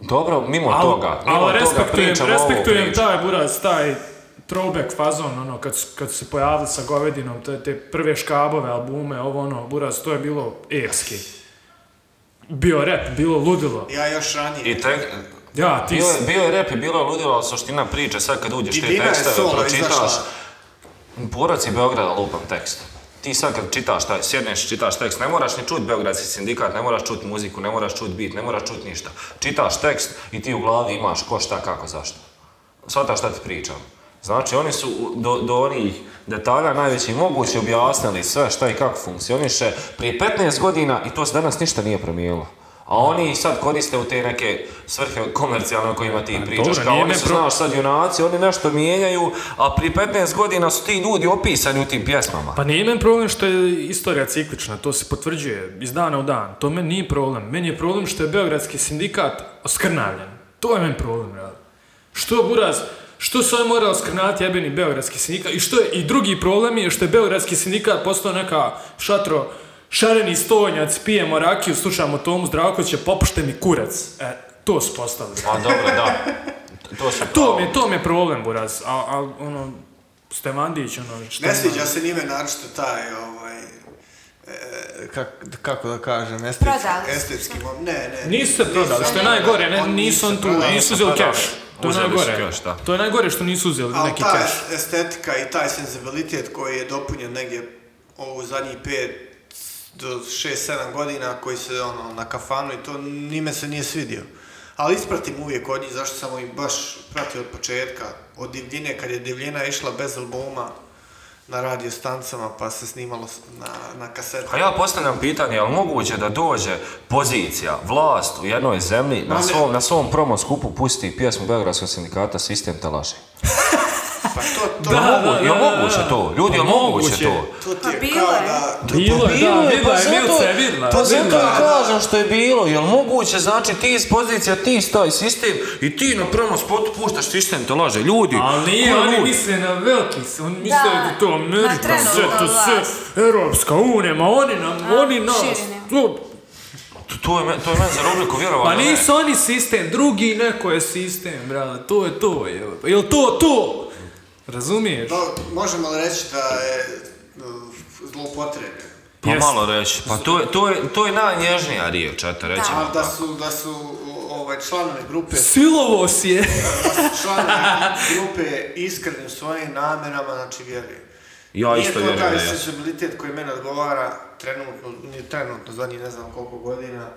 S4: Dobro, mimo
S1: Al-
S4: toga, mimo
S1: al
S4: toga pričamo ovu
S1: respektujem
S4: priču.
S1: taj buraz, taj throwback fazon, ono, kad su, kad su se pojavili sa govedinom, te, te prve škabove, albume, ovo ono, buraz, to je bilo epski. Bio rap, bilo ludilo.
S2: Ja još ranije.
S4: I tek,
S1: Ja, ti
S4: bio, je,
S1: si-
S4: bio je rap i bilo je ludilo, ali suština priče, sad kad uđeš
S2: I
S4: te
S2: Dina je
S4: tekstove,
S2: solo
S4: pročitaš,
S2: izašla.
S4: Borac je Beograda lupan tekst. Ti sad kad čitaš taj, sjedneš, čitaš tekst, ne moraš ni čut Beogradski sindikat, ne moraš čut muziku, ne moraš čut bit, ne moraš čut ništa. Čitaš tekst i ti u glavi imaš ko šta, kako, zašto. Svataš šta ti pričam. Znači oni su u- do, do onih detalja najveći mogući objasnili sve šta i kako funkcioniše prije 15 godina i to se danas ništa nije promijenilo. A oni ih sad koriste u te neke svrhe komercijalne o kojima ti pričaš.
S1: Pa dobro,
S4: kao
S1: nije
S4: oni
S1: me
S4: su,
S1: pro-
S4: znaš, sad junaci, oni nešto mijenjaju, a prije 15 godina su ti ljudi opisani u tim pjesmama.
S1: Pa nije meni problem što je istorija ciklična, to se potvrđuje iz dana u dan. To meni nije problem. Meni je problem što je Beogradski sindikat oskrnavljen. To je meni problem, jel? Što Buraz, što se on mora oskrnaviti jebeni Beogradski sindikat? I što je, i drugi problem je što je Beogradski sindikat postao neka šatro šareni stonjac, pijemo rakiju, slušamo Tomu Zdravkovića, popušte mi kurac. E, to su postali.
S4: A dobro, da. To su
S1: To
S4: pravo.
S1: Pa- mi je, to mi je problem, Buraz. A, a ono, Stevandić, ono, šta
S2: Ne
S1: ima?
S2: sviđa se njime naročito taj, ovaj, e, kak- kako da kažem, estetski,
S6: Prodali su.
S2: estetski mom- ne, ne.
S1: Nisu se prodali, što je najgore, ne, nisu on tu,
S2: prodali.
S1: nisu uzeli
S4: prodali.
S1: keš. To je
S4: Uzeli su
S1: najgore.
S4: keš, da.
S1: To je najgore što nisu uzeli
S2: Ali
S1: neki
S2: ta
S1: keš.
S2: estetika i taj senzibilitet koji je dopunjen negdje u zadnjih 5 do 6-7 godina koji se ono na kafanu i to nime se nije svidio. Ali ispratim uvijek od njih, zašto sam ih baš pratio od početka, od divljine, kad je divljina išla bez albuma na radio stancama pa se snimalo s- na, na kasetu.
S4: A Pa ja postavljam pitanje, je li moguće da dođe pozicija, vlast u jednoj zemlji na
S2: Ma ne.
S4: svom, na svom promo skupu pusti pjesmu Beogradskog sindikata Sistem te laži?
S2: Pa to, to,
S4: Da,
S1: Da,
S4: mogu,
S1: da,
S4: jel
S1: da, da,
S4: moguće
S1: da.
S4: to? Ljudi, jel
S1: Pa
S4: moguće
S1: moguće.
S4: to?
S2: to ti
S6: Pa
S2: je
S6: bilo
S2: kao
S6: je.
S2: da...
S1: Bilo je, da, vidla je, Milica je vidla.
S4: Pa zato
S1: vidla.
S4: ja kažem što je bilo, jel moguće, znači ti iz pozicija, ti staj sistem i ti na prvom spotu puštaš sistem, te laže, ljudi.
S1: Ali nije,
S4: ko je
S1: oni
S4: lud?
S1: misle na veliki, se, oni misle da, je to
S6: na
S1: Amerika,
S6: trenutnu
S1: sve to sve,
S6: vlast.
S1: Europska unija, ma oni nam, oni nas,
S6: širi nema.
S1: to,
S4: To, to je, men- to je meni za rubriku vjerovano.
S1: pa
S4: ne.
S1: nisu oni sistem, drugi neko je sistem, brale, to je to, je, jel to to? Razumiješ?
S2: No, možemo li reći da je uh, zloupotrebljen?
S4: Pa
S1: Jest.
S4: malo reći, pa to je, to je, to je najnježnija riječ, eto reći.
S2: Ali da su, da su o- ovaj, članovi grupe,
S1: Silovo si je.
S2: članovi grupe iskreni u svojim namjerama, znači vjerujem.
S4: Ja
S2: Nije
S4: isto
S2: to
S4: vjerujem
S2: taj
S4: da jesu.
S2: sensibilitet koji meni odgovara trenutno, ni trenutno, zadnjih ne znam koliko godina,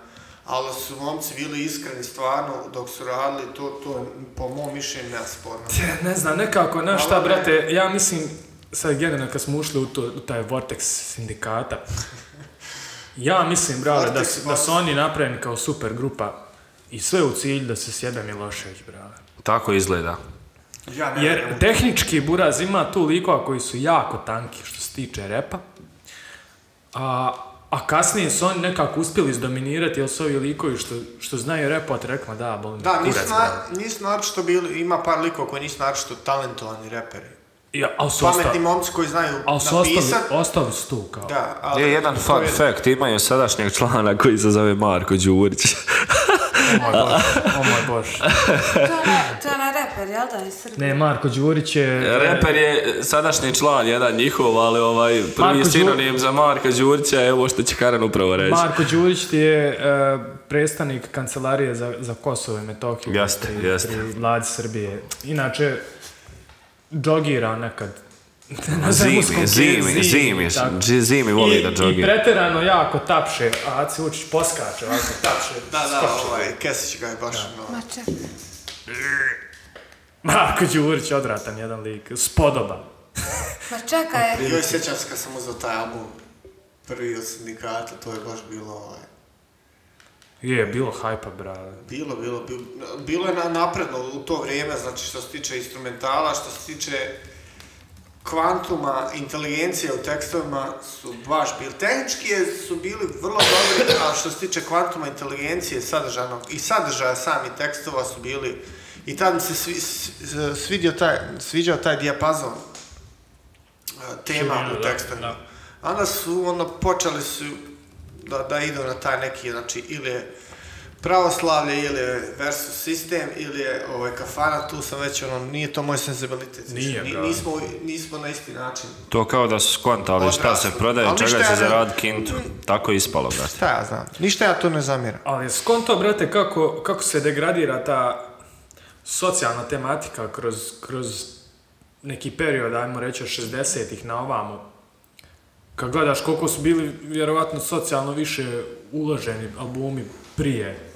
S2: ali su momci bili iskreni stvarno dok su radili, to, to je po mom mišljenju nesporno.
S1: Te, ne znam, nekako, znaš šta,
S2: Malo ne.
S1: brate, ja mislim, sad generalno kad smo ušli u, to, u taj vortex sindikata, ja mislim, brale, da,
S2: Vortex,
S1: su- da
S2: vortex.
S1: su oni napravljeni kao super grupa i sve u cilju da se sjebe Milošević, brale.
S4: Tako izgleda.
S2: Ja ne
S1: Jer
S2: vjerujem.
S1: tehnički Buraz ima tu likova koji su jako tanki što se tiče repa, a, a kasnije su oni nekako uspjeli izdominirati jer su ovi likovi što, što znaju repovat rekla da, bol me
S2: Da,
S1: kurac,
S2: nisu,
S1: brale."
S2: na, nisu naročito bili, ima par likova koji nisu naročito talentovani reperi.
S1: Ja, ali su ostali,
S2: Pametni momci koji znaju
S1: ali su ostali,
S2: napisat,
S1: ostali su tu kao.
S2: da, ali...
S4: Je jedan
S2: to
S4: fun fact, imaju sadašnjeg člana koji se zove Marko Đurić.
S1: O moj bož, o moj bož.
S6: To je, onaj- to je onaj reper, jel da, iz Srbije?
S1: Ne, Marko Đurić je...
S4: Reper je sadašnji član, jedan njihov, ali ovaj prvi
S1: Marko Đu-
S4: sinonim za Marka Đurića je ovo što će Karan upravo reći.
S1: Marko Đurić ti je e, predstavnik kancelarije za, za Kosovo i Metohiju.
S4: Jeste,
S1: pri,
S4: jeste.
S1: pri vladi Srbije. Inače, džogira nekad. Na
S4: zimi,
S1: zemunskom
S4: zimi,
S1: kiju,
S4: zimi,
S1: tako.
S8: znači,
S4: dži- zimi voli
S1: I,
S4: da
S1: I
S4: džogira.
S1: preterano jako tapše, a Aci Vučić poskače, ovako tapše.
S2: Da, da, ovaj, Kesić ga je baš ono...
S6: Ma čekaj.
S1: Marko Đurić, odvratan jedan lik, spodoba.
S6: Ma čekaj,
S2: Joj, sjećam se kad sam uzeo taj album prvi od sindikata, to je baš bilo ovaj...
S1: Je, bilo hajpa, brale.
S2: Bilo, bilo, bilo, bilo je na, napredno u to vrijeme, znači što se tiče instrumentala, što se tiče kvantuma inteligencije u tekstovima su baš bili. Tehnički je- su bili vrlo dobri, a što se tiče kvantuma inteligencije sadržanog i sadržaja samih tekstova su bili i tad mi se svi, s- s- svidio taj, sviđao taj dijapazon e, tema
S1: Širina, da,
S2: u tekstovima.
S1: da.
S2: A Onda su ono počeli su da, da idu na taj neki, znači ili je pravoslavlje, ili je versus sistem, ili je ovaj, kafana, tu sam već ono, nije to moj senzibilitet. Znači,
S1: Nije,
S2: Ni-
S1: bravo.
S2: nismo, nismo na isti način.
S8: To kao da su skontali šta se prodaje,
S2: Ali
S8: čega
S2: ništa
S8: će
S2: ja ne-
S8: zaraditi kintu. Tako je ispalo, brate.
S2: Šta ja znam, ništa ja tu ne zamiram.
S1: Ali je skonto, brate, kako, kako se degradira ta socijalna tematika kroz, kroz neki period, ajmo reći, od 60-ih na ovamo. Kad gledaš koliko su bili vjerovatno socijalno više uloženi albumi prije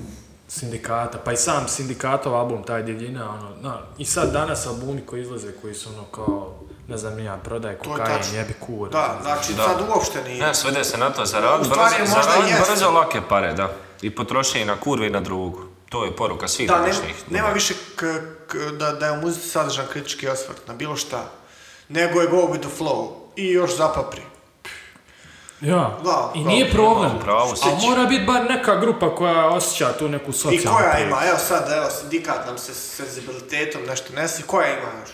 S1: sindikata, pa i sam sindikatov album, taj divljina, ono, na, i sad danas albumi koji izlaze, koji su ono kao, ne znam, ni ja, prodaje
S2: je
S1: kokain,
S2: tačno.
S1: jebi kur.
S2: Da, znači sad uopšte nije.
S4: Ne, svede se na to, zaradi
S2: U stvari
S4: brzo,
S2: možda
S4: zaradi
S2: jest.
S4: brzo lake pare, da. I potroši i na kurve i na drugu. To je poruka svih
S2: Da, nema,
S4: današnjih.
S2: nema više k, k- da, da je u muzici sadržan kritički osvrt na bilo šta. Nego je go with the flow. I još zapapri.
S1: Ja,
S2: Da,
S1: i
S2: da.
S1: nije problem.
S4: U pravu si.
S1: A mora biti bar neka grupa koja osjeća tu neku socijalnu
S2: I koja
S1: prijetnju.
S2: ima, evo sad, evo, sindikat nam se s senzibilitetom nešto nesi, koja ima još?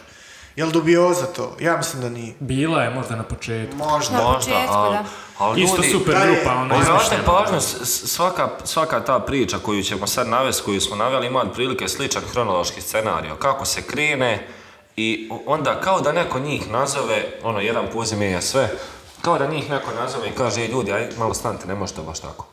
S2: Jel dubioza to? Ja mislim da nije.
S1: Bila je možda na početku.
S2: Možda.
S4: Možda,
S6: početku,
S4: ali-
S6: da.
S4: ali
S1: Isto
S4: Pa ljudi-
S1: super
S2: da je-
S1: grupa, ona
S4: Pa
S1: izmišljena.
S4: Obratite pažnju, s- s- svaka, svaka ta priča koju ćemo sad navesti, koju smo naveli, ima otprilike sličan hronološki scenario. Kako se krene i onda kao da neko njih nazove, ono, jedan puzi mijenja sve, kao da njih neko nazove i kaže, "Ej, ljudi, aj, malo stante, ne možete baš tako.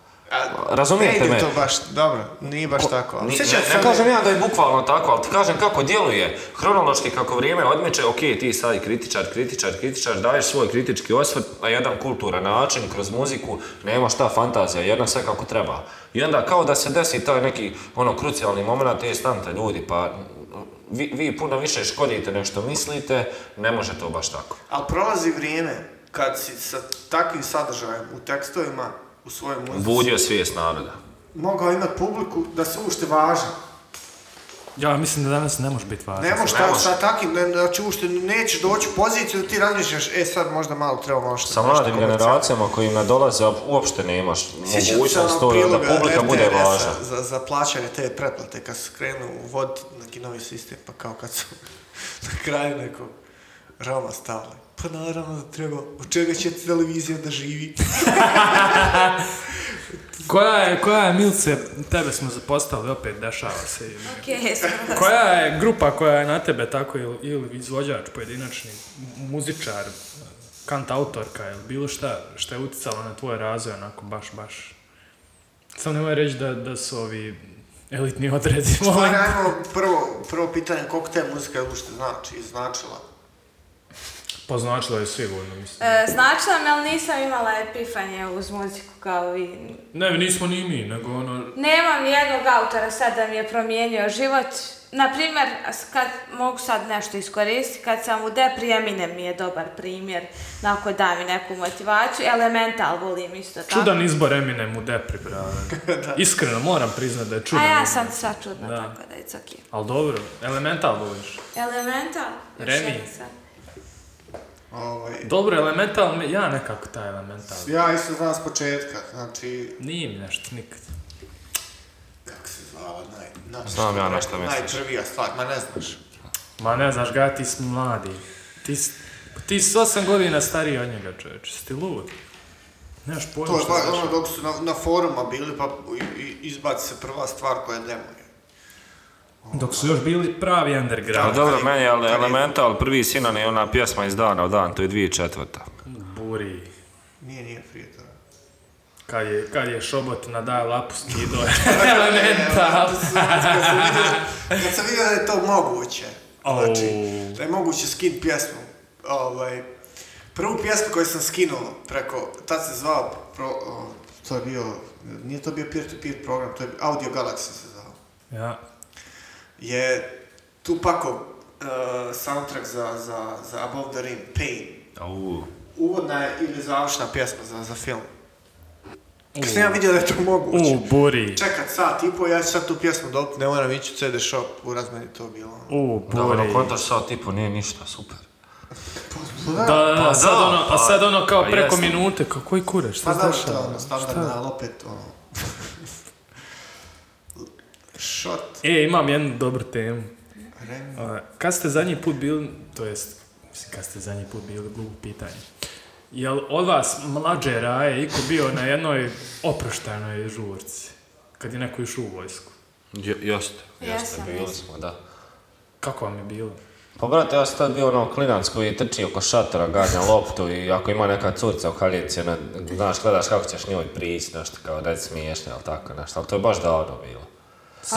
S4: Razumijete
S2: ne ide
S4: me?
S2: to baš, dobro, nije baš tako. Ali
S4: Ni-
S2: sjećate
S4: ne,
S2: se
S4: ne
S2: one-
S4: kažem ja da je bukvalno tako, ali ti kažem kako djeluje. Hronološki kako vrijeme odmiče, ok, ti sad i kritičar, kritičar, kritičar, daješ svoj kritički osvrt na jedan kulturan način, kroz muziku, nema šta fantazija, jedna sve kako treba. I onda kao da se desi taj neki ono krucijalni moment, te stante ljudi, pa vi, vi puno više škodite nego što mislite, ne može to baš tako.
S2: Ali prolazi vrijeme kad si sa takvim sadržajem u tekstovima, u svojoj muzici,
S4: Budio svijest naroda.
S2: mogao imat publiku da se ušte važan.
S1: Ja mislim da danas ne može biti važno.
S2: Ne možeš
S4: Pa ne
S2: ta-
S4: može.
S2: sa takim, ne, znači ušte nećeš doći u poziciju da ti razmišljaš, e sad možda malo treba malo što.
S4: Sa mladim generacijama koji nadolaze, uopšte nemaš mogućnost to da publika bude važna.
S2: Za, za plaćanje te pretplate kad su krenu uvoditi neki novi sistem, pa kao kad su na kraju nekog rama stavili. Pa naravno da treba, od čega će televizija da živi?
S1: Koja je, koja je, Milce, tebe smo zapostavili, opet dešava se.
S6: Okej, skoro.
S1: Koja je grupa koja je na tebe tako ili, ili izvođač, pojedinačni, mu- muzičar, kantautorka ili bilo šta, što je utjecalo na tvoj razvoj, onako baš, baš. Samo nemoj reći da, da su ovi elitni odredi.
S2: Što je najmo prvo, prvo pitanje, koliko te muzika uopšte znači i značila?
S1: Poznačilo Pa je sigurno, mislim.
S6: E, značila me, ali nisam imala epifanje uz muziku kao vi.
S1: Ne, nismo ni mi, nego ono...
S6: Nemam nijednog autora sad da mi je promijenio život. Naprimjer, s- kad mogu sad nešto iskoristiti, kad sam u depri, Eminem mi je dobar primjer, onako da mi neku motivaciju. Elemental volim isto tako.
S1: Čudan izbor Eminem u Depri, brate. Iskreno, moram priznat da je čudan.
S6: A ja
S1: izbor.
S6: sam sva čudna,
S1: Da.
S6: tako da it's okay.
S1: Ali dobro, Elemental voliš.
S6: Elemental? Još
S1: Remi.
S6: jedna sam.
S2: Ovaj,
S1: Dobro, Elemental, me- ja nekako taj Elemental.
S2: ja isto znam s početka, znači,
S1: Nije mi nešto nikad.
S2: kako se zvala, naj... naj-
S4: Znam ja na što misliš.
S2: Najprvija stvar, ma ne znaš.
S1: Ma ne znaš ga, ti si mladi. Ti, s- ti si osam godina stariji od njega, čovječ. Jesi Ti lud. Nemaš pojma
S2: To je
S1: što
S2: baš
S1: znaš.
S2: ono dok su na, na foruma bili, pa i- i- izbaci se prva stvar koja demuje.
S1: Dok su još bili pravi
S4: Ali
S1: underground.
S4: Pa dobro, meni je ele- Elemental prvi sinan je ona pjesma iz dana u dan, to je 2004.
S1: Buri.
S2: Nije, nije prije toga.
S1: Kad je, kad je šobot na daj lapu skido Elemental.
S2: Dakle, Kad sam vidio- kad sam vidio da je to moguće,
S1: Au.
S2: znači, da je moguće skin pjesmu, ovaj, prvu pjesmu koju sam skinuo preko, tad se zvao, pro, o, to je bio, nije to bio peer-to-peer program, to je Audio Galaxy se zvao,
S1: Ja.
S2: je Tupakov uh, soundtrack za, za, za Above the Rim, Pain.
S4: Au.
S2: Uvodna je ili završna pjesma za, za film. Kad sam ja vidio da je to moguće.
S1: U, buri.
S2: Čekat sat i po, ja ću sad tu pjesmu dobiti, ne moram ići u CD shop, u razmeni to bilo. ono.
S1: U,
S4: Da, ono,
S1: buri.
S4: kontaš sad tipu nije ništa, super.
S1: Da, da, da,
S4: Pa
S1: sad
S4: da,
S1: ono, pa
S4: pa-
S1: sad ono kao
S4: pa
S1: preko
S4: jeste.
S1: minute, kao koji kurac, šta
S2: Pa
S1: se
S2: znam što je
S1: dešava?
S2: ono, standardna, opet ono... Shot,
S1: E, imam jednu dobru temu.
S2: rem,
S1: A, Kad ste zadnji put bili, to jest, mislim, kad ste zadnji put bili, glupo pitanje. Jel od vas mlađe raje iko bio na jednoj oproštajnoj žurci? Kad je neko išao u vojsku.
S4: J- Jeste.
S5: Jeste, bili smo, da.
S1: Kako vam je bilo?
S5: Pa brate, ja sam tad bio ono klinac koji trči oko šatora, ganja loptu i ako ima neka curca u haljici, ono, znaš, gledaš kako ćeš njoj prići, nešto kao da je smiješno, ali tako nešto, ali to je baš davno bilo.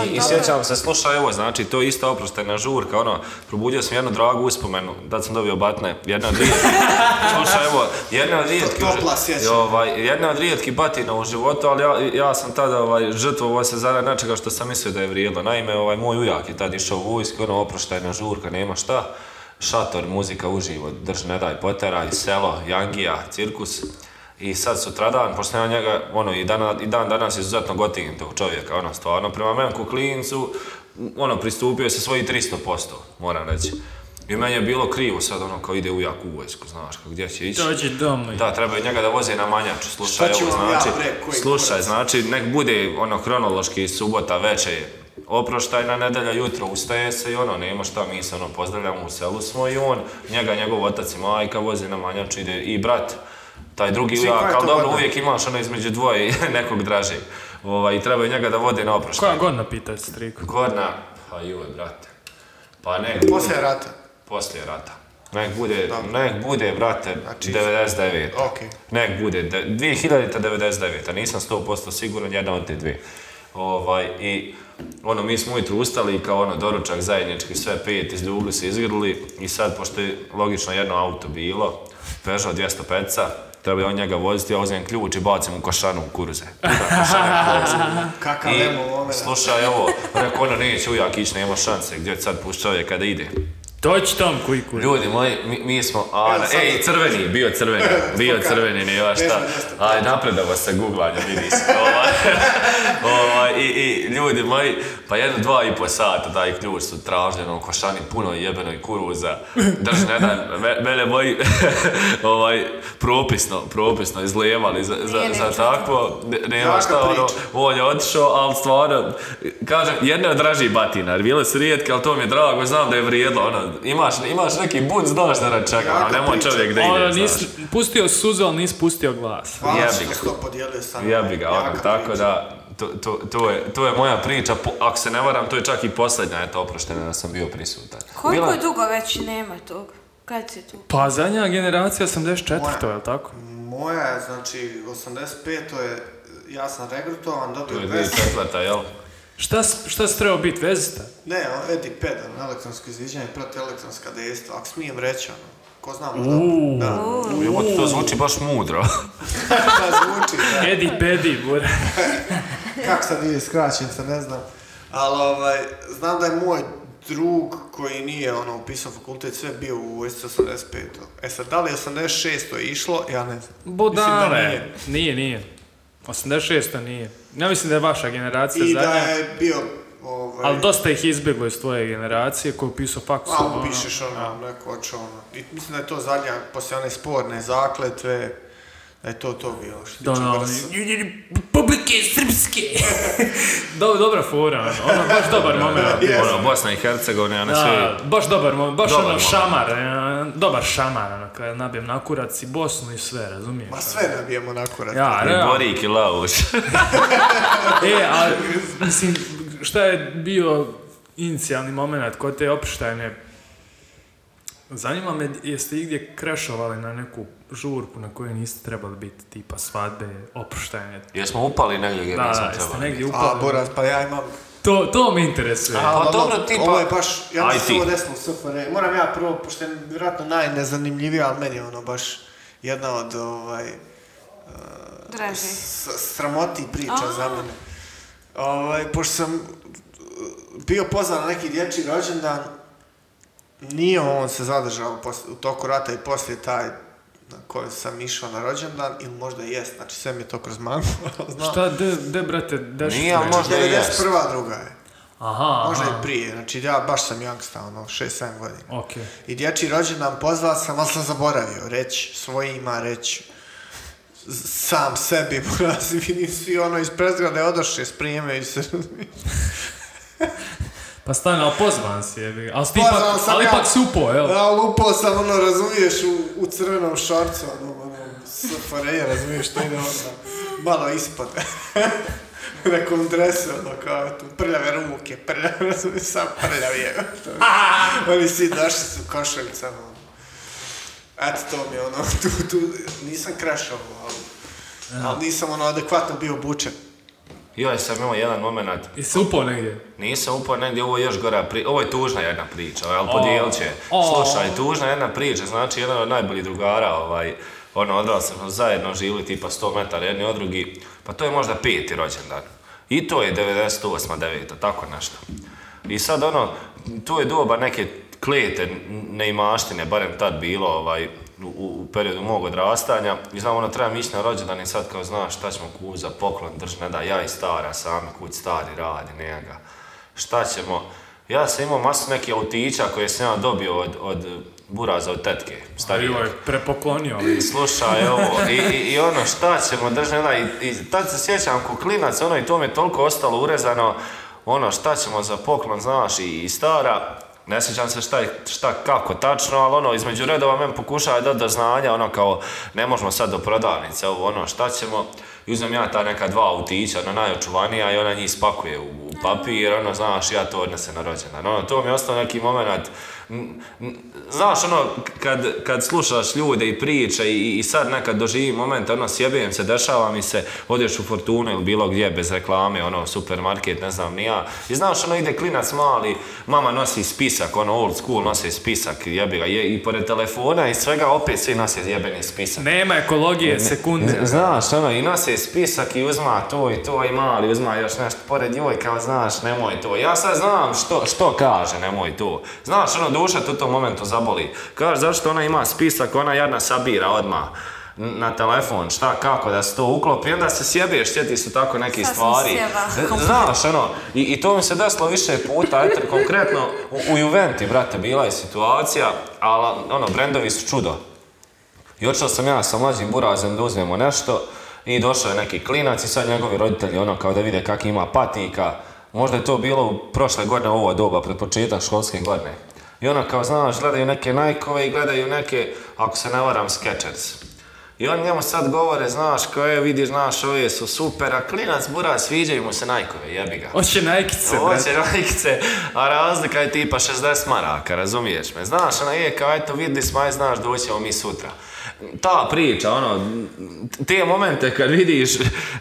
S5: I, i sjećam se,
S4: Slušaj, ovo, znači, to je ista oprostajna žurka, ono, probudio sam jednu dragu uspomenu, tad sam dobio batne, jedna od rijetkih, slušaj, evo, jedna od rijetkih,
S2: topla sjećanja.
S4: ovaj, jedna od rijetkih batina u životu, ali ja, ja sam tada, ovaj, žrtvovao se zarad nečega što sam mislio da je vrijedilo, naime, ovaj, moj ujak je tad išao u vojsku, ono, oproštajna žurka, nema šta, šator, muzika uživo, drž, ne daj, poteraj, selo, jangija, cirkus, I sad sutradan, pošto ja njega, ono, i, dana, i dan danas izuzetno gotivim tog čovjeka, ono, stvarno, prema meni ko klincu, ono, pristupio je sa svojih 300%, moram reći. I meni je bilo krivo sad, ono, kao ide ujak u vojsku, znaš, kao gdje će ići.
S1: Dođi doma.
S4: Da, treba je njega da voze na manjaču, slušaj,
S2: Šta ću
S4: evo,
S2: vam ja,
S4: znači,
S2: bre, koji
S4: slušaj,
S2: kurac?
S4: znači, nek bude, ono, kronološki subota večer, oproštajna nedelja jutro, ustaje se i ono, nema šta, mi se ono pozdravljamo u selu smo i on, njega, njegov otac i majka voze na manjaču, ide i brat, taj drugi
S2: Čekaj, koja
S4: ujak,
S2: je
S4: ali
S2: to
S4: dobro,
S2: godina?
S4: uvijek imaš ono između dvoje i nekog dražeg. Ovaj, i trebaju njega da vode na oproštaj.
S1: Koja godina pita se striku?
S4: Gorna, pa joj, brate. Pa ne,
S2: poslije rata.
S4: poslije rata. Nek bude, nek bude, brate,
S2: Znači-
S4: 99.
S2: Okej.
S4: Nek bude, de- 2099, a nisam 100% siguran, jedna od te dvije. Ovaj, i ono, mi smo ujutru ustali i kao ono, doručak zajednički, sve pet, izljubili se, izgrli i sad, pošto je logično jedno auto bilo, Peugeot 205-ca, treba je on njega voziti, ja uzmem ključ i bacim u košanu u kuruze.
S2: Kakav rem u
S4: I
S2: ovome, da.
S4: slušaj, evo, rekao ono, neće ujak ići, nema šanse, gdje sad pušt čovjeka da ide.
S1: Dođi tam koji kurac.
S4: Ljudi moji, mi, mi smo, a,
S2: Evo, sad-
S4: ej, crveni, bio crveni, bio crveni, nema šta. Aj, napredovo se googlanje, vidi se. Ovaj, ovaj, i, i, ljudi moji, pa jedno dva i po sata taj ključ su tražljeno u košani puno jebenoj kuruza. Drži, ne dan, me, mene moji, ovaj, propisno, propisno izlijevali za, za, za takvo, ne- nema
S2: Jaka
S4: šta, ono,
S2: priča.
S4: on je otišao, ali stvarno, kažem, jedna je draži batina, jer bile su rijetke, ali to mi je drago, znam da je vrijedlo, ono, imaš, imaš neki bunt, znaš da nas čeka, ono,
S2: Jaka
S4: nemoj
S2: priča.
S4: čovjek da
S1: Ono,
S4: ide,
S1: nisi
S4: znaš.
S1: pustio suzu, ali nisi pustio glas.
S2: Hvala
S4: jebi
S2: što
S4: ga.
S2: si to podijelio sa mnom.
S4: Jebi ga, ono,
S2: Jaka
S4: tako
S2: priča.
S4: da, to, to, to, je, to je moja priča, po- ako se ne varam, to je čak i posljednja, eto, oproštena da sam bio prisutan.
S6: Koliko
S4: Bila-
S6: je dugo već nema tog? Kad si tu?
S1: Pa zadnja generacija 84. je li tako?
S2: Moja je, znači, 85. je, ja sam regrutovan,
S4: To
S2: dobio
S4: je
S2: 200.
S4: 2004. jel?
S1: Šta, s- šta si trebao biti, vezista?
S2: Ne, on, Edik Pedan, elektronsko izviđanje, protiv elektronska dejstva, ako smijem reći, ono, ko zna možda. Da,
S4: Evo, to zvuči baš mudro.
S2: da zvuči, da.
S1: Edi, pedi, bure.
S2: Kako sad ide skraćenica, ne znam. Ali ovaj, znam da je moj drug koji nije ono upisao fakultet sve bio u vojsci 85. E sad, da li je 86. išlo, ja ne znam. Mislim da
S1: Budale.
S2: nije.
S1: Nije, nije. 86. nije. Ja mislim da je vaša generacija
S2: I da
S1: zadnja.
S2: je bio ovaj,
S1: Ali dosta ih je izbjeglo iz tvoje generacije koji je upisao faksu.
S2: A, upišeš ono, neko hoće ono. I mislim da je to zadnja, poslije one sporne zakletve, da je to to bilo. Što se
S1: Da,
S2: tiče
S1: ono,
S2: vrsta.
S9: Publike srpske.
S1: Do, dobra fora, ono, baš dobar moment.
S4: Ono, Bosna i Hercegovina, ono, one sve...
S1: Da,
S2: Znači,
S1: baš dobar moment, baš
S4: Dobar
S1: ono
S4: moment.
S1: šamar, e, dobar šamar, ono, kada nabijem na kurac i Bosnu i sve, razumiješ?
S2: Ma Pa sve nabijemo na kurac.
S1: Ja,
S4: I
S1: realno.
S4: Borik i Lauš.
S1: E, a mislim, šta je bio inicijalni moment kod te opštajne? Zanima me, jeste igdje krešovali na neku žurku na kojoj niste trebali biti, tipa svadbe, opštajne?
S4: Jesmo upali negdje gdje
S1: Da,
S4: nisam
S1: da, jeste
S4: trebao.
S1: negdje
S2: A,
S1: upali.
S2: Boras, pa ja imam
S1: To, to me interesuje.
S2: Ali ono,
S4: dobro, tipa-
S2: Ovo je baš, ja
S4: Aj
S2: mislim
S4: ti.
S2: se ovo desilo u SFRJ. Moram ja prvo, pošto je vjerojatno najnezanimljivija, ali meni je ono baš jedna od ovaj,
S6: Draži.
S2: s- sramoti priča za mene. Ovaj, pošto sam uh, bio pozvan na neki dječji rođendan, nije on se zadržao posl- u toku rata i poslije taj na koji sam išao na rođendan, ili možda jest, znači sve mi je to kroz mangu, ali znam.
S1: Šta, de, de brate, deš...
S4: Nije, ali možda i jest.
S2: 91. druga je.
S1: Aha,
S2: Može možda i prije. Znači, ja baš sam youngsta, ono, 6-7 godina.
S1: Ok.
S2: I dječji rođendan pozvao sam, ali sam zaboravio reći, svojima reći. Z- Sam sebi, poraz, vidim svi ono iz prezgrade odoše, sprijemaju se.
S1: Pa stani, ali pozvan si, jebi. ga. Ali, si ti
S2: Pozvan
S1: ipak-
S2: sam
S1: ali
S2: ja.
S1: ipak supo, jel?
S2: Ja, lupao sam, ono, razumiješ, u, u crvenom šorcu, ono, ono, SFRJ, razumiješ, što ide onda malo ispod. Nekom dresu, ono, kao, tu, prljave ruke, prljave, razumiješ, sam prljav je. Oni svi došli su košuljicama, ono. Eto, to mi je, ono, tu, tu, nisam krašao, ali, ali nisam, ono, adekvatno bio obučen.
S4: Joj, ovaj sam imao jedan moment.
S1: I supo negdje.
S4: Nisam upao negdje, ovo je još gora pri... Ovo je tužna jedna priča, ovaj, ali
S1: O.
S4: podijelit će.
S1: O.
S4: Slušaj, tužna jedna priča, znači jedan od najboljih drugara, ovaj, ono, odrasli smo zajedno živjeli tipa 100 metara jedni od drugi, pa to je možda peti rođendan. I to je 98. 9. tako nešto. I sad ono, tu je doba neke klete, n- neimaštine, barem tad bilo, ovaj, u- u, u periodu mog odrastanja. I znam, ono, trebam ići na rođendan i sad kao, znaš, šta ćemo ku za poklon, drž, ne da, ja i stara, sami kuć, stari radi, nema ga šta ćemo. Ja sam imao masu nekih autića koje sam ja dobio od, od buraza, od tetke, starijeg.
S1: Joj, prepoklonio.
S4: Slušaj, ovo, i, i, i ono, šta ćemo, držena, i, i tad se sjećam ko klinac, ono, i to mi je toliko ostalo urezano, ono, šta ćemo za poklon, znaš, i, i stara, ne sjećam se šta, je- šta kako tačno, ali ono, između redova men pokušava dati do znanja, ono, kao, ne možemo sad do prodavnice, ovo, ono, šta ćemo, i uzmem ja ta neka dva autića, ona najočuvanija, i ona njih spakuje u, u papir, ono, znaš, ja to odnesem na rođendan. Ono, to mi je ostao neki moment, n- n- Znaš, ono, kad, kad slušaš ljude i priče i, i sad nekad doživim moment, ono, sjebijem se, dešava mi se, odeš u Fortunu ili bilo gdje bez reklame, ono, supermarket, ne znam ni ja. I znaš, ono, ide klinac mali, mama nosi spisak, ono, old school nosi spisak, jebi ga, je, i pored telefona i svega, opet svi nose jebeni spisak.
S1: Nema ekologije, sekunde.
S4: Z- Znaš, ono, i nose spisak i uzma to i to i mali uzma još nešto pored joj, kao znaš, nemoj to. Ja sad znam što, što kaže, nemoj to. Znaš, ono, duša tu u tom momentu zaboli. Kaže, zašto ona ima spisak, ona jadna sabira odmah n- na telefon, šta, kako, da se to uklopi, onda se sjebeš, sjeti su tako neki
S6: Sasvim
S4: stvari.
S6: sjeba.
S4: Z- Znaš, ono, i, i to mi se desilo više puta, eto, konkretno, u, u Juventi, brate, bila je situacija, ali, ono, brendovi su čudo. I otišao sam ja sa mlađim burazem da uzmemo nešto i došao je neki klinac i sad njegovi roditelji ono kao da vide kak ima patika. Možda je to bilo u prošle godine u ovo doba, pred početak školske godine. I ono kao znaš, gledaju neke najkove i gledaju neke, ako se ne varam, Skechers. I oni njemu sad govore, znaš, kao je, vidiš, znaš, ove su super, a klinac buraz, sviđaju mu se najkove, jebi ga.
S1: Hoće najkice, brate.
S4: Hoće rajkice, a razlika je tipa 60 maraka, razumiješ me? Znaš, ona je kao, eto, vidi smo, aj, znaš, doćemo mi sutra. Ta priča, ono, te momente kad vidiš,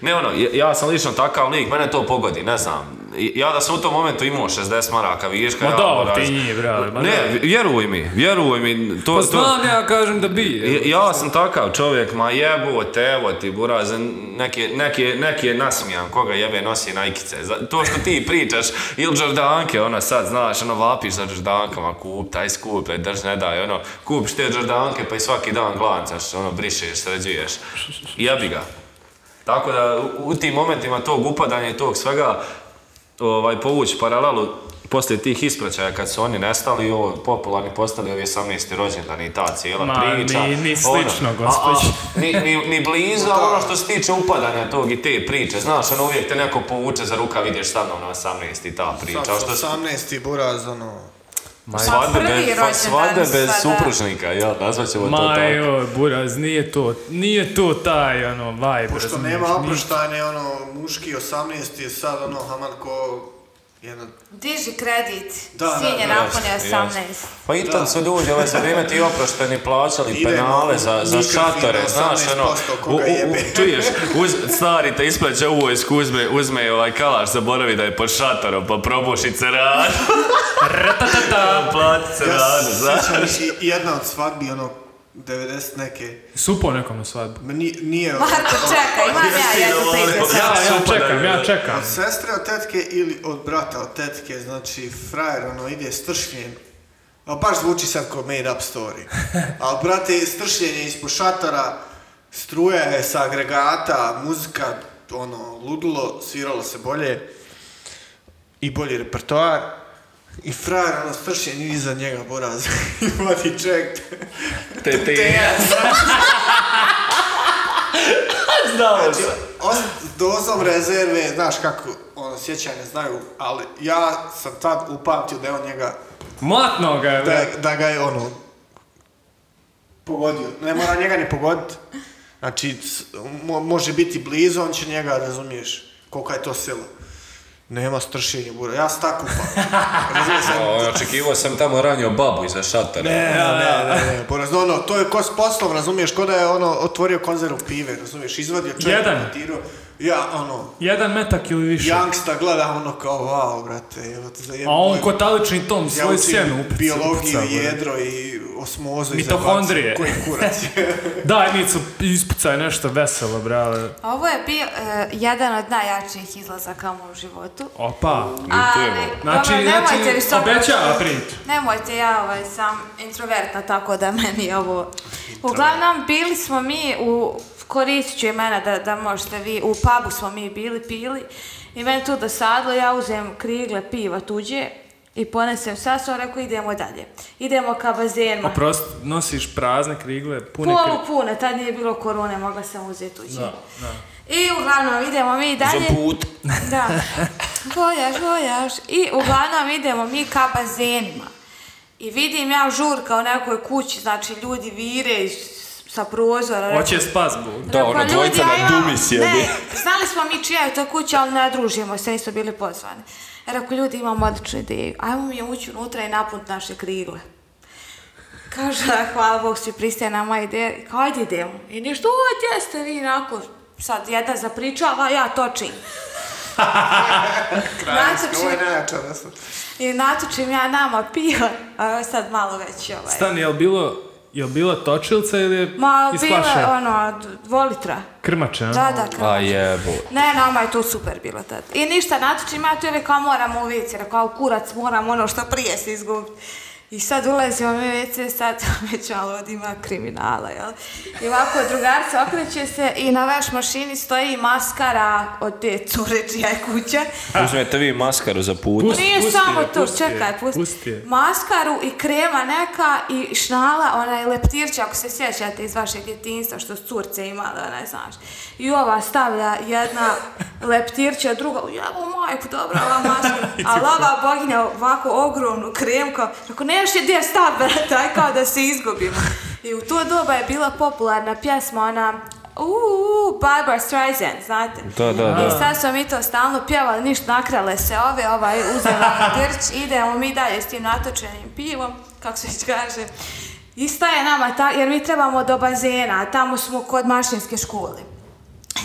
S4: ne ono, ja- ja sam lično takav lik, mene to pogodi, ne znam. I- Ja da sam u tom momentu imao 60 maraka viška,
S1: Ma
S4: ja
S1: dobro,
S4: moram-
S1: Pa ti njih, brale, ma da.
S4: Ne, vjeruj mi, vjeruj mi, to,
S1: Pa
S4: to,
S1: znam ja kažem da bi.
S4: ja- Ja sam takav čovjek, ma jebote, evo ti buraz, neki, neki, neki je nasmijan, koga jebe nosi najkice. Za- To što ti pričaš, ili Jordanke, ono sad, znaš, ono vapiš za Jordankama, kup, taj skup, e, drž ne daj, ono, kupiš te Jordanke pa i svaki dan glancaš, ono, brišeš, sređuješ, jebi ga. Tako da, u, u tim momentima tog upadanja i tog svega, ovaj, povući paralelu poslije tih ispraćaja kad su oni nestali i ovo popularni postali ovi 18. rođendan i ta cijela
S1: Ma,
S4: priča.
S1: ni- ni
S4: ono,
S1: slično,
S4: a- a,
S1: gospođo.
S4: ni, ni, ni blizu, a ono što se tiče upadanja tog i te priče, znaš, ono uvijek te neko povuče za rukav, ideš sa mnom na 18 i ta priča.
S2: Sad
S4: što
S2: sa
S4: se
S2: 18. buraz, ono,
S4: svadbe
S6: prvi
S4: bez,
S6: rođendan
S4: svadbe bez
S6: sada.
S4: supružnika, jel, nazvat ćemo to
S1: Ma
S4: tako.
S1: joj, buraz, nije to, nije to taj, ono, vibe,
S2: Pošto
S1: razumiješ,
S2: nema
S1: nije-
S2: oproštajne, ono, muški 18 je sad, ono, haman ko jedan...
S6: Diži kredit,
S2: Da, da,
S6: sin je
S2: da,
S6: napunio
S4: jasno,
S6: 18.
S4: Pa i tad su ljudi ove za vrijeme ti oprošteni plaćali
S2: Idemo,
S4: penale za, za
S2: mikrofina,
S4: šatore, znaš ono,
S2: 18%
S4: u, u,
S2: koga jebe.
S4: u, čuješ, uz, stari te isplaće u vojsku, uzme, uzme ovaj kalaš, zaboravi da je pod šatorom, pa probuši ceranu, ratatata, plati
S2: Ja
S4: ceranu,
S2: se
S4: znaš.
S2: sjećam i- i jedna od svadbi, ono, 90 neke.
S1: Supo nekom na svadbu.
S2: Ma ni- nije... ono,
S6: Marko, čekaj, imam ja jednu priču
S1: Ja,
S6: sad.
S1: ja čekam, ja čekam.
S2: Od sestre od tetke ili od brata od tetke, znači frajer ono ide stršljen. A baš zvuči sad kao made up story. Ali brate, stršljen je ispod šatara, struja je sa agregata, muzika, ono, ludilo, sviralo se bolje i bolji repertoar. I frajer, ono, stršen i iza njega boraz. I vodi ček.
S5: Te, te.
S2: Te,
S5: Znao sam.
S2: Znači, os, s dozom rezerve, znaš kako, ono, sjećanje znaju, ali ja sam tad upamtio da je on njega,
S1: Mlatno ga je,
S2: da,
S1: bre.
S2: da ga je, ono, pogodio. Ne mora njega ni pogoditi. Znači, s- mo- može biti blizu, on će njega, razumiješ, kolika je to sila. Nema stršenja, bura. Ja se tako upam. Razumiješ, sad-
S8: O, očekivao sam tamo ranio babu iza šatara.
S2: Ne, ne, ne, ne, ne, poraz, ono, to je ko s poslom, razumiješ, ko da je ono, otvorio konzervu pive, razumiješ, izvadio čovjek,
S1: Jedan.
S2: potirao. ja, ono,
S1: Jedan metak ili više.
S2: Youngsta gleda ono kao, wow, brate, evo te zajebno.
S1: A on ko talični tom
S2: ja
S1: svoju
S2: učim
S1: sjenu upeca.
S2: biologiju,
S1: upucao, bre.
S2: jedro i osmozu i
S1: Mitohondrije.
S2: zabacim, Koji kurac je.
S1: Daj, Nico, ispucaj nešto veselo, brale.
S6: Ovo je bio e, jedan od najjačih izlazaka u mom životu.
S1: Opa.
S6: Ali,
S1: Znači,
S6: dobro, nemojte
S1: znači,
S6: mi sad-
S1: obećava print.
S6: Nemojte, ja ovaj, sam introvertna, tako da meni je ovo... Uglavnom, bili smo mi u... Koristit ću imena da, da možete vi... U pubu smo mi bili, pili. I meni tu dosadilo, ja uzem krigle piva tuđe i ponesem sa sobom, rekao idemo dalje. Idemo ka bazenima.
S1: Prost, nosiš prazne krigle, pune
S6: Polu
S1: krigle.
S6: pune, tad nije bilo korone, mogla sam uzeti tuđe.
S1: Da, da.
S6: I uglavnom idemo mi dalje. Za put. Da. Vojaš, vojaš. I uglavnom idemo mi ka bazenima. I vidim ja žurka u nekoj kući, znači ljudi vire iz sa prozora.
S1: Hoće spas Bog.
S6: Rekao,
S8: ono,
S6: "Ljudi,
S8: dvojica na
S6: ja imam-
S8: dumi sjedi."
S6: Ne, znali smo mi čija je to kuća, ali ne družimo se, nisu bili pozvani. Rekao, ljudi, imam odličnu ideju. Ajmo mi ući unutra i napuniti naše krigle. Kaže, "A, hvala Bog, svi pristaje na moje ideje. Kao, ajde idemo. I ništa, uvijek jeste vi onako, sad jedna zapričava, ja točim. Natočim-
S2: Ovo je najjača vesla.
S6: I natočim ja nama piva, a ovo je sad malo veći ovaj.
S1: Stani, jel bilo, jel bilo točilca ili je
S6: Ma,
S1: iz
S6: bilo
S1: flaše?
S6: je ono, d- volitra.
S1: Krmače, ono. a?
S6: Da, da, kao-
S8: A jebo.
S6: Ne, nama je to super bilo tad. I ništa, natučim ja tu i rekao, moramo u WC, rekao, "Al, kurac, moram ono što prije se izgubiti. I sad ulazimo mi u WC, sad već malo od ima kriminala, jel? I ovako drugar se okreće se i na veš mašini stoji maskara od te cure čija je kuća.
S8: Uzmete vi maskaru za put.
S1: Pusti,
S6: Nije
S1: pusti
S6: samo
S1: je,
S6: to,
S1: pusti je,
S6: čekaj, pusti.
S1: pusti je.
S6: Maskaru i krema neka i šnala, onaj leptirć, ako se sjećate iz vašeg djetinjstva, što su curce imale, onaj, znaš. I ova stavlja jedna leptirća, druga, jebo majku, dobra ova maskara. Ali ova boginja ovako ogromnu kremu, kao, ako nemaš je gdje stav, taj kao da se izgubimo. I u to doba je bila popularna pjesma, ona, uuu, Barbara Streisand, znate?
S8: Da, da,
S6: I
S8: da.
S6: sad smo mi to stalno pjevali, ništa nakrale se ove, ovaj uzela grč, idemo mi dalje s tim natočenim pivom, kako se već kaže. I staje nama ta, jer mi trebamo do bazena, a tamo smo kod mašinske škole.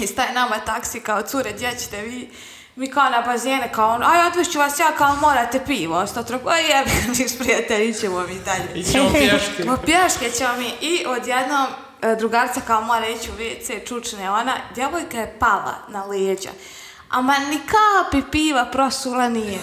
S6: I staje nama taksi kao cure, gdje ćete vi? Mi kao na bazene, kao ono, aj odvešću vas ja, kao morate pivo, sto trok, aj jebi, niš prijatelj, ićemo mi dalje.
S1: Ićemo pješke.
S6: Ma pješke ćemo mi i odjednom e, drugarca kao mora ići u WC, čučne ona, djevojka je pala na leđa. Ama ni kapi piva prosula nije.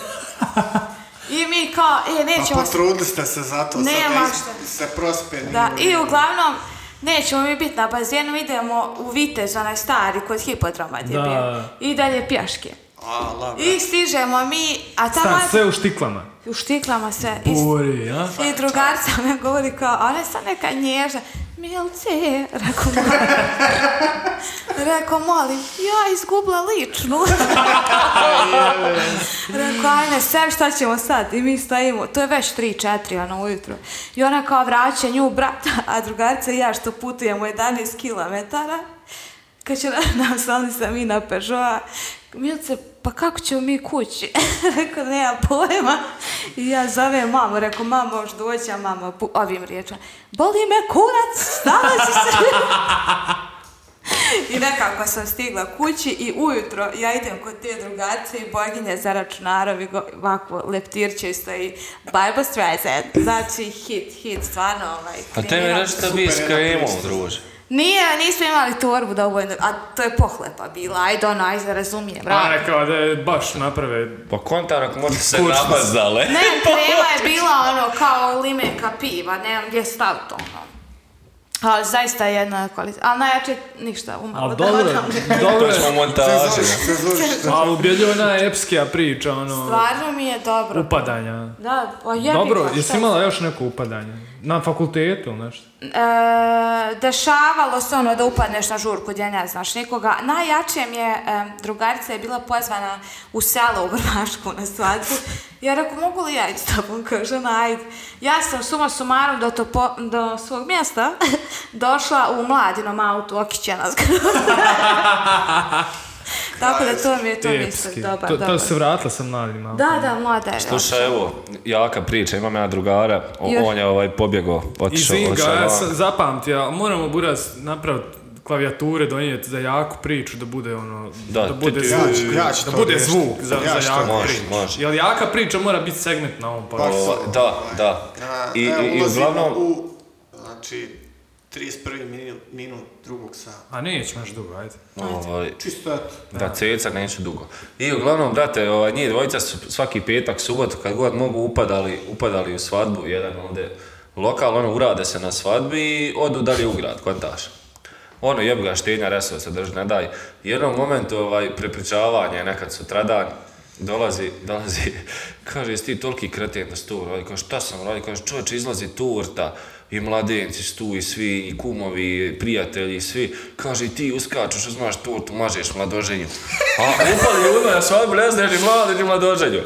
S6: I mi kao, e,
S2: Pa
S6: nećemo... se-
S2: potrudili ste se zato, sad
S6: Nema
S2: da
S6: šta.
S2: is- se prospe.
S6: Da,
S2: nije
S6: i
S2: u redu.
S6: uglavnom, nećemo mi biti na bazenu, idemo u Vitez, onaj stari, kod hipodroma gdje je
S1: Da.
S6: bio. I dalje pješke.
S2: A, la,
S6: I stižemo mi, a tamo
S1: Stan,
S6: je-
S1: sve u štiklama.
S6: u štiklama sve. I
S1: Buri, a?
S6: I drugarca me govori kao, a ona je sad neka nježna. Milce, rekao molim. rekao molim, ja izgubila ličnu. rekao, ajme, sve šta ćemo sad? I mi stojimo, to je već 3-4 ono ujutro. I ona kao vraća nju brata, a drugarca i ja što putujemo 11 kilometara. Kad će nam, nam slali sam i na Peugeota, Milce, pa kako ćemo mi kući? rekao, nema pojma. I ja zovem mamu, rekao, mamo, možeš doći, a mama pu- ovim riječima, boli me kurac, stala si se. I nekako sam stigla kući i ujutro ja idem kod te drugarice i boginje za računarom i go- ovako leptirće i stoji Bible Streisand. Znači hit, hit, stvarno ovaj.
S8: A te mi
S6: kriminal.
S8: nešto bi s kremom, druže.
S6: Nije, nismo imali torbu dovoljno, a to je pohlepa bila, ajde ono, ajde, razumijem,
S1: Ona
S6: radi.
S1: rekao da je baš naprave
S8: Pa kontar ako možete se
S1: Kućno.
S8: namazale.
S6: Ne, krema je bila ono kao limenka piva, ne znam gdje stav to ono. Ali zaista je jedna kvaliteta. Ali najjače ništa umalo.
S1: Ali
S6: da
S1: dobro,
S6: odam.
S1: dobro je.
S4: Ćemo montaže.
S1: Ali ubjedljivo je ona epskija priča, ono,
S6: Stvarno mi je dobro.
S1: upadanja.
S6: Da, pa ja
S1: Dobro, jesi imala još neko upadanje? Na fakultetu ili nešto?
S6: E, dešavalo se ono da upadneš na žurku gdje ne znaš nikoga. Najjače mi je, e, drugarica je bila pozvana u selo u Vrvašku na svadbu. Ja rekao, mogu li ja ići s tobom? Kaže, ona, ajde. Ja sam suma sumarom do, topo, do svog mjesta došla u mladinom autu, okićena zgrada. Tako da to mi je, to mi je sad
S1: Epski.
S6: dobar,
S1: to,
S6: dobar.
S1: to se vratila sam mladima.
S6: Da, da, mlada je.
S4: Slušaj, evo, jaka priča, imam ja drugara, o-
S6: Još.
S4: on je ovaj pobjegao, otišao,
S1: Izvin ga,
S4: otišao
S1: ja
S4: van.
S1: sam zapamtio, ali moramo buras napraviti klavijature, donijeti za jaku priču, da bude ono, da,
S4: Da, ti-
S1: bude
S4: ti-
S1: zvuk,
S2: Ja ću- ja ću
S1: da
S2: to
S1: bude
S2: riješiti.
S1: zvuk za,
S2: Ja ću
S1: za
S2: to
S1: jaku
S4: Može,
S1: priču.
S4: može.
S1: Jer jaka priča mora biti segment na ovom
S2: Pa,
S1: podcastu.
S4: O, Da, da.
S2: A,
S4: I,
S2: evo,
S4: i, i
S2: ulazimo
S4: uglavnom,
S2: U, znači, 31. minu, minut drugog sata.
S1: A neće baš dugo, ajde.
S4: ovaj,
S2: Čisto eto.
S4: Da, ceca neću dugo. I uglavnom, brate, ovaj, njih dvojica su svaki petak, subotu, kad god mogu, upadali, upadali u svadbu, jedan ovdje lokal, ono, urade se na svadbi i odu dalje u grad, kontaš. Ono, jebi ga štenja, resova se drži, ne daj. I u jednom momentu, ovaj, prepričavanje, nekad sutradan, dolazi, dolazi, kaže, jesi ti toliki kreten da si to uradio? Kaže, šta sam uradio? Kaže, čovječe, izlazi turta i mladenci su tu i svi, i kumovi, i prijatelji, i svi. Kaže, i ti uskačeš, uzmaš tortu, mažeš mladoženju. A upali ljudi na svadbu, ne znaš ni mlade, ni mladoženju.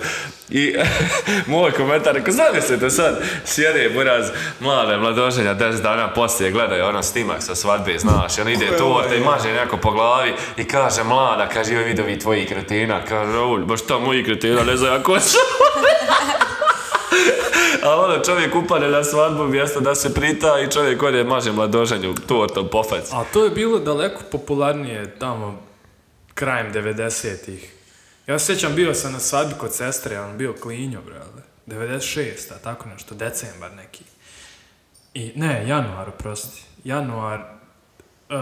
S4: I moj komentar, ako zamislite sad, sjede buraz mlade mladoženja 10 dana poslije, gledaju ono snimak sa svadbe, znaš, on ide torta i maže neko po glavi i kaže mlada, kaže, joj vidovi tvoji kretina, kaže, ulj, baš šta moji kretina, ne znam ja ko su. A ono, čovjek upade na svadbu mjesto da se prita i čovjek ode maže mladoženju tortom po faci.
S1: A to je bilo daleko popularnije tamo krajem 90-ih. Ja se sjećam, bio sam na svadbi kod sestre, on bio klinjo, brale. 96, a tako nešto, decembar neki. I, ne, januar, prosti. Januar, uh,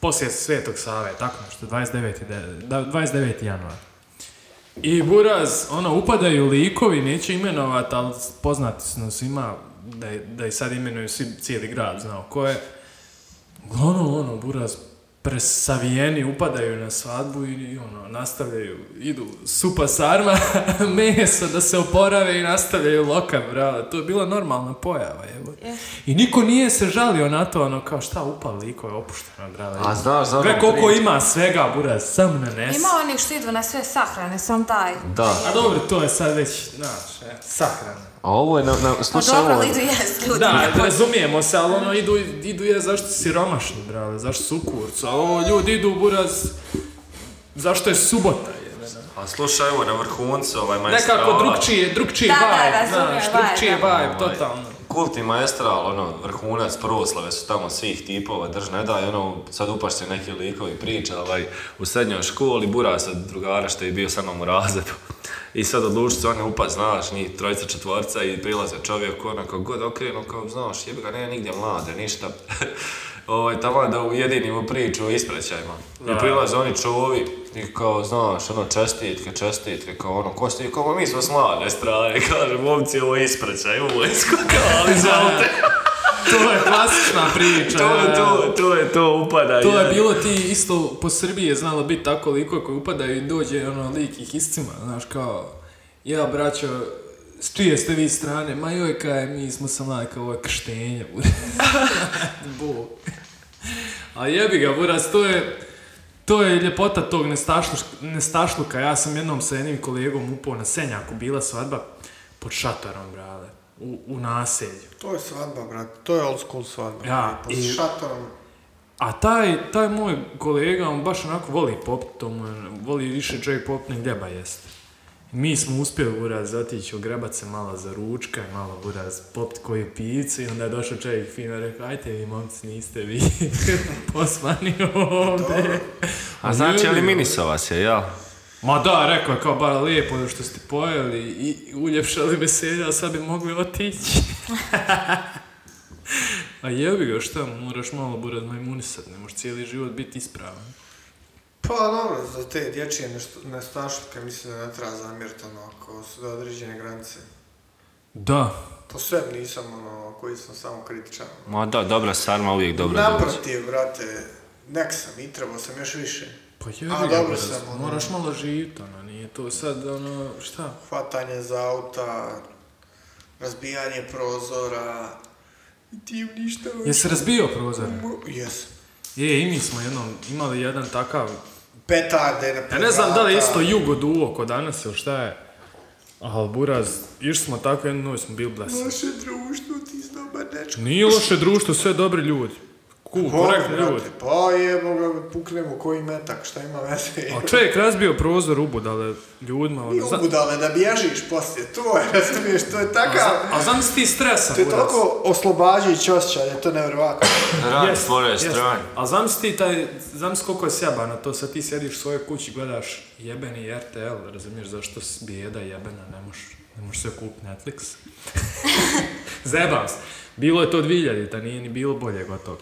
S1: poslije Svetog Save, tako nešto, 29. de- da, 29. januar. I Buraz, ono, upadaju likovi, neće imenovat, ali poznati su nam svima, da, je- da i sad imenuju svi, cijeli grad, znao ko je. Uglavnom, ono, buraz presavijeni upadaju na svadbu i, i ono, nastavljaju, idu supa sarma, meso da se oporave i nastavljaju lokam, bravo. To je bila normalna pojava, evo. I niko nije se žalio na to, ono, kao šta upali, liko je opušteno, bravo.
S10: A znaš, znaš.
S1: Gle, koliko ima svega, buraz, samo ne nesi.
S6: Ima onih što idu na sve sahrane, sam taj.
S10: Da.
S1: A dobro, to je sad već, znaš, e, sahrana.
S10: A ovo je, na, na,
S6: Pa
S10: slušaj,
S6: dobro,
S10: ovo
S6: ali
S10: je-
S6: idu jest ljudi.
S1: Da, razumijemo se, ali ono, idu, idu je zašto si siromašni, brale, zašto su u kurcu, a ovo ljudi idu, buraz, zašto je subota, jebena.
S4: A slušaj, evo, na vrhuncu ovaj maestral.
S1: Nekako drugčije, drugčiji
S6: Da, da,
S1: vibe,
S6: razumijem,
S1: znaš,
S6: vibe,
S1: drugčiji
S6: da.
S1: vibe, totalno.
S4: Kulti maestral, ono, vrhunac proslave su tamo svih tipova, drž ne daj, ono, sad upaš se neki likovi priča, ovaj, u srednjoj školi, bura se drugara što je bio sa mnom u razredu. I sad odluči se, ono, upad, znaš, njih trojica četvorca i prilaze čovjek, ono, kako god okrenu, kao, znaš, jebi ga, ne, nigdje mlade, ništa. ovaj, tamo da ujedinimo priču o ispraćajima. I prilaze oni čovi, i kao, znaš, ono, čestitke, čestitke, kao ono, ko ste, kao, "Ma mi smo s mlade strane, kaže, momci, ovo je ispraćaj, ovo je ali izvolite.
S1: To je klasična priča.
S4: To je
S1: ja.
S4: to, to je to, upada.
S1: To je
S4: jedan.
S1: bilo ti isto po Srbiji je znalo biti tako liko koji upadaju i dođe ono lik i hiscima, znaš kao ja braćo s čije ste vi strane, ma joj kaj mi smo sam lajka ovo je krštenje, buraz. Bog. A jebi ga buraz, to je to je ljepota tog nestašluš- nestašluka. Ja sam jednom sa jednim kolegom upao na senjaku, bila svadba pod šatorom, brale, u, u naselju.
S2: To je svadba, brate. To je old school svadba.
S1: Ja,
S2: Pa
S1: i-
S2: s šatorom.
S1: A taj, taj moj kolega, on baš onako voli pop, to mu je, voli više J pop nek deba jeste. Mi smo uspjeli uraz otići ogrebat se malo za ručka, malo uraz popt koju picu i onda je došao čovjek fino i rekao, ajte vi momci niste vi posmani ovdje.
S4: A znači,
S1: Ljudi,
S4: eliminisao vas je, jel?
S1: Ma da, rekao je kao bar lijepo je što ste pojeli i uljepšali veselje, a sad bi mogli otići. a jebi ga šta, moraš malo buraz majmunisat, ne možeš cijeli život biti ispravan.
S2: Pa dobro, za te dječje nešt- nestašluke mislim da ne treba zamjeriti ono, ako su do određene granice.
S1: Da,
S2: Po svem nisam, ono, koji sam samo kritičan.
S4: Ma da, dobra sarma uvijek dobra dođe.
S2: Naprotiv, brate, nek sam i trebao sam još više.
S1: Pa
S2: A,
S1: jebi ga,
S2: dobro
S1: brate,
S2: sam, ono.
S1: moraš malo živit, ono, nije to sad, ono, šta?
S2: Hvatanje za auta, razbijanje prozora, ti ništa...
S1: Jesi razbio prozor?
S2: Jes.
S1: Je, i mi smo jednom imali jedan takav,
S2: Petarde na
S1: ja ne znam da li je
S2: vrata.
S1: isto jugo duo kod danas ili šta je, ali buraz, išli smo tako jednu noć smo bili blesni.
S2: Naše društvo, ti znam, dečko.
S1: Nije loše društvo, sve dobri ljudi. Cool, korektni ljudi.
S2: Pa jebo ga, puknemo koji metak, šta ima veze?
S1: A čovjek razbio prozor u budale ljudima. ono,
S2: I
S1: zna-
S2: ubudale da bježiš poslije, to je, razumiješ, to je takav...
S1: A znam si ti stresan,
S2: To je
S1: buraz.
S2: toliko oslobađajući osjećaj, da je to nevjerovatno.
S4: Rad
S1: Jest,
S4: tvore
S1: jest.
S4: strane.
S1: A znam si ti taj, znam si koliko je sjabano to, sad ti sjediš u svojoj kući, gledaš jebeni RTL, razumiješ zašto s bijeda jebena, ne možeš, ne možeš sve kupiti Netflix. Zebam se. Bilo je to 2000, ta nije ni bilo bolje gotovo.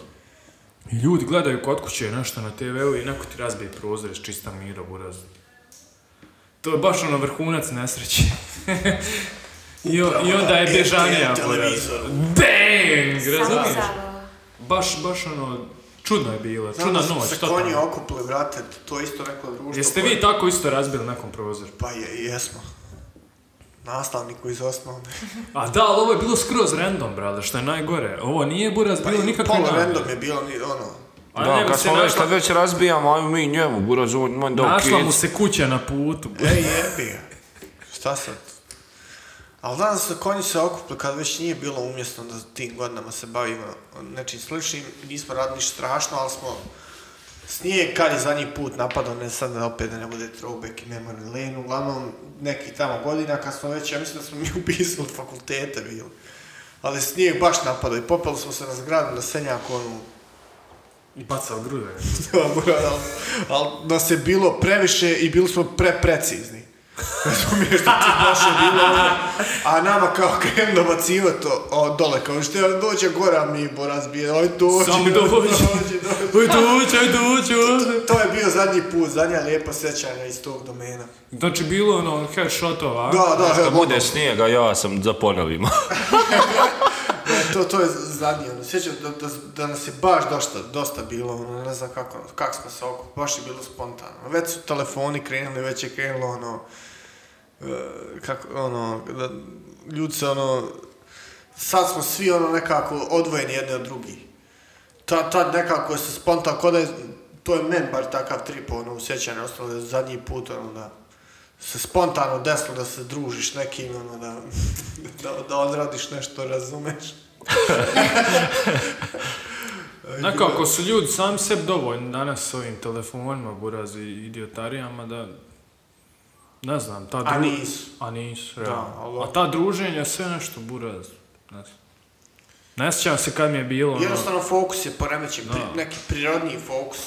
S1: I ljudi gledaju kod kuće nešto na TV-u i neko ti razbije prozor iz čista mira, buraz. To je baš ono vrhunac nesreće. I, o- I onda je
S2: Upravo,
S1: bježanija,
S2: RTL
S1: buraz.
S2: televizor.
S1: Bang!
S6: Samo
S1: Razumiješ?
S6: zabava.
S1: Baš, baš ono, čudno je bilo,
S2: Znam
S1: čudna
S2: da su
S1: noć,
S2: se
S1: totalno.
S2: konji okupili, brate, to je isto neko društvo.
S1: Jeste
S2: koje-
S1: vi tako isto razbili nekom prozor?
S2: Pa je, jesmo. Nastavniku iz osnovne.
S1: A da, ali ovo je bilo skroz random, brale, što je najgore. Ovo nije buraz
S2: Pa
S1: bilo
S2: i
S1: nikakve
S2: pola
S1: namjere.
S2: random je bilo, ni- ono...
S1: A
S4: Da,
S1: ne, bi
S4: kad
S1: se
S4: smo već,
S1: našla,
S4: kad već razbijamo, ajmo mi njemu, buraz, on ima da
S1: našla
S4: okid.
S1: mu se kuća na putu.
S2: E, jebi ga. Šta sad? Ali danas su konji se okupili kad već nije bilo umjesno da tim godinama se bavimo nečim sličnim. Nismo radili ništa strašno, ali smo... Snijeg kad je zadnji put napadao, ne sad da opet da ne bude throwback i memory lane, uglavnom neki tamo godina kad smo već, ja mislim da smo mi u Bisu od fakulteta bili. Ali snijeg baš napadao i popeli smo se na zgradu na Senjaku, onu,
S1: I bacao grude.
S2: dobro, ali, ali nas je bilo previše i bili smo preprecizni. Razumiješ da ti baš je bilo ono, a nama kao krem dobaciva to o, dole, kao što je dođe gora mi bo razbije, oj dođi,
S1: Samo
S2: dođi,
S1: dođi.
S2: dođi, dođi.
S1: Uj, dođi, uj, dođi, ovdje.
S2: To je bio zadnji put, zadnja lijepa sjećanja iz tog domena.
S1: Znači, bilo je ono headshotova, a?
S2: Da, da,
S4: Kad
S2: evo,
S4: bude snijega, ja sam za ponovima.
S2: e, to, to je zadnje, ono, sjećam da, da, da nas je baš dosta, dosta bilo, ono, ne znam kako, kako smo se oko, baš je bilo spontano. Već su telefoni krenuli, već je krenulo, ono, e, kako, ono, da, ljudi se, ono, sad smo svi, ono, nekako odvojeni jedni od drugih. Ta, tad nekako se spontano, kod je, to je men bar takav trip, ono, usjećanje, ostalo da je zadnji put, ono, da se spontano desilo da se družiš nekim, ono, da, da, da odradiš nešto, razumeš?
S1: Nekako su ljudi sami sebi dovoljni danas s ovim telefonima, buraz i idiotarijama da... Ne znam, ta
S2: A
S1: dru-
S2: nisu.
S1: A nisu,
S2: Da,
S1: realno.
S2: ali-
S1: A ta druženja sve nešto buraz. Ne znam. Ne sjećam se kad mi je bilo
S4: Pa,
S1: ono...
S2: Jednostavno fokus je poremećen, pri,
S1: Da.
S2: neki prirodniji fokus.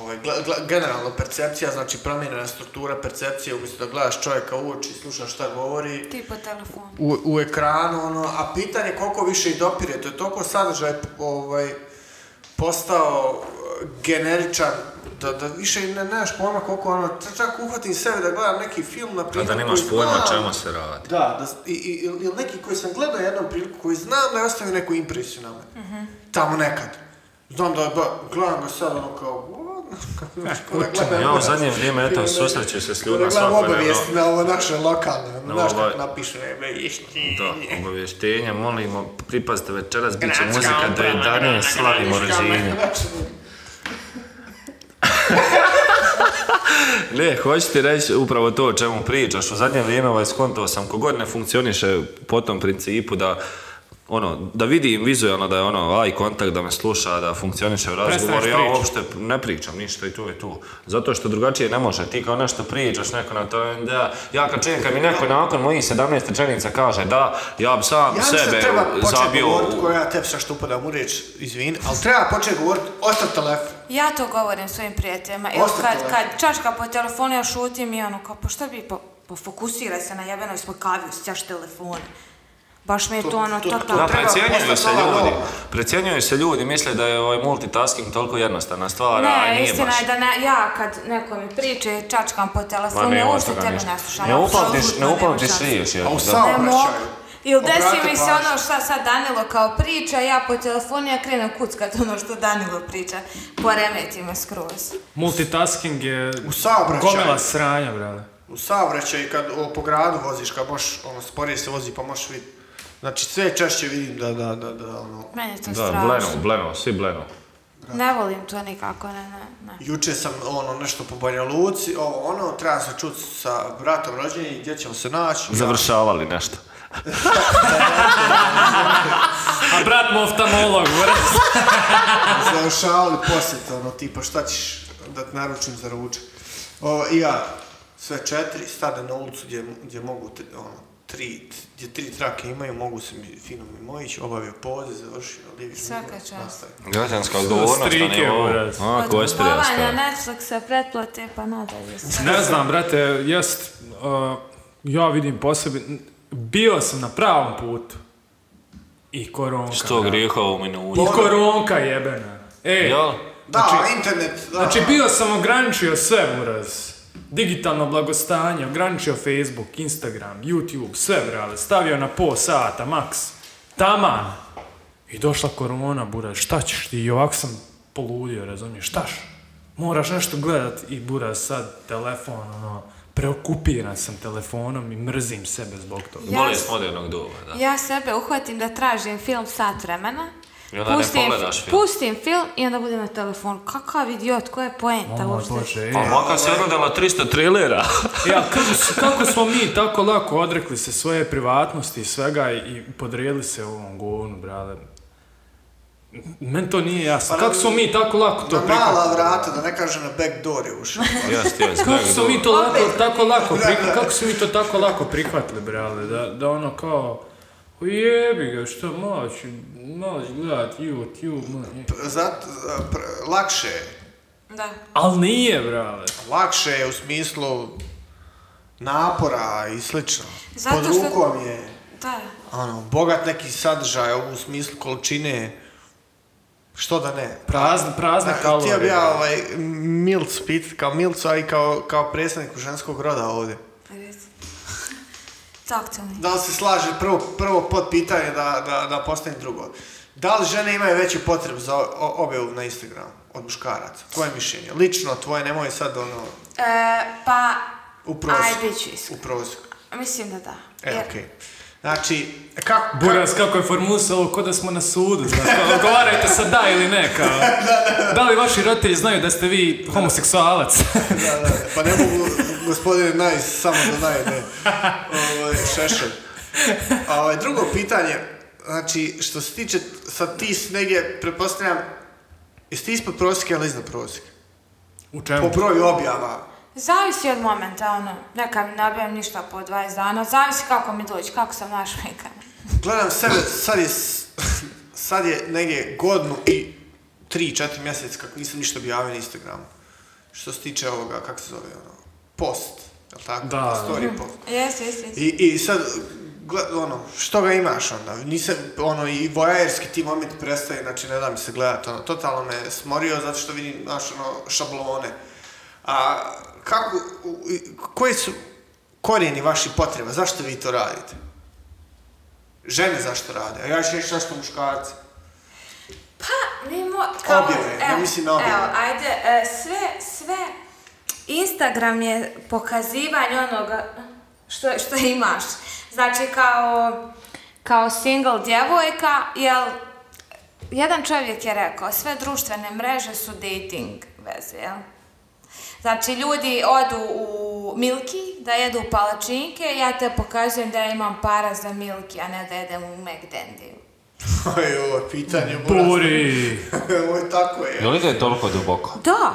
S2: Ovaj, gle- gle- generalno percepcija, znači promjenjena struktura percepcije, umjesto da gledaš čovjeka u oči, slušaš šta govori,
S6: Ti po telefonu.
S2: u, u ekranu, ono, a pitanje je koliko više i dopire, to je toliko sadržaj ovaj, postao eh, generičan, da, da više i ne nemaš pojma koliko ono, čak- čak uhvatim sebe da gledam neki film na
S4: A
S2: primjer
S4: da nemaš
S2: koji
S4: pojma o
S2: znam-
S4: čemu se radi.
S2: da, da, s- i, i, ili- ili neki koji sam gledao jednom priliku, koji znam da je ostavio neku impresiju na mene. Tamo nekad. Znam da je, ba, gledam ga sad ono kao,
S4: E, Ja u zadnje vrijeme, eto, susreću se s ljudima
S2: svakodnevno.
S4: svakodnevno.
S2: Gledam obavijesti na ovo naše lokalne, ono,
S4: Na
S2: znaš
S4: ovaj-
S2: kako napišu, ne, be, išti.
S4: Da, obavještenja, molimo, pripazite večeras, bit će
S11: Gradska
S4: muzika do
S11: uprava,
S4: 11,
S11: gradska
S4: slavimo
S11: uprava.
S4: rođenje.
S2: ono,
S4: Ne, hoću ti reći upravo to o čemu pričaš. U zadnje vrijeme ovaj skontao sam, kogod ne funkcioniše po tom principu da ono, da vidim vizualno da je ono aj kontakt, da me sluša, da funkcioniše u razgovoru, ja
S1: pričat.
S4: uopšte ne pričam ništa i to je tu. Zato što drugačije ne može, ti kao nešto pričaš, neko na to, da, ja kad čujem, kad mi neko nakon mojih 17 rečenica kaže da, ja bi sam
S2: Ja mislim da
S4: sebe
S2: treba početi
S4: zabio
S2: govorit,
S4: u-
S2: koja ja tebi što upadam u riječ, izvin, ali treba početi govorit, ostav telefon.
S6: Ja to govorim svojim prijateljima. Evo
S2: Ostav
S6: kad,
S2: telefon.
S6: kad čačka po telefonu, ja šutim i ono kao, pa šta bi, pa, pa fokusiraj se na jebenoj smo kaviju, sjaš telefon. Baš mi je to, ono,
S2: to-
S6: to,
S2: to-
S4: Da,
S2: treba
S4: precjenjuju
S2: postati
S4: se
S2: nova
S4: ljudi.
S2: norma.
S4: Precjenjuju se ljudi, misle da je ovaj multitasking toliko jednostavna stvar, a
S6: Ne,
S4: nije
S6: istina
S4: baš.
S6: je da ne, ja kad neko mi priče, čačkam po
S4: Ma
S6: telefonu,
S4: nema
S6: uopšte
S4: toga
S6: tebe
S4: ništa.
S6: ne slušam.
S4: Ne upamtiš,
S6: apsolutno
S4: ne
S6: nemam
S4: upamtiš
S6: šanse.
S4: riječ, jel?
S2: A u
S4: Da.
S6: Ne mogu.
S2: saobraćaju.
S6: Ili desi
S2: Obrati
S6: mi se
S2: pažnju.
S6: ono šta sad Danilo kao priča, ja po telefonu ja krenem kuckat ono što Danilo priča. Poremeti me skroz.
S1: Multitasking je
S2: U saobraćaju.
S1: gomila sranja, brale.
S2: U saobraćaju kad o, po gradu voziš, kad možeš, ono, sporije se vozi pa možeš vidjeti. Znači sve češće vidim da, da, da, da, ono,
S6: Meni je to
S8: Da,
S6: strašno.
S8: bleno, bleno, svi bleno.
S6: Ne volim to nikako, ne, ne, ne.
S2: Juče sam ono nešto po Banja Luci, ovo ono, trebam se čuti sa bratom rođenim gdje ćemo se naći.
S8: Završavali nešto.
S1: A brat mu oftalmolog, brate.
S2: Završavali posjet, ono, tipa šta ćeš da te naručim za ručak. Ovo, i ja, sve četiri, stade na ulicu gdje, gdje mogu, te, ono, tri, gdje tri trake imaju, mogu se mi, fino mi mojić, obavio poziv, završio, ono, lijevi
S6: Svaka
S2: život,
S6: čast.
S2: nastavio.
S8: Građanska odgovornost na
S1: Strike,
S8: nivou.
S1: brate.
S8: A, ko je
S6: Od
S8: strija
S6: kupovanja Netflixa, pretplate, pa nadalje.
S1: Ne znam, brate, jest, uh, ja vidim po sebi, bio sam na pravom putu. I koronka.
S8: Sto
S1: brate.
S8: grijeha u minuti.
S1: I koronka jebena. E,
S8: Jel?
S2: Da,
S1: Znači-
S2: internet, da.
S1: Znači, bio sam ograničio sve, buraz. Digitalno blagostanje, ograničio Facebook, Instagram, YouTube, sve, brale. Stavio na po sata, maks. Taman. I došla korona, buraz. Šta ćeš ti? I ovako sam poludio, razumiješ? Štaš? Moraš nešto gledat i buraz sad telefon, ono, preokupiran sam telefonom i mrzim sebe zbog toga.
S6: Ja-
S8: Bolest modernog doba, da.
S6: Ja sebe uhvatim da tražim film sat vremena.
S8: I onda ne pogledaš film.
S6: Pustim film i onda budem na telefon. Kakav idiot, koja je poenta
S1: O moj
S6: uopšte?
S1: Bože, e.
S8: A maka se odgledala 300 trilera.
S1: Ja, kako, s- kako smo mi tako lako odrekli se svoje privatnosti i svega i, i podredili se ovom govnu, brale. Meni to nije jasno.
S2: Pa
S1: Kako
S2: na-
S1: smo mi tako lako to
S2: na mala
S1: prihvatili?
S2: vrata, da ne kažem na back door je ušao.
S8: Jeste, jeste.
S1: Kako smo mi to lako, tako lako
S2: Da,
S1: prihvatili?
S2: da.
S1: Kako smo mi to tako lako prihvatili, brale? Da, da ono kao... "O Jebi ga, što malo ću, malo ću gledat YouTube, malo je."
S2: Zato, pr- lakše je.
S6: Da.
S1: Ali nije, brale.
S2: lakše je u smislu napora i slično.
S6: Zato
S2: Pod
S6: što-
S2: rukom je
S6: Da.
S2: ono, bogat neki sadržaj u smislu količine što da ne.
S1: Prazne, prazne
S2: Da,
S1: kalorije.
S2: Htio bi ja
S1: brale.
S2: ovaj Milc pit kao Milca i kao, kao predstavniku ženskog roda ovdje.
S6: Reci. Taktilni.
S2: Da li se slaže prvo, prvo pod pitanje da, da, da postane drugo? Da li žene imaju veću potrebu za o- objavu na Instagramu od muškaraca? Tvoje mišljenje. Lično tvoje, nemoj sad ono
S6: E, pa,
S2: u prosjeku.
S6: Aj, bit ću iskren.
S2: U prosjeku.
S6: mislim da da.
S2: E,
S6: Jer-
S2: okej. Znači, kako...
S1: Buras, kako je formulisao, ko da smo na sudu, znaš, kao, odgovarajte sa da ili ne, kao. Da li vaši roditelji znaju da ste vi homoseksualac?
S2: Da, da, pa ne mogu gospodine naj, samo da naj, ne. Ovaj, šešelj. A ovaj, drugo pitanje, znači, što se tiče, sad ti s negdje, pretpostavljam, jesi ti ispod prosjeka ili iznad prosjeka?
S1: U
S2: Po
S1: čemu?
S2: broju objava.
S6: Zavisi od momenta, ono. Neka mi ne objavim ništa po 20 dana. Zavisi kako mi dođe, kako sam našminkana.
S2: Gledam sebe, sad je, s- sad je negdje godinu i tri, četiri mjeseca kako nisam ništa objavio na Instagramu. Što se tiče ovoga, kako se zove, ono, post, jel tako?
S1: Da, da.
S2: Story post.
S6: Jes, jes, jes.
S2: I, i sad, gled, ono, što ga imaš onda? Nisam, ono, i vojajerski ti moment prestaje, znači ne da mi se gledat, ono, totalno me smorio zato što vidim, znaš, ono, šablone. A kako, u- i- koji su korijeni vaših potreba? Zašto vi to radite? Žene zašto rade? A ja ću reći zašto muškarci.
S6: Nemo,
S2: Objave, ja mislim na objave.
S6: Evo, ajde, e, sve, sve, Instagram je pokazivanje onoga što, što imaš. Znači, kao, kao single djevojka, jel, jedan čovjek je rekao, sve društvene mreže su dating veze, jel? Znači, ljudi odu u Milki da jedu palačinke, ja te pokazujem da ja imam para za Milki, a ne da jedem u McDendiju.
S2: Oj, ovo pitanje,
S1: Buri!
S2: Ovo je tako je.
S4: Jel ide toliko duboko?
S6: Da.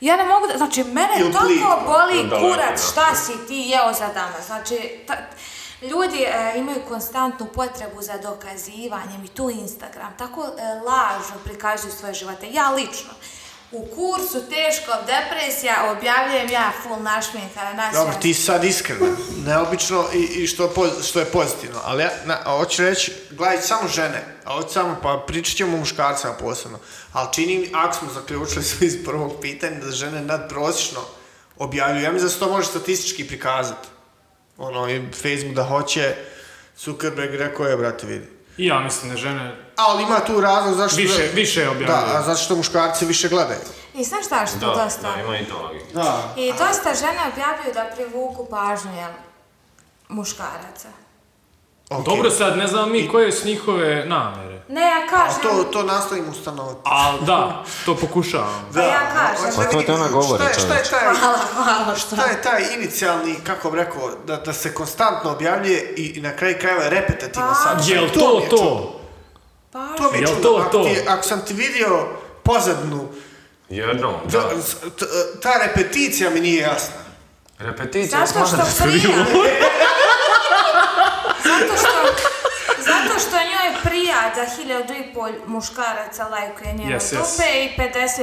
S6: Ja ne mogu da, znači mene
S2: Ili
S6: toliko
S2: plitko.
S6: boli
S8: Ili daleko,
S6: kurac
S8: da.
S6: šta si ti jeo za danas. Znači, ta- ljudi e, imaju konstantnu potrebu za dokazivanjem i tu Instagram. Tako e, lažno prikazuju svoje živote. Ja lično. U kursu teško depresija objavljujem ja full našminka na nas.
S2: Dobro, ti si sad iskreno, neobično i, i što, je poz- što je pozitivno, ali ja na, a hoću reći, gledaj samo žene, a hoću samo, pa pričat ćemo o muškarcima posebno, ali čini mi, ako smo zaključili sve iz prvog pitanja, da žene nadprosječno objavljuju, ja mislim da se to može statistički prikazati, ono, i Facebook da hoće, Zuckerberg rekao je, brate, vidi.
S1: I ja mislim da žene
S2: Ali ima tu razlog zašto...
S1: više, više
S2: Da, a
S1: objavljuju.
S2: zato što muškarci više gledaju.
S6: I znaš šta što dosta?
S8: ima i to logike.
S2: Da.
S6: I dosta žena objavljuju da privuku pažnju, jel? Muškaraca.
S2: Okay.
S1: Dobro, sad ne znam mi koje su njihove namjere.
S6: Ne, ja
S2: A
S6: kažem...
S2: to, to nastavim ustanovati.
S1: Ali da, to pokušavam.
S6: Pa ja kažem.
S2: hoćete
S4: Pa to ti ona
S2: vidjeti
S4: govori,
S2: Šta je, šta je taj,
S6: Hvala, hvala što...
S2: šta je taj inicijalni, kako bi rekao, da, da se konstantno objavljuje i, i na kraju krajeva je repetitivno sad.
S1: Jel
S2: mi
S1: to
S2: je čudno.
S1: to?
S2: To mi je
S1: Jel
S2: čudno.
S1: to
S2: Ako,
S1: to?
S2: ti- ako sam ti vidio pozadnu,
S8: Jednom,
S2: to-
S8: da.
S2: s- t- ta repeticija mi nije jasna.
S8: Repeticija
S6: Zato što prija. Zato što... Zato što njoj prija da hiljadu i pol muškaraca lajkuje njeno
S1: Yes, yes.
S6: dupe i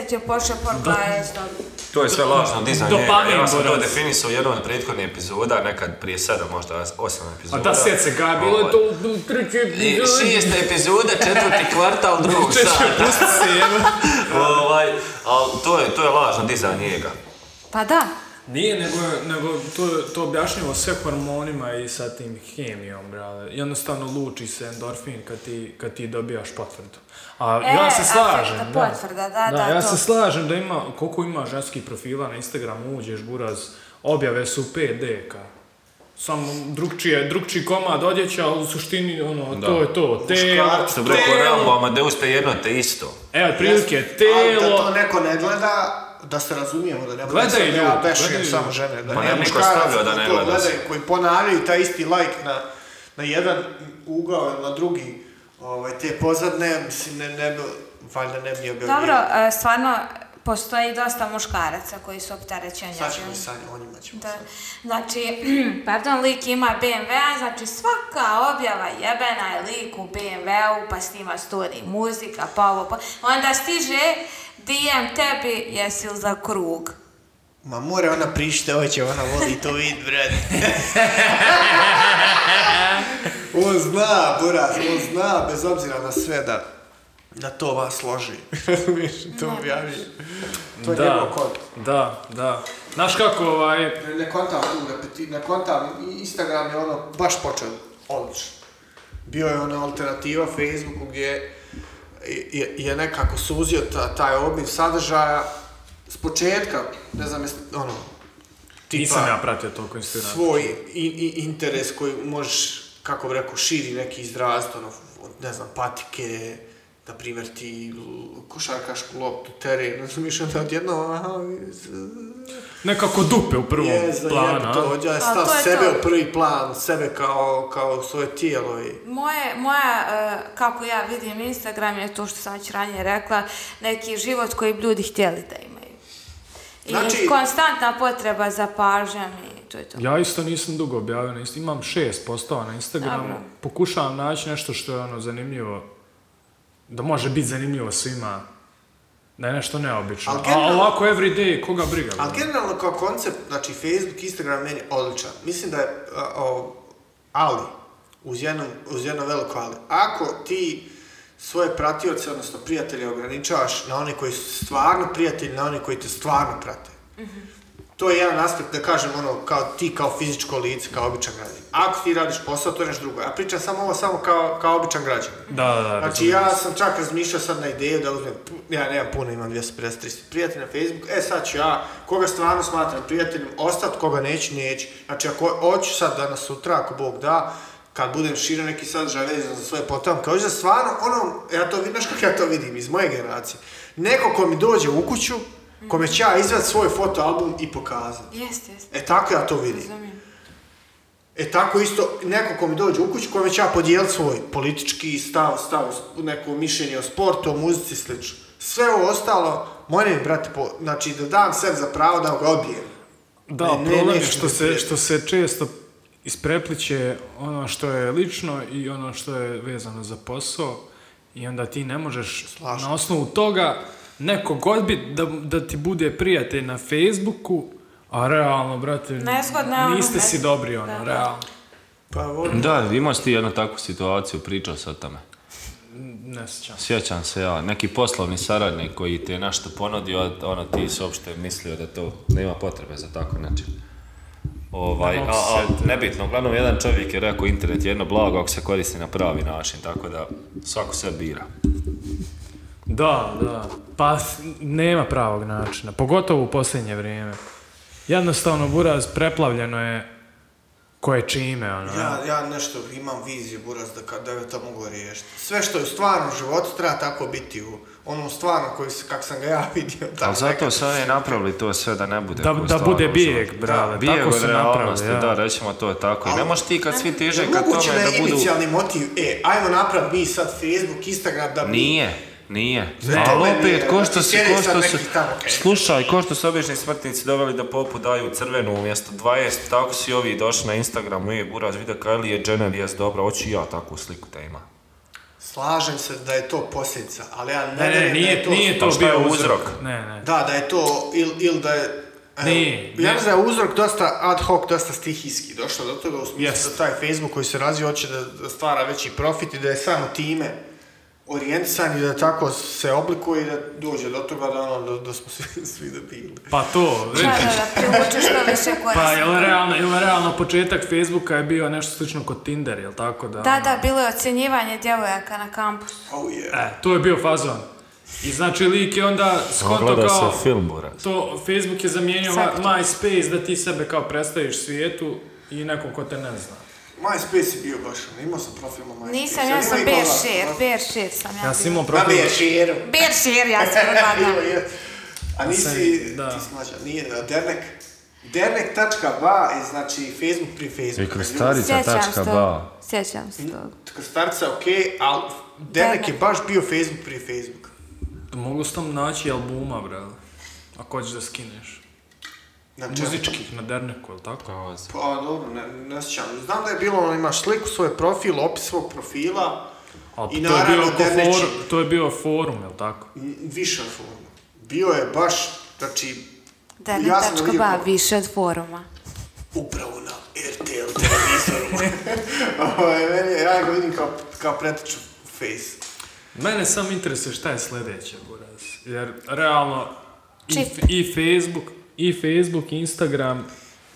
S6: 50 je pošle porka je zdobi.
S8: To je sve lažno dizanje.
S1: Dopamin
S8: Ja sam to
S1: borac.
S8: definisao u jednom od prethodnih epizoda, nekad prije sedam, možda osam
S1: A
S8: epizoda.
S1: da, sjeti se ga, bilo je to u- u
S8: I
S1: trećoj...
S8: šesta epizoda, četvrti kvartal drugog
S1: Češće,
S8: sata.
S1: pusti se, jebe.
S8: ovaj, ali to je, to je lažno dizanje njega.
S6: Pa da.
S1: Nije, nego, nego to, to objašnjivo sve hormonima i sa tim hemijom, brale. Jednostavno luči se endorfin kad ti, kad ti dobijaš potvrdu. A
S6: E,
S1: ja se slažem,
S6: afekta,
S1: da.
S6: potvrda, da, da,
S1: ja
S6: to.
S1: se slažem da ima, koliko ima ženskih profila na Instagramu, uđeš buraz, objave su 5 deka. Samo drugčije, drugčiji komad odjeća, ali u suštini, ono, to je to. Telo,
S2: Muškarac,
S8: Što bi rekao
S1: telo.
S8: Rambo, Pa Amadeus te jedno te isto.
S1: Evo, prilike,
S2: Ali da to
S1: telo,
S2: neko ne gleda, da se razumijemo, da ne
S1: Gledaju
S2: sad da ja
S1: ljudi,
S2: bešijem
S1: gledaju
S2: samo
S1: ljudi.
S2: žene, da
S8: Pa
S2: nema
S8: ja bih
S2: muškaraca
S8: ostavio da
S2: koji
S8: ne
S2: to
S8: gleda
S2: gledaju, koji ponavljaju taj isti like na, na jedan ugao ili na drugi ovaj, te pozadne, mislim, ne, ne, bi- valjda ne bi ni objavljivao.
S6: Dobro, e, stvarno postoji dosta muškaraca koji su opterećeni.
S2: Sad ćemo
S6: ovim.
S2: i sanjati, o njima ćemo
S6: Da.
S2: sanjati.
S6: Znači, pardon, lik ima BMW-a, znači svaka objava jebena je lik u BMW-u, pa snima story, muzika, pa ovo, pa... Onda stiže DM tebi, jesi li za krug?
S2: Ma mora ona prište, hoće, ona voli to vid, brat. on zna, buraz, on zna, bez obzira na sve, da, da to vas loži. Razumiješ, to objavljuje. To je njegov
S1: da,
S2: kod.
S1: da, da. Znaš kako, ovaj,
S2: Ne kontam tu, repeti, ne kontam, I- Instagram je ono baš počeo odlično. Bio je ona alternativa Facebooku gdje je, je nekako suzio ta, taj obim sadržaja s početka, ne znam, jes- ono, tipa
S1: nisam ja pratio toliko Instagrama.
S2: svoj i, i, interes koji možeš, kako bi rekao, širi neki izrazit, ono, od, ne znam, patike, na primjer ti l- košarkašku loptu, teren, razumiješ, onda odjedno, aha,
S1: Nekako dupe u prvom
S2: Jezda,
S1: planu,
S2: jebe
S1: a?
S2: to, ja je
S6: A
S2: stav
S6: to je
S2: sebe
S6: to.
S2: u prvi plan, sebe kao, kao svoje tijelo i...
S6: Moje, moja, e, kako ja vidim Instagram je to što sam već ranije rekla, neki život koji bi ljudi htjeli da imaju. I
S2: Znači-
S6: konstantna potreba za pažnjom i to je to.
S1: Ja isto nisam dugo objavio, na Inst- imam šest postova na Instagramu,
S6: Dobro.
S1: pokušavam naći nešto što je ono zanimljivo, da može biti zanimljivo svima, da je nešto neobično.
S2: Al
S1: A
S2: generalno-
S1: ovako everyday, koga briga?
S2: Ali
S1: bro?
S2: generalno kao koncept, znači Facebook, Instagram meni je odličan. Mislim da je, a, o, ali, uz jedno, uz jedno veliko ali, ako ti svoje pratioce, odnosno prijatelje ograničavaš na one koji su stvarno prijatelji, na one koji te stvarno prate. To je jedan aspekt da kažem ono, kao ti kao fizičko lice, kao običan građan. Ako ti radiš posao, to je nešto drugo. Ja pričam samo ovo samo kao, kao običan građan.
S1: Da, da, da.
S2: Znači ja sam čak razmišljao sad na ideju da uzmem, pu- ja nemam puno, imam 250-300 prijatelja na Facebooku, e sad ću ja, koga stvarno smatram prijateljem, ostat, koga neću, neću. Znači ako hoću sad danas sutra, ako Bog da, kad budem širo neki sadržaj vezan za svoje potomke, hoću da stvarno ono, ja to vidim, znaš kako ja to vidim, iz moje generacije. Neko ko mi dođe u kuću, kome ću ja izvati svoj fotoalbum i pokazati.
S6: Jeste, jeste,
S2: E tako ja to vidim.
S6: razumijem.
S2: E tako isto, neko ko mi dođe u kuću, kome će ja podijeliti svoj politički stav, stav, neko mišljenje o sportu, o muzici i slično. Sve ovo ostalo, moram brate, po, znači da dam sebi za pravo da ga odbijem.
S1: Da,
S2: Ne, ne,
S1: problem je
S2: neću
S1: što
S2: mi
S1: se,
S2: prijeti.
S1: što se često isprepliće ono što je lično i ono što je vezano za posao i onda ti ne možeš
S2: Slažem
S1: na osnovu toga nekog odbit da, da ti bude prijatelj na Facebooku, a realno, brate,
S6: Nezgodno je ono,
S1: niste si
S6: nezgodno.
S1: dobri, ono,
S6: Da.
S1: realno.
S2: Pa evo,
S8: Da, imaš ti jednu takvu situaciju, pričao sam o tome.
S1: Ne sjećam. se.
S8: Sjećam se ja, neki poslovni saradnik koji ti je nešto ponudio, a ono ti si uopšte mislio da to nema potrebe za tako nečim. Ovaj,
S1: Ne
S8: a,
S1: mogu
S8: a
S1: se sjetiti.
S8: nebitno, uglavnom jedan čovjek je rekao internet je jedno blago ako se koristi na pravi način, tako da svako sve bira.
S1: Da, da. Pa s- nema pravog načina, pogotovo u posljednje vrijeme. Jednostavno, Buraz, preplavljeno je koje čime, ono.
S2: Ja, ja nešto imam viziju, Buraz, da, ka- da to mogu riješiti. Sve što je u stvarnom životu treba tako biti u onom stvarnom koji se, kak sam ga ja vidio. tako
S8: Ali zato
S2: nekako.
S8: su oni napravili to sve da ne bude
S1: Da,
S8: ko
S1: da
S8: stvarno
S1: bude
S8: u
S1: bijeg,
S8: životu.
S1: brale.
S8: Bijeg
S1: Tako
S8: od
S1: su
S8: ono. realnosti,
S1: napravili, ja.
S8: da, rećemo to je tako. I ne možeš ti kad svi teže
S2: Jer
S8: ka
S2: moguće
S8: tome
S2: da je
S8: da budu...
S2: inicijalni motiv, e, ajmo napraviti mi sad Facebook, Instagram, da bi...
S8: Nije, nije.
S2: Ne,
S8: Ali
S2: ne,
S8: opet,
S2: nije.
S8: ko što su,
S2: Sjedi
S8: ko
S2: sad
S8: što
S2: neki
S8: su,
S2: tamo, kaj.
S8: slušaj, ko što su obični smrtnici doveli da popu daju crvenu umjesto 20, tako su i ovi došli na Instagram, je buraz vidio Kylie je Jenner, jes dobra, hoću i ja takvu sliku da imam.
S2: Slažem se da je to posljedica, ali ja ne,
S1: Ne, ne,
S2: vjerujem da
S1: nije,
S2: je to...
S1: nije to
S8: Pa šta je
S1: bio
S8: uzrok?
S1: uzrok. Ne, ne.
S2: Da, da je to, ili il da je... evo,
S1: Nije,
S2: Ja
S1: nije.
S2: mislim da je uzrok dosta ad hoc, dosta stihijski došlo do toga, u smislu
S1: Jest.
S2: da taj Facebook koji se razvio hoće da, da stvara veći profit i da je samo time orijentisan i da tako se oblikuje i da dođe do toga da, ono, da, da smo svi, svi debili.
S1: Pa to,
S6: Da,
S1: vidi.
S6: da, da, privuče što više
S1: Pa
S6: korisnika.
S1: jel realno, jel realno početak Facebooka je bio nešto slično kod Tinder, jel tako da? ono?
S6: Da, da, bilo je ocjenjivanje djevojaka na kampusu.
S2: Oh yeah.
S1: E, to je bio fazon. I znači lik je onda skonto kao...
S8: film, buraz.
S1: To Facebook je zamijenio
S6: Sad to.
S1: MySpace da ti sebe kao predstaviš svijetu i nekom ko te ne zna.
S2: MySpace je bio baš, ono, imao sam profil na MySpace.
S6: Nisam, ja sam bear share, bear share sam ja
S1: Ja sam
S6: bila.
S1: imao
S2: Na
S1: profil...
S2: Beersheeru.
S6: Bear share, ja sam propadala.
S2: A
S1: Mislim,
S2: nisi,
S1: da.
S2: ti smađa, nije, a Dernek. Dernek.ba je znači Facebook pri Facebooku.
S6: Sjećam se to. Sjećam se tog.
S2: Krstarca ok, ali Dernek je baš bio Facebook prije Facebooka.
S1: Mogu se tam naći albuma, brale. Ako hoćeš da skineš.
S2: Na čemu?
S1: Muzičkih na derneku, jel tako?
S2: Pa dobro, ne, ne sjećam. Znam da je bilo, ono, imaš sliku, svoj profil, opis svog profila,
S1: A
S2: I
S1: to, je bio
S2: naravno
S1: oko
S2: derneći.
S1: foru- to je bio forum, jel tako?
S2: m, više forma. Bio je baš, znači,
S6: Da,
S2: Ja sam ga vidio
S6: ba,
S2: kako-
S6: više od foruma.
S2: upravo na RTL televizoru. Ovaj, meni je- ja ga vidim kao, kao preteču face.
S1: Mene sam interesuje šta je sljedeće, Buraz. Jer, realno, i,
S6: Čip.
S1: i Facebook, i Facebook, i Instagram,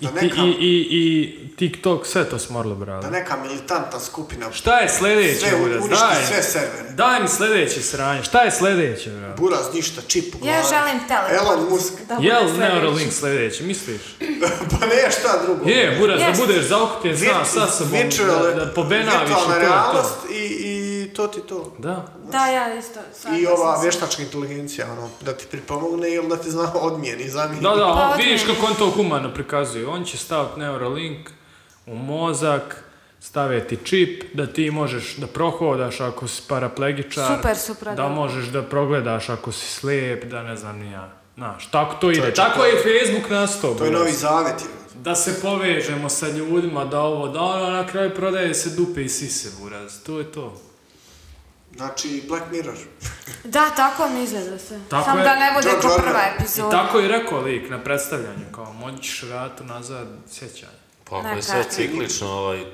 S1: i,
S2: Da
S1: ti,
S2: neka-
S1: i, i, i TikTok, sve to smorlo, brale.
S2: Da neka militantna skupina
S1: Šta je sljedeće,
S2: sve
S1: Buraz?
S2: uništi
S1: Daj,
S2: sve servere.
S1: daj mi sljedeće sranje. Šta je sljedeće, brale?
S2: Buraz ništa, čip u
S6: Ja
S2: glavi.
S6: želim Telegram.
S2: Elon Musk.
S1: Jel Neuralink sljedeće, misliš?
S2: pa ne, šta drugo.
S1: Je, Buraz, da
S6: Jeste.
S1: budeš zaukupljen sam sa sobom, da, da pobenaviš i to
S2: virtualna
S1: je to.
S2: realnost i, i to ti to.
S1: Da.
S6: Da, ja isto.
S2: I ova vještačka inteligencija, ono, da ti pripomogne ili da ti zna odmijeni, zamijeni.
S1: Da, da,
S6: Pa,
S1: on, vidiš
S6: odmeni.
S1: kako on to humano prikazuje. On će staviti Neuralink u mozak, stave ti čip da ti možeš da prohodaš ako si paraplegičar.
S6: Super su
S1: Da
S6: prodali.
S1: možeš da progledaš ako si slijep, da ne znam ni ja. Znaš, tako to ide.
S2: Čovječe,
S1: tako
S2: to-
S1: je i Facebook nastao.
S2: To je
S1: brate.
S2: novi zavjet. je.
S1: Da se povežemo sa ljudima, da ovo, da ono, na kraju prodaje se dupe i sise, buraz. To je to.
S2: Znači, Black Mirror.
S6: Da, tako mi izgleda sve.
S1: Tako
S6: Samo
S1: je.
S6: da ne bude ko
S2: George Orwell.
S6: prva
S1: I
S6: epizoda.
S1: tako je rekao lik na predstavljanju, kao moćiš vratu nazad sjećanje.
S8: Pa ako
S6: Na
S8: je sve
S6: karti.
S8: ciklično, ovaj,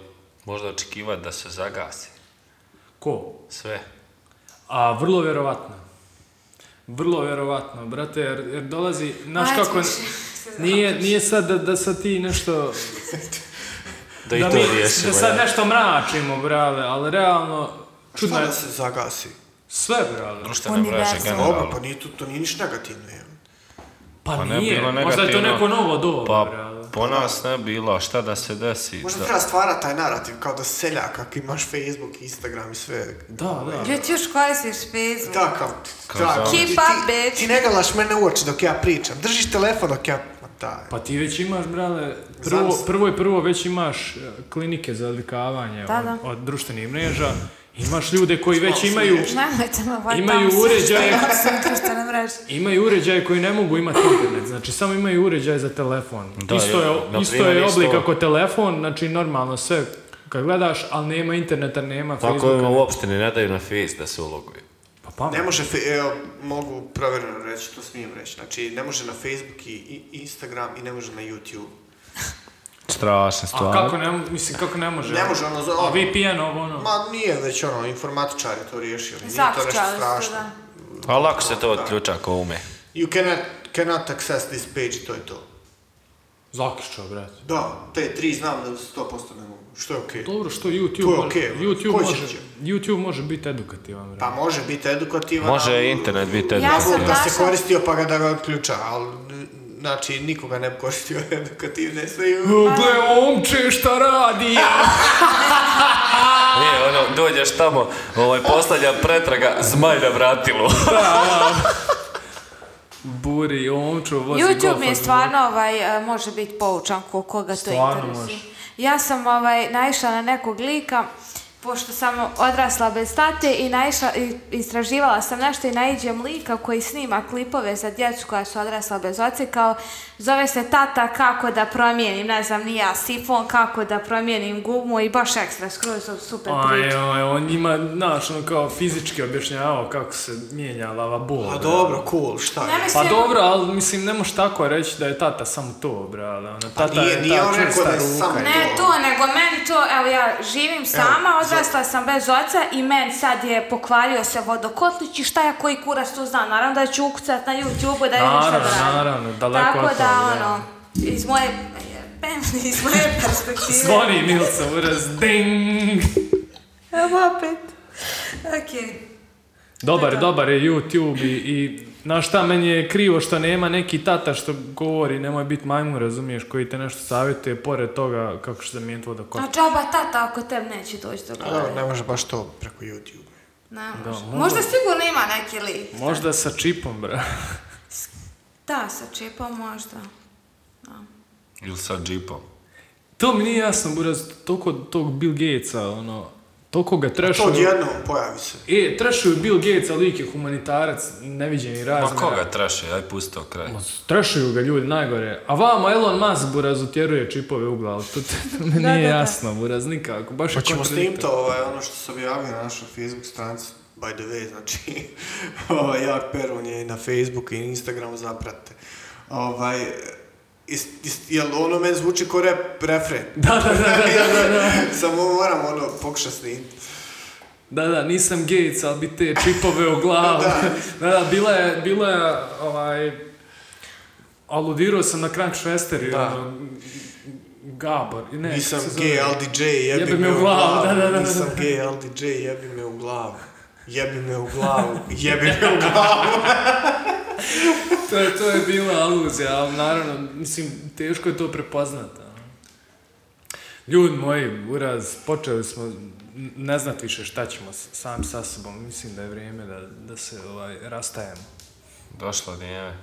S8: možda očekivati da se zagasi.
S1: Ko?
S8: Sve.
S1: A vrlo vjerovatno. Vrlo vjerovatno, brate, jer, jer dolazi, znaš
S6: Ajde,
S1: kako, nije, nije sad da, da sad ti nešto,
S8: Da i
S1: da,
S8: to
S1: mi,
S8: riješimo.
S1: da sad
S8: ja.
S1: nešto mračimo, brale, ali realno, čudno
S2: Šta
S1: je
S2: da se zagasi?
S1: sve, brale.
S8: Društvene mreže,
S6: Univerzum.
S2: Dobro,
S8: generalno.
S2: pa nije to, to nije niš negativno, je.
S1: Pa,
S8: Pa ne
S1: nije,
S8: bilo
S1: možda je to
S8: negativno.
S1: neko novo doba,
S8: Pa
S1: brale.
S8: po nas ne bila, šta da se desi?
S2: Možda
S8: Da-
S2: treba stvarati taj narativ, kao da seljak, ako imaš Facebook, Instagram i sve.
S1: Da, da.
S6: Jel ti još koristiš Facebook?
S2: Da, kao, da,
S8: zavod.
S6: Keep
S2: ti,
S6: up,
S2: ti-
S6: bitch.
S2: ti ne gledaš mene u oči dok ja pričam. Držiš telefon dok ja... Ma daj.
S1: Pa ti već imaš, brale, prvo,
S2: Zamisli.
S1: prvo i prvo već imaš e, klinike za odvikavanje
S6: Da, da.
S1: od, od društvenih mreža, imaš ljude koji već imaju,
S6: Nemojte me ovaj
S1: imaju
S6: tamo
S1: uređaje
S6: sve što sam društvene mreže.
S1: Imaju uređaje koji ne mogu imati internet, znači samo imaju uređaj za telefon.
S8: Da,
S1: isto je,
S8: ja, na
S1: isto
S8: primjer,
S1: je
S8: isto-
S1: oblik ako telefon, znači normalno sve kad gledaš, ali nema interneta, nema
S8: Tako
S1: Facebooka.
S8: ima uopšte ne daju na face da se uloguju.
S1: Pa pamet.
S2: Ne može, fe- evo, mogu provjereno reći, to smijem reći. Znači, ne može na Facebook i i Instagram i ne može na YouTube.
S8: Strašna
S1: A kako ne, mo- mislim, kako ne može?
S2: Ne može ono za
S1: A
S2: ono.
S1: VPN ovo ono.
S2: Ma nije već ono, informatičar je to riješio, nije to nešto
S6: Zaključali su,
S2: strašno.
S6: da.
S8: A Pa lako se to odključa ako ume.
S2: You cannot, cannot access this page, to je to.
S1: Zaključao, brate.
S2: Da, te tri znam da 100% ne mogu. Što je okej.
S1: Dobro, što YouTube,
S2: To je
S1: može-
S2: okej, brate.
S1: YouTube,
S2: Ko će
S1: može,
S2: će?
S1: YouTube može biti edukativan,
S2: Pa
S1: brate.
S2: može biti edukativan.
S8: Može
S2: ali-
S8: i internet biti
S6: Ja sam
S2: Bog da se
S6: našla-
S2: koristio pa ga da ga odključa, ali znači nikoga ne bi koristio edukativne sve i-
S1: Gle, omče, šta radi? ja?
S8: Nije, ono, dođeš tamo, ovaj, posljednja pretraga, zmaj na vratilu.
S1: Buri, omčo, vozi
S6: YouTube
S1: golfa
S6: mi je
S1: za-
S6: stvarno ovaj, e, može biti poučan ko koga to
S1: Stvarno
S6: interesuje.
S1: može.
S6: Ja sam ovaj, naišla na nekog lika, pošto sam odrasla bez tate i naišla, i istraživala sam nešto i naiđem lika koji snima klipove za djecu koja su odrasla bez oca i kao zove se tata kako da promijenim, ne znam, ni ja sifon, kako da promijenim gumu i baš ekstra, skroz su super
S1: Aj,
S6: priče.
S1: aj, on njima, znaš, ono kao fizički objašnjavao kako se mijenja lava bol.
S2: A Pa dobro, cool, šta
S6: Ne
S2: je?
S1: Pa
S6: mislim,
S1: dobro, ali mislim, ne možeš tako reći da je tata samo to, brale. Ona, tata
S2: Pa nije-
S1: je
S2: nije
S1: ta
S2: on rekao
S1: čvrsta
S2: da je
S1: ruka.
S2: samo-
S6: Ne to, nego meni to, evo ja živim sama, odrasla sam bez oca i meni sad je pokvario se vodokotlić i šta ja koji kurac to zna, naravno da ću ukucat na YouTube-u da vidim šta da
S1: Naravno,
S6: radim.
S1: naravno, daleko
S6: Tako
S1: od
S6: da,
S1: toga,
S6: ono, iz moje, iz moje perspektive.
S1: Zvoni Nilsa Uraz, ding!
S6: Evo opet. Okej.
S1: Dobar, dobar je YouTube i, i znaš šta, meni je krivo što nema neki tata što govori, nemoj biti majmun, razumiješ, koji te nešto savjetuje, pored toga kako će zamijeniti vodokot.
S6: A džaba tata ako tebi neće doći do
S2: Pa
S6: glave.
S2: dobro, ne može baš to preko YouTube.
S6: Ne može. Možda sigurno ima neki lik.
S1: Možda sa čipom, bra.
S6: Da, sa čipom možda.
S8: Ili sa džipom.
S1: To mi nije jasno, Buraz, toliko tog Bill Gatesa, ono, toliko ga
S2: To
S1: trešuju.
S2: odjednom pojavi se.
S1: E, trešuju Bill Gates, ali lik je humanitarac, neviđeni
S8: Ma
S1: razmjera.
S8: koga treše, aj pusti to kraj.
S1: Ma, Trešuju ga ljudi najgore. A vama Elon Musk, Buraz, utjeruje čipove u glavu. To, to, to mi
S6: Da,
S1: nije
S6: da, da.
S1: jasno, Buraz, nikako. Baš
S8: pa
S1: je
S2: Hoćemo
S1: kontradiktorno.
S2: snimiti ovaj, ono što sam objavio na našoj Facebook stranici, by the way, znači, ovaj, jak Perun je i na Facebooku i Instagramu, zapratite. Ovaj, is, is, jel ono meni zvuči ko rep, refren?
S1: Da, da, da, da, da, da.
S2: Samo moram ono pokušat snimiti.
S1: Da, da, nisam Gates, ali bi te čipove u glavu. da, da, bila je, bila je, ovaj, aludirao sam na Crank Švester, da. Ono, Gabor, i ne,
S2: Nisam
S1: kako se zove?
S2: gay, LDJ, jebi,
S1: Jebi me u glavu, da, da, da, da.
S2: Nisam gay, LDJ, jebi me u glavu. Jebi me u glavu, jebi me u glavu.
S1: to, je, to je bila aluzija, ali naravno, mislim, teško je to prepoznati. a. Ljudi moji, uraz, počeli smo n- ne znat više šta ćemo s- sam sa sobom. Mislim da je vrijeme da, da se ovaj, rastajemo.
S8: Došlo vrijeme.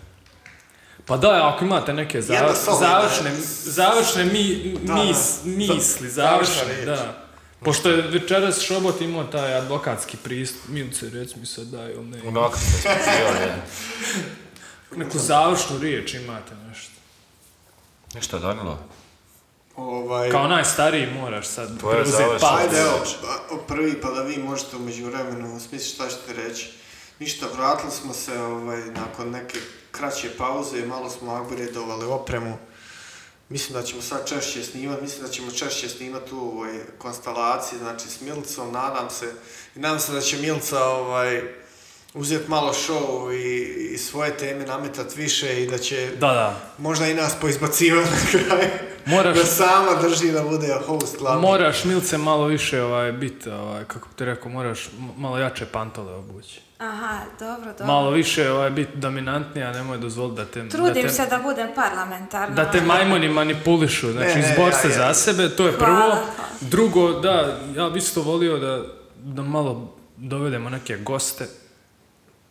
S1: Pa da, ako imate neke za-
S2: Jedna solidna-
S1: završne, završne mi,
S2: Da,
S1: mis, misli,
S2: završna
S1: završne,
S2: riječ.
S1: da. Pošto je večeras Šobot imao taj advokatski pristup, Milce, rec mi sad daj ili ne.
S8: Onako se spijao,
S1: Neku završnu riječ imate nešto.
S8: Ništa Danilo.
S2: Ovaj,
S1: Kao najstariji moraš sad
S8: Tvoja
S1: preuzeti
S8: završna
S1: pa.
S2: Ajde, evo, a- o prvi, pa da vi možete umeđu vremenu smisliti šta ćete reći. Ništa, vratili smo se ovaj, nakon neke kraće pauze, malo smo upgradeovali opremu. Mislim da ćemo sad češće snimati, mislim da ćemo češće snimati u ovoj konstalaciji, znači s Milicom, nadam se. I nadam se da će Milica ovaj, uzeti malo show i, i svoje teme nametat više i da će
S1: Da, da.
S2: možda i nas poizbacivati na kraju.
S1: Moraš-
S2: Da sama drži da bude host glavni.
S1: Moraš, Milce, malo više ovaj, biti, ovaj, kako bi ti rekao, moraš m- malo jače pantole obući.
S6: Aha, dobro, dobro.
S1: Malo više ovaj, biti dominantnija, nemoj dozvoliti da te... da
S6: Trudim
S1: te,
S6: se da budem parlamentarna.
S1: Da te majmoni manipulišu, znači
S2: Ne, ne,
S1: izbor se
S2: E, ja, ja.
S1: za sebe, to je
S6: Hvala,
S1: prvo.
S6: hvala.
S1: Drugo, da, ja bi isto volio da, da malo dovedemo neke goste.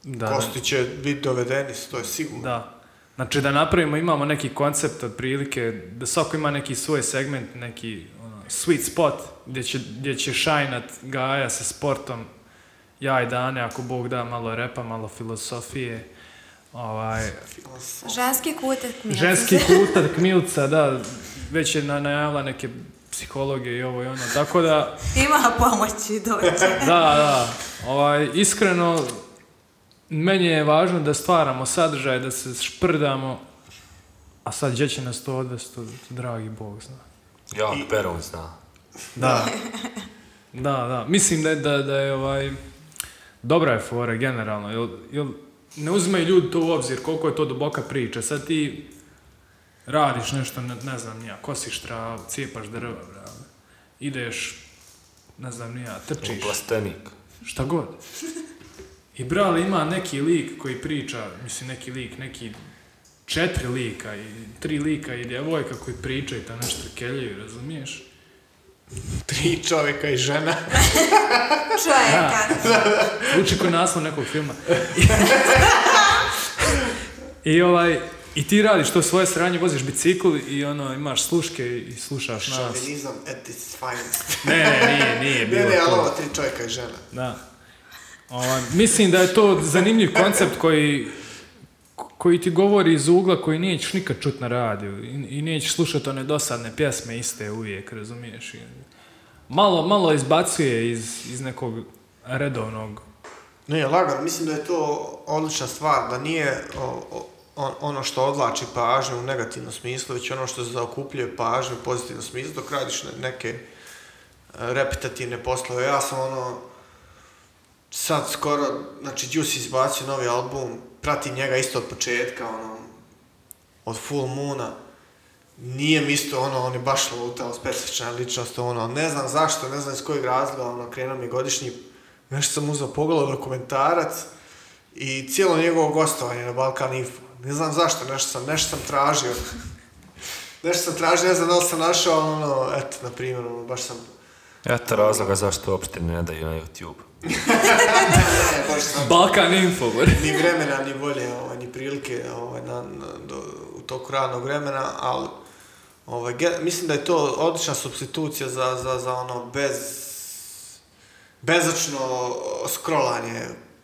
S1: Da,
S2: Kosti će biti dovedeni, to je sigurno.
S1: Da. Znači da napravimo, imamo neki koncept otprilike, da svako ima neki svoj segment, neki ono, sweet spot gdje će, gdje će šajnat Gaja sa sportom, ja i Dane, ako Bog da, malo repa, malo filozofije. Ovaj,
S6: Ženski kutak mi je.
S1: Ženski kutak Milca, da, već je na- najavila neke psihologe i ovo i ono, tako da,
S6: Ima pomoći dođe.
S1: da, da, ovaj, iskreno, meni je važno da stvaramo sadržaj, da se šprdamo, a sad gdje će nas to odvesti, to dragi Bog zna.
S8: Ja, Perun zna.
S1: Da. Da, da, mislim da, je- da, da je ovaj, dobra je fora generalno, jel, jel ne uzimaju ljudi to u obzir koliko je to duboka priča, sad ti Radiš nešto, ne, ne znam nija, kosiš travu, cijepaš drva, brale. Ideš, ne znam nija, trčiš,
S8: Plastenik.
S1: šta god. I brale ima neki lik koji priča, mislim neki lik, neki četiri lika i tri lika i djevojka koji pričaju ta nešto keljaju, razumiješ?
S2: Tri čovjeka i žena.
S6: Čovjeka.
S1: Zvuči kao naslov nekog filma. I ovaj, i ti radiš to svoje sranje, voziš bicikl i ono, imaš sluške i slušaš nas.
S2: Šovinizam at its finest.
S1: Ne, ne, nije, nije
S2: Ne,
S1: bilo
S2: ono, ne, ali ovo
S1: to.
S2: tri čovjeka i žena.
S1: Da. Ovaj, mislim da je to zanimljiv koncept koji koji ti govori iz ugla koji nećeš nikad čut na radiju i, i nećeš slušati one dosadne pjesme iste uvijek, razumiješ? I Malo, malo izbacuje iz, iz nekog redovnog
S2: Ne, lagano, mislim da je to odlična stvar, da nije o, o, on- ono što odlači pažnju u negativnom smislu, već ono što zaokupljuje pažnju u pozitivnom smislu, dok radiš ne- neke e, repetitivne poslove. Ja sam ono, sad skoro, znači Juice izbacio novi album, pratim njega isto od početka, ono, od Full Moona, nije mi isto ono, on je baš lutao, specifična ličnost, ono, ne znam zašto, ne znam iz kojeg razloga, ono, krenuo mi je godišnji, nešto sam uzeo pogledao dokumentarac i cijelo njegovo gostovanje na Balkan Info. Ne znam zašto, nešto sam, nešto sam tražio. nešto sam tražio, ne znam da li sam našao, ono, eto, na primjer, ono, baš sam,
S8: Eto razloga zašto uopšte ne daju na YouTube.
S2: ne, baš sam
S1: Balkan Info,
S2: ni vremena, ni volje, ovaj, ni prilike ovaj, na, na- do, u toku radnog vremena, ali ovaj, ge- mislim da je to odlična substitucija za, za, za ono bez, bezačno scrollanje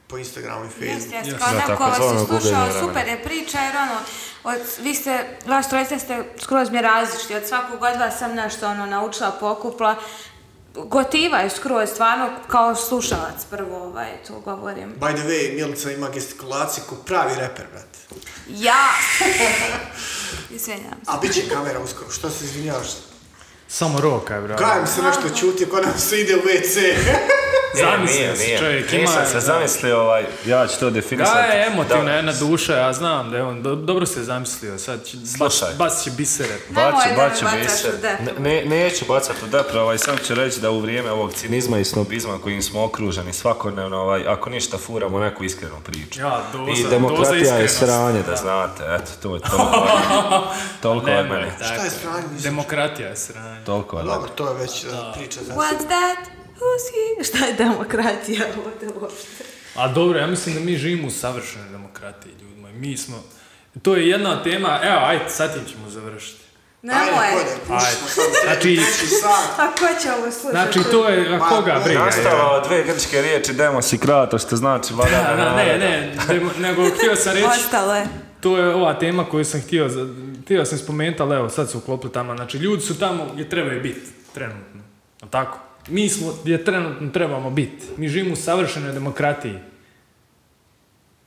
S2: po Instagramu i Facebooku.
S6: Jeste, jeste, kao
S8: Da,
S6: neko
S8: tako
S6: ko vas
S8: zvanog
S6: je slušao,
S8: gubljenja vremena.
S6: super je priča, jer ono, od, vi ste, vaš trojica ste skroz mi različiti, od svakog od vas sam nešto ono naučila, pokupla, gotiva je skroz, stvarno, kao slušalac prvo, ovaj, to govorim.
S2: By the way, Milica ima gestikulaciju ko pravi reper, brate.
S6: Ja! Izvinjam se.
S2: A bit će kamera uskoro, što se izvinjavaš?
S1: Samo roka je, bravo.
S2: Gajem se nešto čuti, ko nam se ide u WC.
S1: Zamislio si, čovjek, ima-
S8: E, Nisam se zamislio, ovaj, ja ću to
S1: Da,
S8: definisati.
S1: je
S8: Da.
S1: emotivna jedna duša, ja znam da je on, do- dobro se zamislio, sad će,
S8: Slušaj.
S1: baš, baš će bisere.
S6: Nemoj
S8: Baću,
S6: da me
S8: baću
S6: bacaš
S8: biser.
S6: u depru.
S8: Ne, neću bacati u depre, ovaj, sam ću reći da u vrijeme ovog cinizma i snobizma kojim smo okruženi svakodnevno, ovaj, ako ništa, furamo neku iskrenu priču.
S1: Ja, doza,
S8: I
S1: doza
S8: demokratija je
S1: iskrenosti.
S8: sranje, da znate, eto, to je toliko, toliko od
S1: Nemoj
S8: mene.
S1: tako.
S2: Šta je sranje, mislim?
S1: Demokratija je sranje.
S8: Toliko od mene.
S2: Dobro, to je već uh, priča za
S6: What's that? Who's he? Šta je demokratija ovdje uopšte?
S1: A dobro, ja mislim da mi živimo u savršenoj demokratiji, ljudima. Mi smo, to je jedna tema, evo, ajde, sad tim ćemo završiti.
S6: Nemoj.
S1: Ajde. Znači,
S6: A ko će ovo slušati?
S1: znači to je, a koga briga?
S8: Nastava od dve grčke riječi demos i kratos, što znači
S1: Da,
S8: vladavina
S1: da, ne,
S8: naroda.
S1: ne, demo- nego htio sam reći,
S6: Ostalo je.
S1: to je ova tema koju sam htio, za- htio sam spomenuti, ali evo sad su uklopili tamo. Znači, ljudi su tamo gdje trebaju biti, trenutno. Jel tako? Mi smo gdje trenutno trebamo biti. Mi živimo u savršenoj demokratiji.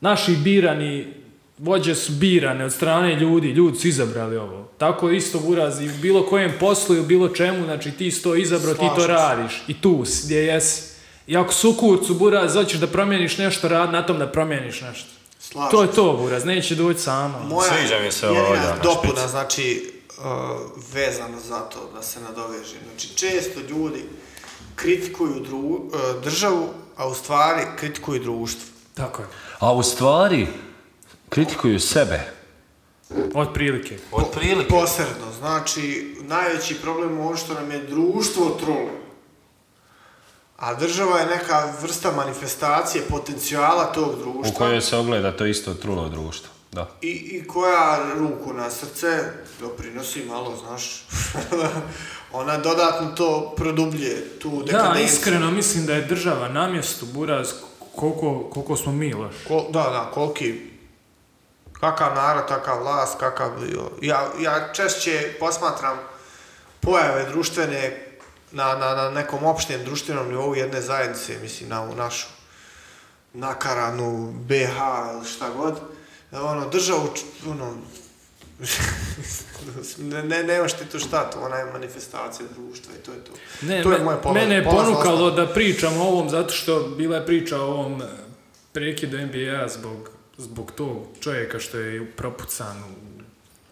S1: Naši birani vođe su birane od strane ljudi, ljudi su izabrali ovo. Tako isto urazi u bilo kojem poslu i u bilo čemu, znači ti si to izabrao, ti to
S2: Slažem se.
S1: radiš i tu si, gdje jesi. I ako su u kurcu buraz, hoćeš da promijeniš nešto, rad na tom da promijeniš nešto.
S2: Slažem
S1: To
S2: se.
S1: je to, Buraz, neće doći samo.
S2: Moja
S8: Sviđa mi se
S2: jedina
S8: ovo, da, na
S2: dopuna, znači, uh, vezano za to da se nadovežem. Znači, često ljudi kritikuju dru- uh, državu, a u stvari kritikuju društvo.
S1: Tako je.
S5: A u stvari, kritikuju sebe.
S1: Od prilike.
S8: Otprilike.
S2: Posredno, znači, najveći problem je ovo što nam je društvo trulo. A država je neka vrsta manifestacije potencijala tog društva.
S5: U kojoj se ogleda to isto trulo društvo. Da.
S2: I, i koja ruku na srce doprinosi malo, znaš, ona dodatno to produblje, tu
S1: Da,
S2: dekadenciju.
S1: iskreno mislim da je država na mjestu, Buraz, koliko, koliko smo mi loši.
S2: Ko, da, da, koliki, kakav narod, takav vlast, kakav, ja, ja češće posmatram pojave društvene na, na, na nekom opštem društvenom nivou jedne zajednice, mislim, na ovu našu nakaranu BH ili šta god, ono, državu, č- ono, ne, ne, nemaš ti tu šta, to ona je manifestacija društva i to je to.
S1: Ne,
S2: to je
S1: me-
S2: moje pola-
S1: mene je
S2: polazna
S1: ponukalo
S2: osnova.
S1: da pričam o ovom zato što bila je priča o ovom e, prekidu NBA zbog, zbog tog čovjeka što je propucan u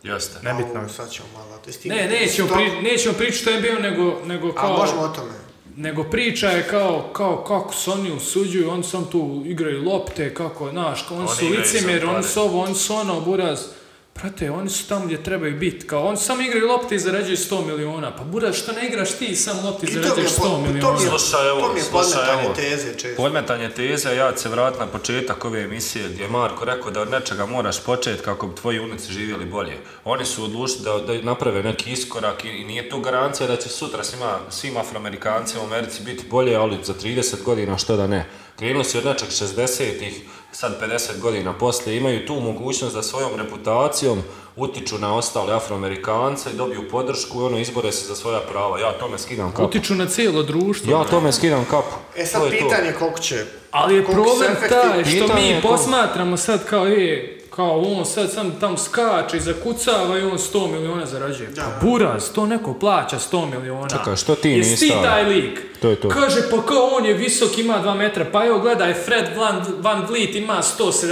S4: Jeste.
S2: Nebitno je. Sad ćemo malo da stignemo.
S1: Ne, nećemo,
S2: Sto-
S1: pri, nećemo pričati što je bio, nego, nego
S2: A
S1: kao...
S2: možemo o tome.
S1: Nego priča je kao, kao kako se oni usuđuju, oni sam tu igraju lopte, kako, znaš, kao, oni,
S4: Oni
S1: su
S4: igraju
S1: licemjer,
S4: za
S1: oni
S4: pare.
S1: su ovo, oni su ono, buraz. Prate, oni su tamo gdje trebaju biti, kao, oni samo igraju lopte i zarađuju 100 miliona. Pa buraz, što ne igraš ti sam lopte i
S2: I to mi je,
S1: zarađuješ
S2: po-
S1: 100
S2: to mi je,
S1: miliona?
S4: Slušaj ovo,
S2: to mi je
S4: slušaj
S2: podmetanje
S4: ovo.
S2: teze često.
S4: Podmetanje teze, ja ću se vratiti na početak ove emisije gdje je Marko rekao da od nečega moraš početi kako bi tvoji unici živjeli bolje. Oni su odlučili da, da naprave neki iskorak i, i nije to garancija da će sutra svima, svim afroamerikancima u Americi biti bolje, ali za 30 godina što da ne. Krenuli su od nečeg 60-ih, sad 50 godina poslije, imaju tu mogućnost da svojom reputacijom utiču na ostale afroamerikance, dobiju podršku i ono izbore se za svoja prava. Ja tome skidam kapu.
S1: Utiču na cijelo društvo.
S4: Ja tome skidam kapu.
S2: E
S4: To
S2: sad
S4: je to.
S2: pitanje koliko će...
S1: Ali je
S2: koliko
S1: problem
S2: se efektivno-
S1: taj što
S4: Pitanje je
S1: mi
S4: ko-
S1: posmatramo sad kao je, kao on sad sam tam skače i zakucava i on 100 miliona zarađuje. Pa buraz, to neko plaća 100 miliona.
S4: Čekaj, što ti
S1: Jesi
S4: nisi
S1: ti
S4: stavio?
S1: taj lik?
S4: To je to.
S1: Kaže, pa kao on je visok, ima 2 metra, pa evo gledaj, Fred Van, Van Vliet ima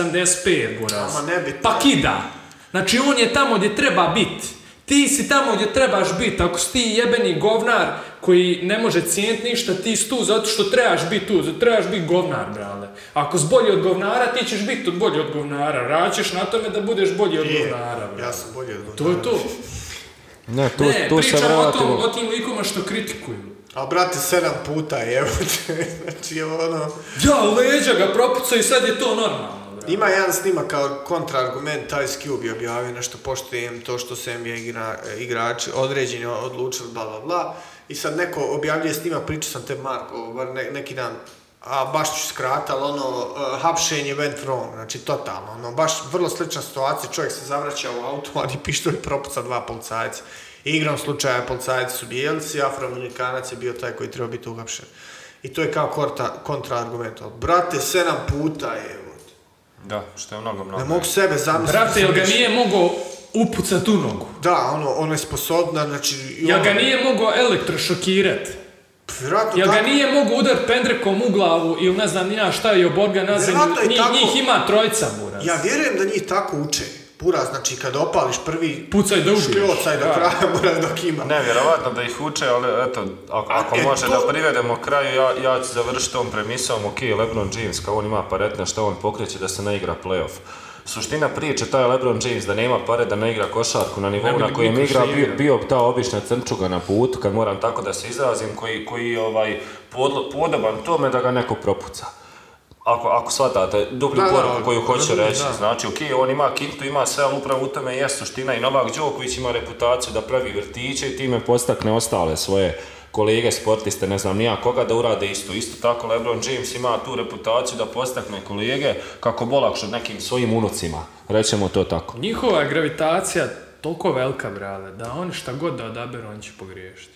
S1: 175, buraz.
S2: Ama nebitno.
S1: Pa kida. Znači on je tamo gdje treba biti. Ti si tamo gdje trebaš biti. Ako si ti jebeni govnar koji ne može cijeniti ništa, ti si tu zato što trebaš biti tu. zato Trebaš biti govnar, brale. Ako si bolji od govnara, ti ćeš biti bolji od govnara. Raćeš na tome da budeš bolji od
S2: Je,
S1: govnara, brale.
S2: ja sam bolje od
S1: To je to.
S4: Ne, tu,
S1: ne,
S4: tu se
S1: pričamo o, tom,
S4: vratimo.
S1: o tim likovima što kritikuju.
S2: A brate, sedam puta je, znači evo ono...
S1: Ja, leđa ga propucao i sad je to normalno, brale.
S2: Ima jedan snima kao kontraargument, Ice Cube je objavio nešto poštujem to što se NBA igra, igrači određeni odlučili, bla bla bla. I sad neko objavljuje snima, pričao sam te Marko, bar ne- neki dan, a baš ću skrat, ali ono, eh, hapšenje went wrong, znači totalno, ono, baš vrlo slična situacija, čovjek se zavraća u auto, ali pištolj propuca dva policajca. Igrom slučaja policajci su bijelci, afroamerikanac je bio taj koji treba biti uhapšen. I to je kao kontra, kontraargument, ali brate, sedam puta je,
S4: Da, što je mnogo, mnogo.
S2: ne mogu sebe zamisliti.
S1: Brate, jel ga
S2: Razumiješ?
S1: nije mogao upucat u nogu?
S2: Da, ono, ona je sposobna, znači... i
S1: Jel
S2: ono-
S1: ga nije mogao elektrošokirat?
S2: Vjerojatno
S1: Jel ga
S2: tako.
S1: nije mogu udar pendrekom u glavu ili ne znam ni ja šta je oborga na zemlju,
S2: Vjerojatno je
S1: njih,
S2: tako.
S1: njih ima trojca buraz.
S2: Ja vjerujem da njih tako uče. Pura, znači kad opališ prvi...
S1: Pucaj da ubiješ.
S2: Škljocaj do
S1: Da.
S2: kraja, moraš dok ima.
S4: Nevjerovatno da ih uče, ali eto, ako,
S2: A,
S4: ako
S2: e,
S4: može
S2: to-
S4: da privedemo kraju, ja, ja ću završiti tom premisom, ok, LeBron James, kao on ima paretne, što on pokreće da se ne igra playoff. Suština priče, taj LeBron James da nema pare da ne igra košarku na nivou na kojem igra, bio, bio bi ta obična crnčuga na putu, kad moram tako da se izrazim, koji, koji je ovaj, podlo- podoban tome da ga neko propuca. Ako, ako shvatate dublju
S2: Da, da,
S4: poruku
S2: da,
S4: koju hoću
S2: razumijem,
S4: reći,
S2: da.
S4: znači ok, on ima kintu, ima sve, ali upravo u tome je suština i Novak Đoković ima reputaciju da pravi vrtiće i time postakne ostale svoje kolege, sportiste, ne znam nija koga, da urade isto. Isto tako LeBron James ima tu reputaciju da postakne kolege kako bolakšu nekim svojim unucima, rećemo to tako.
S1: Njihova je gravitacija toliko velika, brale, da oni šta god da odaberu, oni će pogriješiti.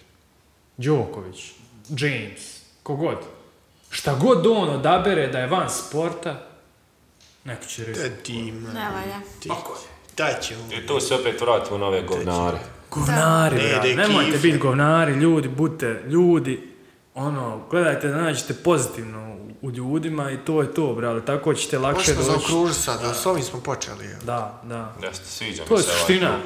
S1: Đoković, James, kogod. Šta god on odabere da je van sporta, neko će reći.
S2: E, Ti, man,
S6: Ne valja.
S2: ti. Daj ćemo.
S4: I tu E, se opet vratimo na ove govnare.
S1: Govnari,
S2: Ne,
S1: brate,
S2: ide
S1: nemojte
S2: kif.
S1: biti govnari, ljudi, budite ljudi, ono, gledajte da nađete pozitivno u- u ljudima i to je to, brale, tako ćete lakše
S2: Možemo
S1: doći.
S2: zaokružiti sad, a s ovim smo počeli. evo.
S1: Da, da.
S4: Jeste, sviđa mi
S1: To je
S4: se ovaj
S1: suština.
S4: klub.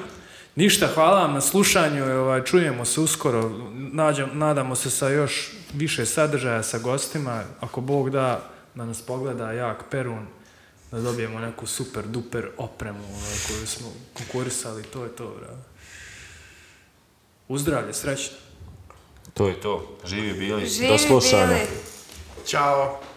S1: Ništa, hvala vam na slušanju, i, ovaj, čujemo se uskoro, nađam- nadamo se sa još više sadržaja sa gostima, ako Bog da, da nas pogleda jak Perun, da dobijemo neku super duper opremu ovaj, koju smo konkurisali, to je to, brale. Uzdravlje, srećno.
S4: To je to. Živi bili.
S6: Živi
S4: Do slušanja.
S6: bili.
S2: Ćao.